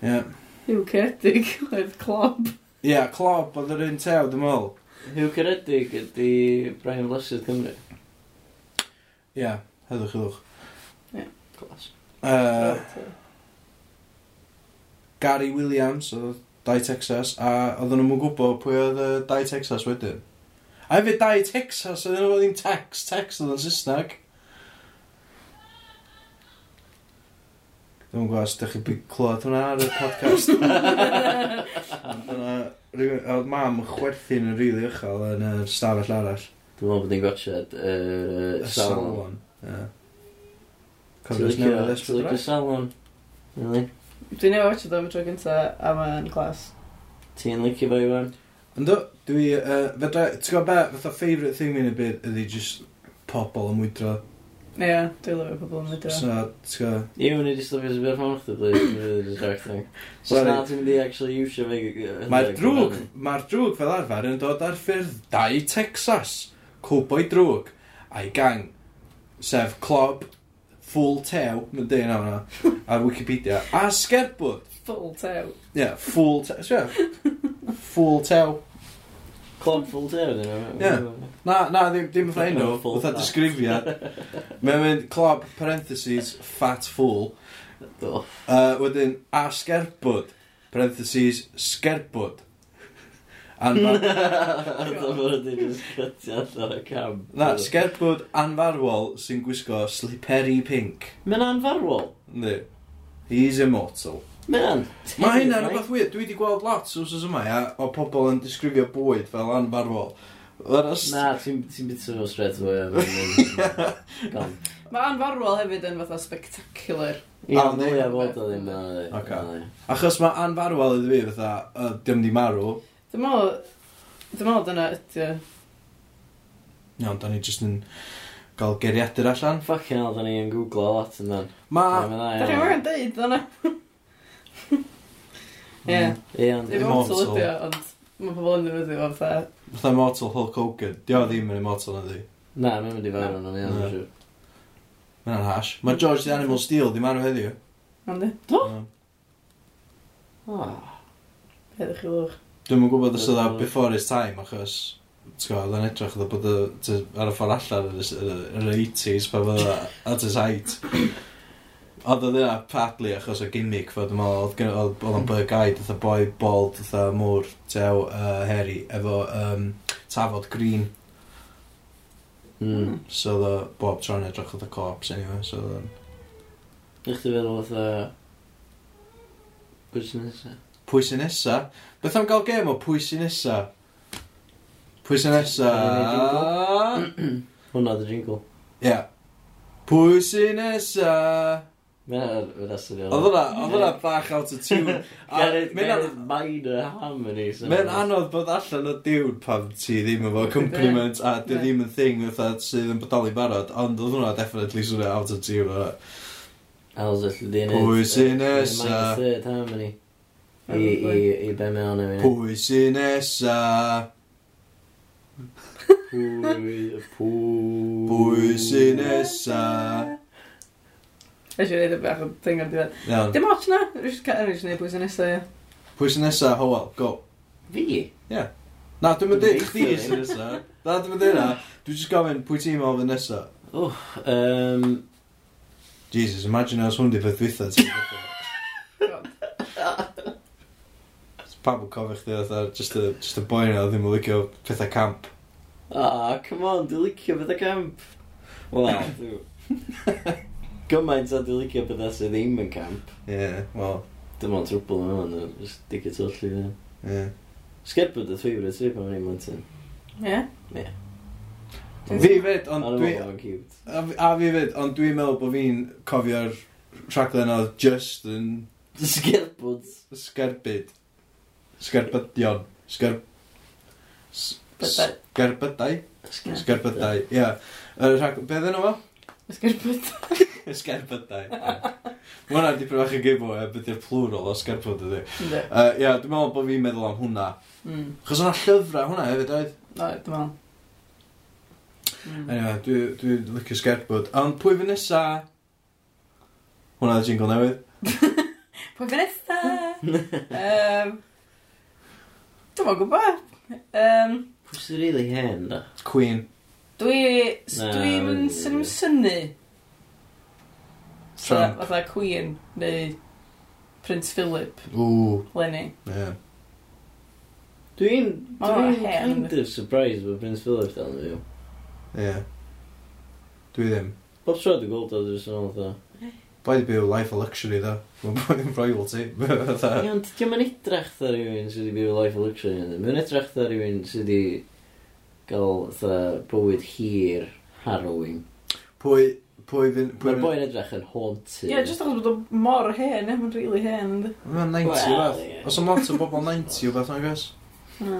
B: Yeah.
A: Yw cedig [laughs] oedd clob.
B: Yeah, Clob oedd yr un tew, dim ôl.
C: Hw Caredig ydi Brian Blessed Cymru.
B: Yeah, heddwch, heddwch.
C: Glas.
B: Uh, Gary Williams oedd Dai Texas, a oedden nhw'n gwybod pwy oedd yy, Dai Texas wedyn. A hefyd Dai Texas, oedden nhw ddim Tex, Tex oedd yn Saesneg. Dwi'n gwybod os ydych chi wedi clywed hwnna ar y
C: [laughs]
B: podcast. Ond Dyna, rywun- oedd mam yn chwerthin yn rili uchel yn y stafell arall.
C: Dwi'n meddwl bod ni'n gotchad yr
B: Y
C: salon.
B: salon.
C: Ti'n
B: Cofres
C: licio-
B: newydd
C: ti'n licio
B: ysbryd.
C: salon? Really?
A: Dwi'n ei watch o am y tro gynta a mae'n glas.
C: Ti'n licio fo Iwan?
B: Ynddo, dwi, uh, fedra, ti'n gwybod be, fatha favourite thing mi'n y byd ydi just pobl yn mwydro.
A: Ie, dwi'n lyfio pobl yn mynd
B: So, ti'n gwybod,
C: Iwan, i di stopio sy'n byr ffôn chdi, please. Dwi'n really distracting. Os
B: Sorry.
C: na ti'n mynd i actually iwsio fe... yy,
B: mae'r
C: yy,
B: drwg,
C: cyfrannu.
B: mae'r drwg fel arfer yn dod ar ffyrdd dau Texas. Cowboy drwg, a'i gang, sef clob, full tew, mae'n dweud yna hwnna, ar Wikipedia, a sgerbwd.
A: Full tew.
B: Ie, yeah, full tew, ti'n gwybod? Full tew.
C: Clog full tear, dyn nhw.
B: Ie. Na, na, ddim, ddim fatha enw,
C: Full
B: fatha
C: [laughs] fat.
B: disgrifiad. Mae'n mynd clob, parentheses, fat fool.
C: Do.
B: Uh, wedyn, a sgerbwd, parentheses, sgerbwd.
C: [laughs]
B: Anfa-
C: Do fod ydi just cutio allan y cam.
B: Na, sgerbwd anfarwol sy'n gwisgo sliperi pink.
C: Mae'n anfarwol.
B: Yndi. He's immortal.
C: Mae'n
B: Mae hynna'n rhywbeth weird. Dwi wedi gweld lot o wsos yma, ia, o pobl yn disgrifio bwyd fel anfarwol. Yr os-
C: Na, ti'n ti'n bit o straight away.
B: [laughs]
C: mae'n- Gone.
A: Mae anfarwol hefyd yn fatha spectacular.
C: Ia,
B: neu-
C: mwy a fod o ddim yn ei.
B: Ocê. Achos mae anfarwol iddi fi fatha, uh, dim di marw.
A: Dwi'n meddwl... Dwi'n meddwl dyna ydy...
B: Iawn, da ni jyst yn gael geriadur allan.
C: Fucking hell, da ni yn googlo lot yn dan.
B: Ma...
A: Da chi'n
C: Ie,
A: mynd deud dyna. Ie.
C: ond...
A: Dwi'n
B: Immortal.
A: meddwl ydy o, ond mae pobl yn ddefnyddio fo fatha...
B: Fatha immortal Hulk Hogan. Dio ddim yn immortal ydi.
C: Na, mae'n mynd i farw yn o'n iawn,
B: Na.
C: dwi'n siŵr.
B: Mae'n hash. Mae George the Animal Steel di marw heddiw.
A: Ond Do?
C: Ah,
A: Hedych chi lwch.
B: Dwi'n yn gwybod os oedd o before his time, achos... T'w gwybod, oedd o'n edrych oedd o bod o- t- ar y ffordd allan yn y s- yn yr 80s, pa fod o [coughs] at his height. Oedd oedd yna partly achos o gimmick, fod yma, oedd gyn- oedd- oedd o'n bug eyed, oedd o boi bald, oedd o mŵr, tew, uh, heri, efo um, tafod green.
C: hmm.
B: So oedd o bob tro'n edrych oedd y corpse, anyway, so oedd o'n...
C: Ych ti'n feddwl oedd y... Pwy sy'n nesaf?
B: Pwy sy'n nesa? Beth am gael gem o pwy sy'n nesa? Pwy sy'n nesa?
C: Hwna dy jingle.
B: Ie. Pwy sy'n nesa?
C: Mae'n mynd asyl
B: Oedd hwnna, oedd hwnna bach out of
C: [laughs]
B: tune. [laughs] A
C: Gareth,
B: mae'n
C: Gareth
B: an-
C: Minor Harmony. so-
B: Mae'n anodd bod allan o diwn pan ti ddim efo compliment a dy
A: Ie.
B: ddim yn thing fatha sydd yn bodoli barod, ond oedd hwnna definitely swnio out of tune o
C: How's it the
B: Pwy sy'n nesa?
C: Minor Third Harmony. I, i, i be e? mewn i fyny.
B: Pwy sy'n nesa?
C: Pwy,
B: Pwy sy'n nesa?
A: Eisiau gwneud y bach o thing o'r diwedd.
B: Iawn.
A: Dim ots na, rwy'n gwneud pwy sy'n nesaf, ie.
B: Pwy sy'n nesa? Howell, go.
C: Fi?
B: Na, dwi'n mynd dweud
C: Dwi'n
B: chdi
C: deud
B: sy'n nesa. Na, dwi'n mynd dweud na. Dwi'n just gofyn pwy ti'n meddwl fy'n nesa.
C: Um,
B: Jesus, imagine os hwn di fydd dwytha ti.
A: God.
B: [laughs] Pam yn cofio chdi oedd just a, just a boi na oedd ddim yn licio pethau camp.
C: Ah, come on, dwi'n licio beth y camp. Wel, dwi'n... [laughs] Gymaint a dwi'n licio beth sydd ddim yn camp.
B: Ie, yeah, wel,
C: Dim ond trwbl yn hwn, dwi'n just dig it all lli.
B: ie. Yeah.
C: Sgerbyd y favourite fi pan o'n i'n mwyn
A: Ie?
C: Ie.
B: Fi fyd,
C: Ond
B: ond
C: dwi'n
B: dwi...
C: meddwl o'n cute.
B: A fi- a fi fyd, ond dwi'n meddwl bod fi'n cofio'r rhaglen oedd just yn
C: Sgerbyd.
B: sgerbyd. Sgerbydion. Sgerb... s-
A: Bydau.
B: Sgerbydau? Sgerbydau, ie. Yr rhag- Be ddyn nhw fo?
A: Ysgerbyd.
B: Sgerbydau. Mae hwnna wedi pryd bach yn gyfo, e, beth yw'r plural o sgerbyd ydi.
A: Ynddi.
B: Yy, Ie, dwi'n meddwl bod fi'n meddwl am hwnna.
A: Mm.
B: Chos o'na llyfrau hwnna hefyd, oedd?
A: No, dwi'n meddwl. Mm.
B: Anyway, dwi- dwi'n licio sgerbyd. Ond pwy fy nesa? Hwnna y jingle newydd.
A: Pwy fy nesaf? Yym... Dwi'n meddwl gwybod. Yym...
C: Pwys y really hen, da.
B: Queen.
A: Dwi...
C: Na,
A: Dwi'n
C: dwi'n-
A: sy'n synnu.
B: Trump.
A: Fatha Queen, neu Prince Philip,
B: Ww,
A: Lenny.
B: ie.
C: Dwi'n...
A: Ma' hwnna'n
C: Dwi'n
A: hen.
C: kind of surprised bod Prince Philip dal yn fyw.
B: Ie. Dwi ddim.
C: Bob tro dwi'n gweld o dwi'n sôn o'n dda.
B: Boi di byw life o luxury, ddo. Mae'n boi yn royalty. [laughs] Fatha.
C: Iawn, dwi'n mynd edrach dda rhywun sydd wedi byw life of luxury yn Mae'n edrach dda rhywun sydd wedi gael dda bywyd hir harrowing.
B: Pwy... Pwy fy... Pwy fy...
C: Mae'r boi'n edrach yn haunted.
A: Ie, yeah, jyst achos bod o mor hen, ie, mae'n rili hen, ynddi.
B: Mae'n 90 o
C: Wel,
B: beth.
C: ie.
B: Os am lot o bobl 90 o beth, na'n gwrs.
A: Na.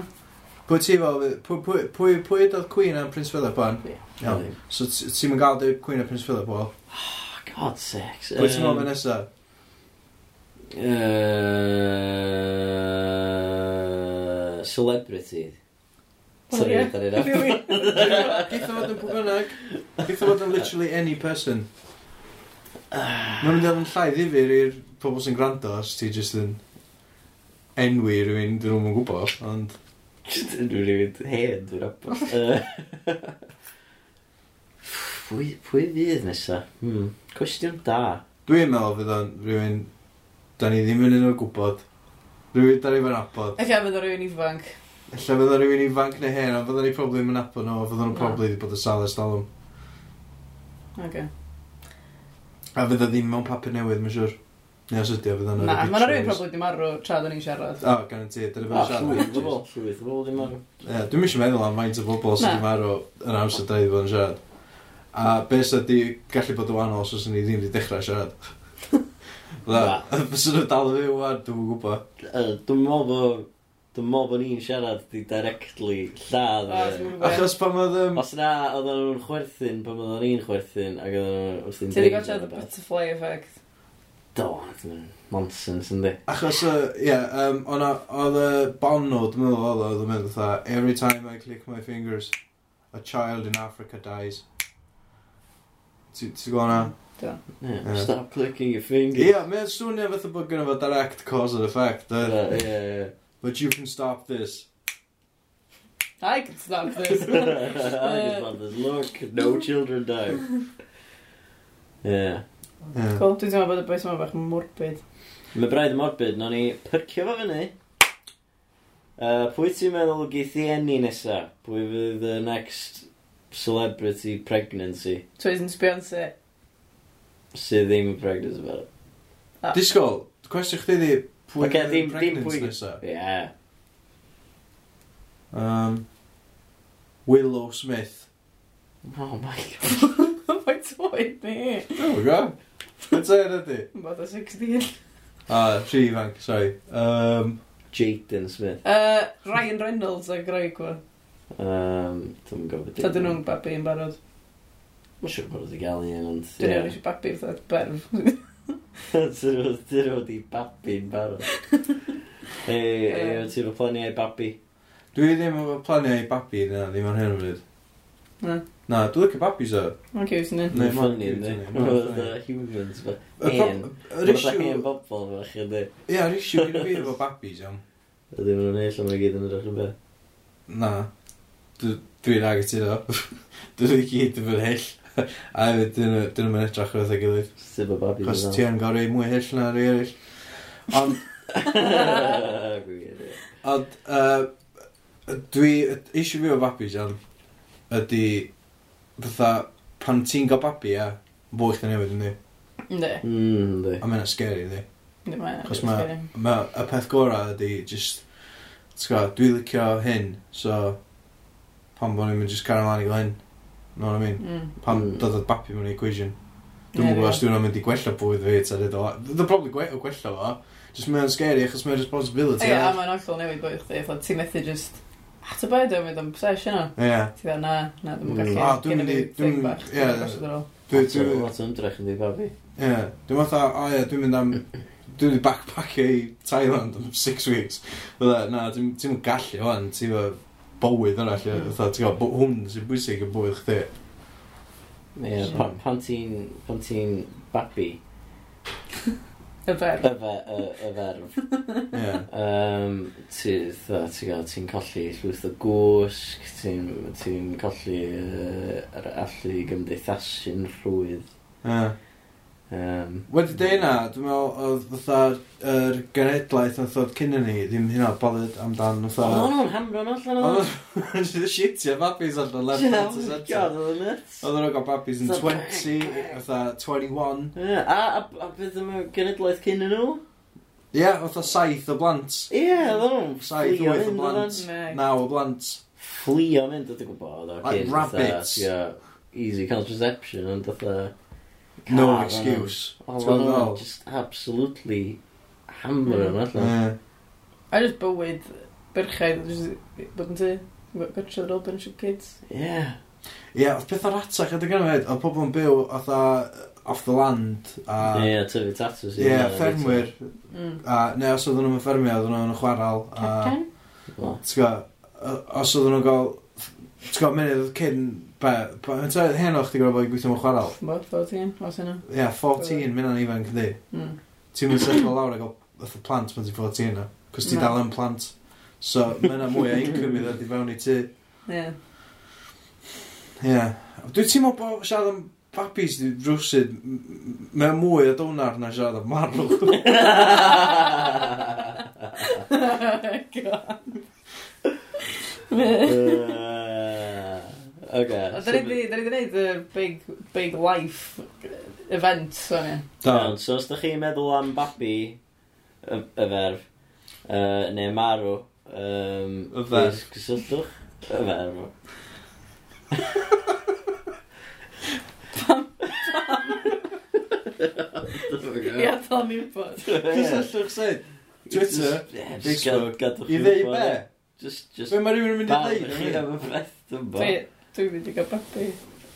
B: Pwy ti fel... Pwy... Pwy... Pwy... Pwy ydodd Queen am Prince Philip o'n? Iawn. So t- ti'n mynd gael dweud Queen a Prince Philip o?
C: Oh, God sex.
B: Pwy ti'n e? mynd nesa?
C: Uh, celebrity.
A: Wel,
C: Sorry,
A: ie.
C: dwi'n
A: [laughs]
C: rhaid.
B: Geith o fod yn pwy bynnag. Geith o fod yn literally any person. Mae'n mynd i fod yn llai ddifur i'r pobl sy'n gwrando os ti jyst yn enwi rhywun dyn nhw'n gwybod, ond...
C: Dwi'n rhywun hen, dwi'n
A: [laughs]
C: rhaid. Pwy, pwy fydd nesa? Hmm. Cwestiwn da.
B: Dwi'n meddwl fydd o'n rhywun... Da ni ddim yn un o'r gwybod. Rhywun da ni'n abod.
A: Ac efo rhywun ifanc.
B: Ella fydd o'n rhywun ifanc neu hen, ond fydden ni probably yn abod nhw, fydden nhw'n
A: Na.
B: probably wedi bod yn salas dal nhw.
A: Okay.
B: A fydd o ddim mewn papur newydd, mae'n siwr. Neu os ydy o, fydd o'n
A: Na, mae yna rhywun probably di marw tra o'n i'n siarad.
B: O, gan y ti, dyna
C: O,
B: fydd
C: Ah, llwyth o
B: siarad.
C: bobl, llwyth o bobl ddim ar.
B: Ie, Dwi'n mysio meddwl am faint o bobl sydd
A: Na.
B: wedi marw yn amser da i fod yn siarad. A beth sydd wedi gallu bod yn wahanol os oes ni ddim wedi dechrau siarad.
A: [laughs]
B: Na, [laughs] sydd nhw dal yn fyw wan, dwi'n gwybod.
C: Yy, Dwi'n meddwl bod... Dwi'n meddwl bod ni'n siarad di directly
A: Ah,
C: lladd. yy.
A: O, dwi'm yn gwbod.
B: Achos pan oedd... yym,
C: Os na, oedden nhw'n chwerthin pan oedden ni'n chwerthin ac oedden nhw'n...
A: Ti wedi gotcha the butterfly effect.
C: Do, dwi'n nonsense yndi.
B: Achos, yy, ie, yym, o' 'na- oedd y Bono, dwi'n meddwl oedd o, oedd yn mynd fatha, Every time I click my fingers, a child in Africa dies. Ti- Ti'n gweld na?
C: Ie,
B: Ie.
C: Stop clicking your fingers.
B: Ie, mae'n swnio fatha bod gynnu fo direct cause and effect.
C: Ie,
B: yy.
C: ie, ie.
B: But you can stop this.
A: I can stop this.
B: [laughs]
C: I just want this look. No children die. Ie.
B: Ie.
A: Cool, dwi'n teimlo bod y bwys yma bach yn morbid.
C: Mae braidd morbid, no ni pyrcio fo fyny. Uh, pwy ti'n meddwl geith i enni nesa? Pwy fydd the next celebrity pregnancy
A: Twys yn Beyonce. [laughs]
C: sydd ddim yn pregnant about it?
B: Disgol, cwestiwn chdi di, pwy
C: Ocê,
B: fydd yn
C: ddim- ddim
B: pregnant
C: pwy-
B: nesa?
C: Yeah.
B: Um, Willow Smith.
C: Oh my god.
A: Mae'n twyd ni.
B: Dwi'n gwybod. Beth sy'n ydy?
A: Bod o 16.
B: Ah, tri ifanc, sorry. Um,
C: Jaden Smith.
A: [laughs] Uh, Ryan Reynolds a Greg wa.
C: Um, Dwi'n gofod.
A: Ta dyn nhw'n babi yn barod.
C: Mae'n siŵr bod wedi gael un, ond... [laughs]
A: Dyn nhw'n eisiau babi fatha berf.
C: Dyn nhw wedi babi'n
A: [laughs]
C: barod. Ei, ei,
A: Yym.
C: ti'n fy plannu ei babi.
B: dwi ddim yn planio i babi na, ddim ar hyn o bryd.
A: Na.
B: Na, dwi'n lycio babis o.
A: Mae'n cute ni.
B: Neu
C: Mae'n
B: ma'n
C: ffynnu,
B: cute,
C: ynddi?
B: yndi? Ma'n
C: Mae'n
B: funny.
C: humans, fe.
B: Y
C: Hen.
B: pro- Yr
C: Mae'n hen
B: issue...
C: bobl, fe, chi ynddi?
B: Ie, yr issue gyda fi efo babis, iawn.
C: Ydy nhw'n ei lle, mae'n gyd yn edrych yn be.
B: Na. Dw- Dwi'n ag ati do. [laughs] Dwi'n i gyd yn fy hyll. [laughs] A dyn nhw'n edrych ar ei gilydd.
C: Sut mae babi
B: Chos
C: [laughs]
B: ti yn gorau mwy hyll na rhai eraill. Ond
C: Ie,
B: Ond, uh, dwi, eisiau fi o babi, Jan, ydy, fatha, pan ti'n gael babi, ia, fwy chdi newid, ynddi?
A: Ynddi.
C: Hmm,
B: A mae'n scary, ynddi?
A: Ynddi mae'n.
B: Chos ma- Mae y peth gorau ydy, just, ti'n gwybod, dwi licio hyn, so, pan bod ni'n mynd just cario mlaen i gael hyn, no what I mean? Pan
C: Mm.
B: dod o'r babi mewn i equation. Dwi'n gwybod os dwi'n mynd i gwella bwyd fi, ta dweud o... Dwi'n probably gwe- o gwella fo, just mae'n scary, achos mae'n responsibility.
A: Ie, a
B: arall.
A: mae'n ollol newid bod chdi. fatha, Ti methu just... A ta bai dwi'n mynd am obsession o.
B: Ie.
A: Ti dda, na, na, dwi'n
C: Mm.
A: gallu.
B: Ah, dwi'n
A: Gynna fi
B: mynd i-
A: thing
B: dwi'n-
A: bach,
B: ie.
A: dwi'n gosod ar ôl.
B: Dwi- dwi-
C: Lot o ymdrech yn di babi.
B: Ie, yeah, dwi'n fatha, o ie, dwi'n mynd am, dwi'n mynd i backpackio i Thailand am six weeks. Fydda, na, ti'n ti'n gallu o'n, ti'n fawr bywyd arall, ie, fatha, ti'n gael, hwn sy'n bwysig yn bywyd chdi.
C: Ie, pa- pan ti'n... Pan ti'n babi,
A: Y berf.
C: yfe, y ferf,
B: Ie,
C: Um, ti, tha, ti gael, ti'n colli llwyth o gwsg, ti'n ti colli uh, yr allu gymdeithasu'n rhwydd.
B: ie.
C: Um,
B: Wedi dweud na, dwi'n meddwl, oedd fatha, yr genedlaeth yn ddod cyn i ni, ddim hynna bothered amdan,
C: O,
B: fatha...
C: nhw'n hamro nhw allan o
B: Oedd o'n [laughs] shitio babis allan, left,
C: Yeah,
B: right,
C: oh my
B: and centre.
C: God, oedd o'n nuts.
B: Oedd o'n gael babis yn 20, fatha 21.
C: Ie, A, a, a beth yma genedlaeth cyn i nhw?
B: Ie, yeah, fatha saith o blant.
C: Ie, oedd nhw'n
B: Saith,
C: fflio
B: wyth o
C: mynd,
B: blant.
C: oedd
A: Neg.
B: Naw o blant.
C: o'n fflio mynd, oedd o'n gwybod, oedd
B: Like
C: o'n
B: rabbits.
C: easy contraception, ond oedd o'n...
B: No excuse.
C: Oedd
B: Ti'n
C: o'n
B: gweld?
C: just absolutely hamro nhw allan.
B: Ie.
A: A jyst bywyd berchaidd, jyst bod yn ti, gotcha ar ôl bunch of kids.
C: Ie.
B: Ie, oedd pethau ratach ydy gynnu fed, oedd pobl yn byw oedd uh, off the land, a...
C: Ie, tyfu tatws.
B: Ie, ffermwyr,
A: Mm.
B: a... Neu os oedden nhw'n ffermio, oedden nhw'n chwaral, a...
A: Captain?
C: O,
B: T'w gwbod, yy, os oedden nhw'n gael... T'w gwbod, munud oedd cyn... Be, be, yn tyd, hen o'ch ti'n gwybod bod i gweithio mewn chwaral.
A: Bo, 14, os yna.
B: Ie, 14, mynd o'n ifanc, ydy.
A: Mm.
B: Ti'n mynd setlo lawr a gael oedd plant pan ti'n 14 na, cos ti
A: Na.
B: dal yn plant. So, mae yna mwy o income i ddod i fewn i ti.
A: Ie.
B: Ie.
A: [laughs]
B: Yeah. Dwi'n teimlo bod siarad am babis di rwsyd m- m- Mae'n mwy o donar na siarad o marw.
A: God.
C: Yy, [laughs] Oce.
A: Da ni di gwneud y big, big life event, o'n i.
B: Da.
C: Iawn, so os da chi'n meddwl am babi, y, y ferf, uh, neu marw, um,
B: Y ferf.
C: Cysylltwch y ferf.
A: Ia, dal ni'n bod.
B: Cysylltwch sydd. Twitter, Facebook,
C: Facebook,
B: I ddeu be?
C: Just, just,
B: Be mae rhywun yn mynd
C: Pam
B: i
C: chi
B: ddeu?
C: am y beth, dwi'n bo. [laughs]
A: Dwi, dwi'n mynd i gael babi.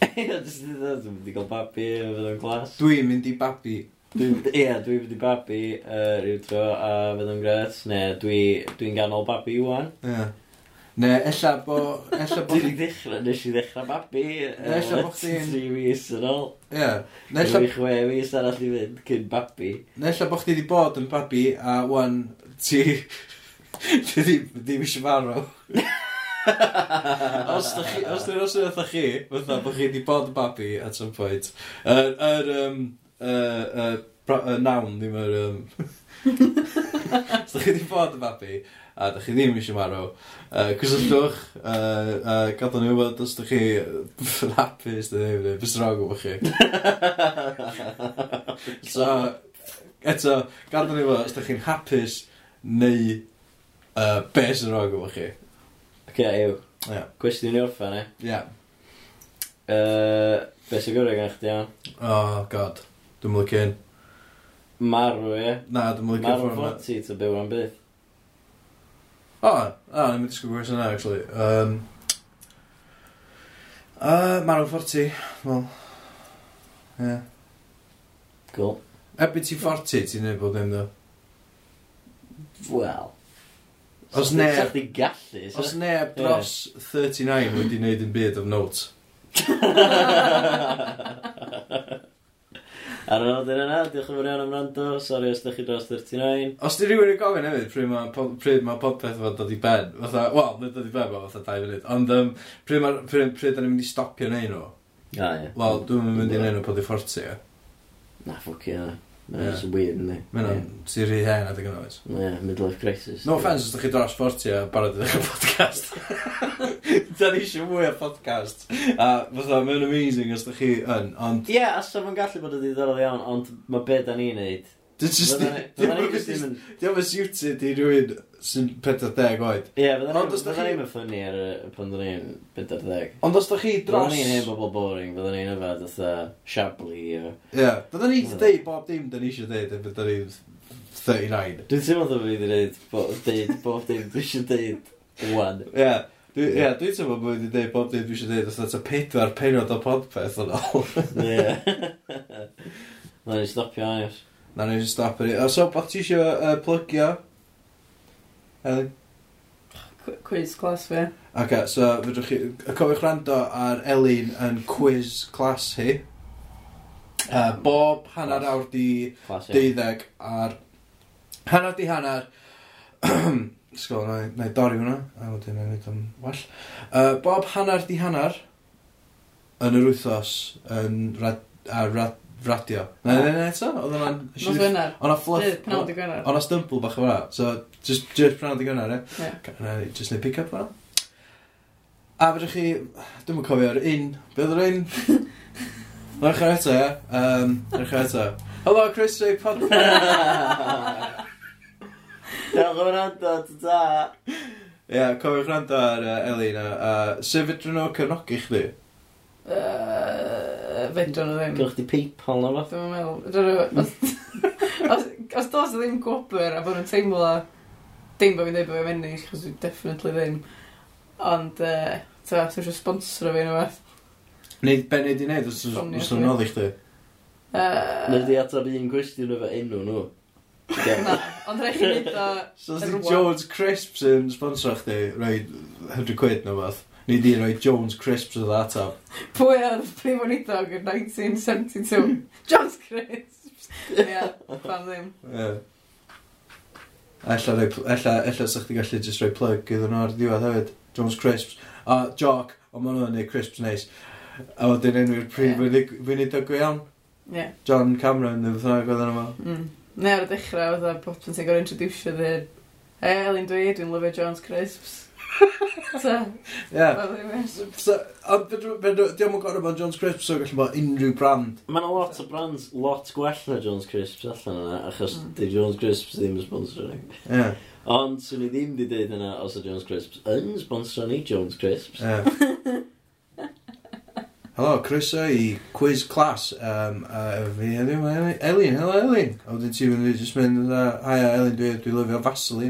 C: Ie, jyst i ddweud, dwi'n mynd i gael babi, fydd o'n glas.
B: Dwi'n mynd i babi.
C: Dwi'n- Ie, dwi'n mynd i babi uh, rhyw tro, a fydd o'n gret. Ne, dwi'n dwi ganol babi wan.
B: Ie. Ne, ella bo... Ella
C: [laughs]
B: bo...
C: Dwi'n ddechrau, nes i ddechrau babi.
B: Ne, ella bo chdi'n-
C: 3 mis yn ôl.
B: Ie. Ne,
C: Nella...
B: ella...
C: Dwi'n chwe mis arall i fynd cyn babi.
B: Nella bo chdi di bod yn babi a wan ti... [laughs] Ti di- ddim eisiau farw. [laughs] os da chi, os dwi'n osod fatha chi, fatha bod chi di bod yn babi at some point, yr, yr, um, uh, uh, pro, uh, nawn ddim yr, um, [laughs] os da chi di bod yn babi, a da chi ddim eisiau marw, uh, cysylltwch, uh, uh, gadw ni wybod os da chi [laughs] yn hapus, da ddim, neu bys rog efo chi. So, eto, gadw ni wybod os da chi'n hapus, neu uh, be sy'n rog efo chi.
C: Oce, yw.
B: Ie.
C: Cwestiwn i orffan, e.
B: Ie. Yeah.
C: Uh, be sy'n gwrdd gan chdi, iawn?
B: Oh, god. Dwi'n mwyn cyn.
C: Marw, ie.
B: Na, dwi'n mwyn cyn
C: Marw
B: ffordd yna.
C: 40 to byw am byth.
B: O, o, ni'n mynd i sgwyl gwrs yna, actually. Um, uh, Marw 40, wel. Ie.
C: Cool.
B: Ebyn ti 40, ti'n neud bod ddim, ddo.
C: Wel.
B: Os
C: ne...
B: neb-
C: Sa'ch di gallu, sa?
B: Os neb dros 39 wedi wneud yn byd of note.
C: [laughs] Ar yn oedden yna, diolch yn fawr iawn am rando. Sori os da chi dros 39.
B: Os di rhywun yn gofyn hefyd, pryd mae po- pryd ma popeth fod dod i ben, fatha, wel, nid dod i ben, ma fatha 2 funud, ond um, pryd, ma, pryd, pryd da ni'n mynd i stopio neu nhw,
C: A, ie.
B: wel, dwi'n mynd i neu nhw pod i 40, ie.
C: Na, ffwc ie.
B: Ie.
C: Mae'n yeah. weird, yndi?
B: Mae'n o'n, ti'n rhy hen adeg yna, oes.
C: Ie, Ie, midlife crisis.
B: No offence os da chi dros 40 a barod i ddechrau [laughs]
C: [laughs]
B: podcast. da ni eisiau mwy o podcast. A fatha, mae'n amazing os da chi yn, ond...
C: Ie, yeah, asaf yn gallu bod yn ddiddorol iawn, ond mae be da ni'n neud.
B: Dwi'n just...
C: Fydda ni- fydda ni'n just
B: Dwi'n
C: ddim yn...
B: siwtid i rhywun sy'n 40 oed.
C: Ie, fydda
B: Ond
C: ni'n
B: os dach
C: fydda
B: chi-
C: ni'n ffynnu ar y pan da ni'n 40.
B: Ond os da chi
C: Fydda
B: dros...
C: ni'n hen bobl boring, fydda ni'n yfad otha Shabli
B: Ie,
C: o...
B: yeah. dydyn ni wedi deud bob dim dyn ni eisiau deud yn bydd ni'n 39.
C: Dwi'n teimlo dda fi wedi dweud bob deud, bob dim dwi eisiau deud wan.
B: Ie, yeah. dwi'n yeah, dwi teimlo bod wedi deud bob dim dwi eisiau deud os ta pedwar penod o podpeth yn [laughs] ôl.
C: Ie. Na ni'n stopio anus.
B: Na ni'n stop ar i. O, So, bach ti eisiau uh, plygio? Elin?
A: Qu- Quiz class fi.
B: Ok, so, fydwch chi... y Cofiwch rando ar Elin yn quiz clas hi. Uh, bob hanner
C: Class.
B: awr di
C: Classic.
B: deuddeg ar hanner di hanner [clears throat] sgol, na i dorri hwnna a wedyn na i wneud am well uh, bob hanner di hanner yn yr wythos yn rad, ar rad, radio na i wneud eto oedd hwnna'n
A: Nos Wener.
B: o'n a
A: Dydd,
B: fluff
A: penawd i gwener.
B: Ond a stumble bach o fanna. So, just, just pran i gynnar, e?
A: Ie.
B: Yeah. Just neu pick-up fanna. A fydych chi... Dwi'n yn cofio'r un. Beth yr un? Rhaid chi'n eto, ie? Um, Rhaid chi'n eto. Helo, Chris Ray Podpeth.
C: [laughs] Diolch yn rando, ta
B: Ie, cofiwch rand ar uh, Elin. A uh, sef fedrwn nhw cefnogi chdi?
A: Yy, Fedrwn nhw
C: ta.
A: ddim.
C: Gwch di Paypal na fath.
A: Dwi'n meddwl, dydyn nhw- os- os- os dos ddim gwybr a bod nhw'n teimlo dim bod fi'n dweud bod fi'n ennill, chos dwi definitely ddim. Ond, uh, ta, ti'n eisiau sponsor o fi nhw beth.
B: Neu, be neu di wneud os
A: Ffonio
B: os
A: chdi.
B: nhw'n noddi chdi?
C: Nid
A: Uh,
C: di atab un gwestiwn efo enw nhw.
A: na, ond rhaid chi wneud o...
B: So, os di
A: Rwan.
B: Jones Crisps yn sponsor chdi, rhoi 100 quid neu beth. Ni di rhoi Jones Crisps oedd atab.
A: Pwy oedd prif onidog yn 1972? John's Crisps. Ie, pan ddim.
B: Ie. Ella, roi pl- ella, ella sa'ch ti gallu just rhoi plug iddyn nhw ar y diwedd hefyd. Jones Crisps. A joc, ond maen nhw'n neud crisps neis. A wedyn enw i'r prif
A: Ie.
B: yeah. weinidog go iawn.
A: Ie.
B: John Cameron neu beth bynnag oedd yna
A: Mm. Neu ar y dechrau, oedd a bob yn gorau introducio ddi... E, Elin dwi, dwi'n lyfio Jones Crisps. Ta,
B: Ie.
A: oedd hi'n mynd.
B: So, a fedrw- fedrw- diom yn gorau bod John's Crisps o gallu bod unrhyw brand.
C: Mae yna lot o brands lot gwell na Jones Crisps allan yna, achos
A: Mm.
C: mm. di Jones Crisps ddim yn sponsor ni.
B: Ie.
C: Ond swn i ddim di dweud yna os y Jones Crisps yn sponsor ni Jones Crisps.
B: Ie. Helo, croeso i quiz class. Um, a fi heddiw, mae Elin. Elin, helo Elin. A wedyn ti fynd i jyst mynd, uh, haia Elin, dwi, dwi lyfio Vaseline.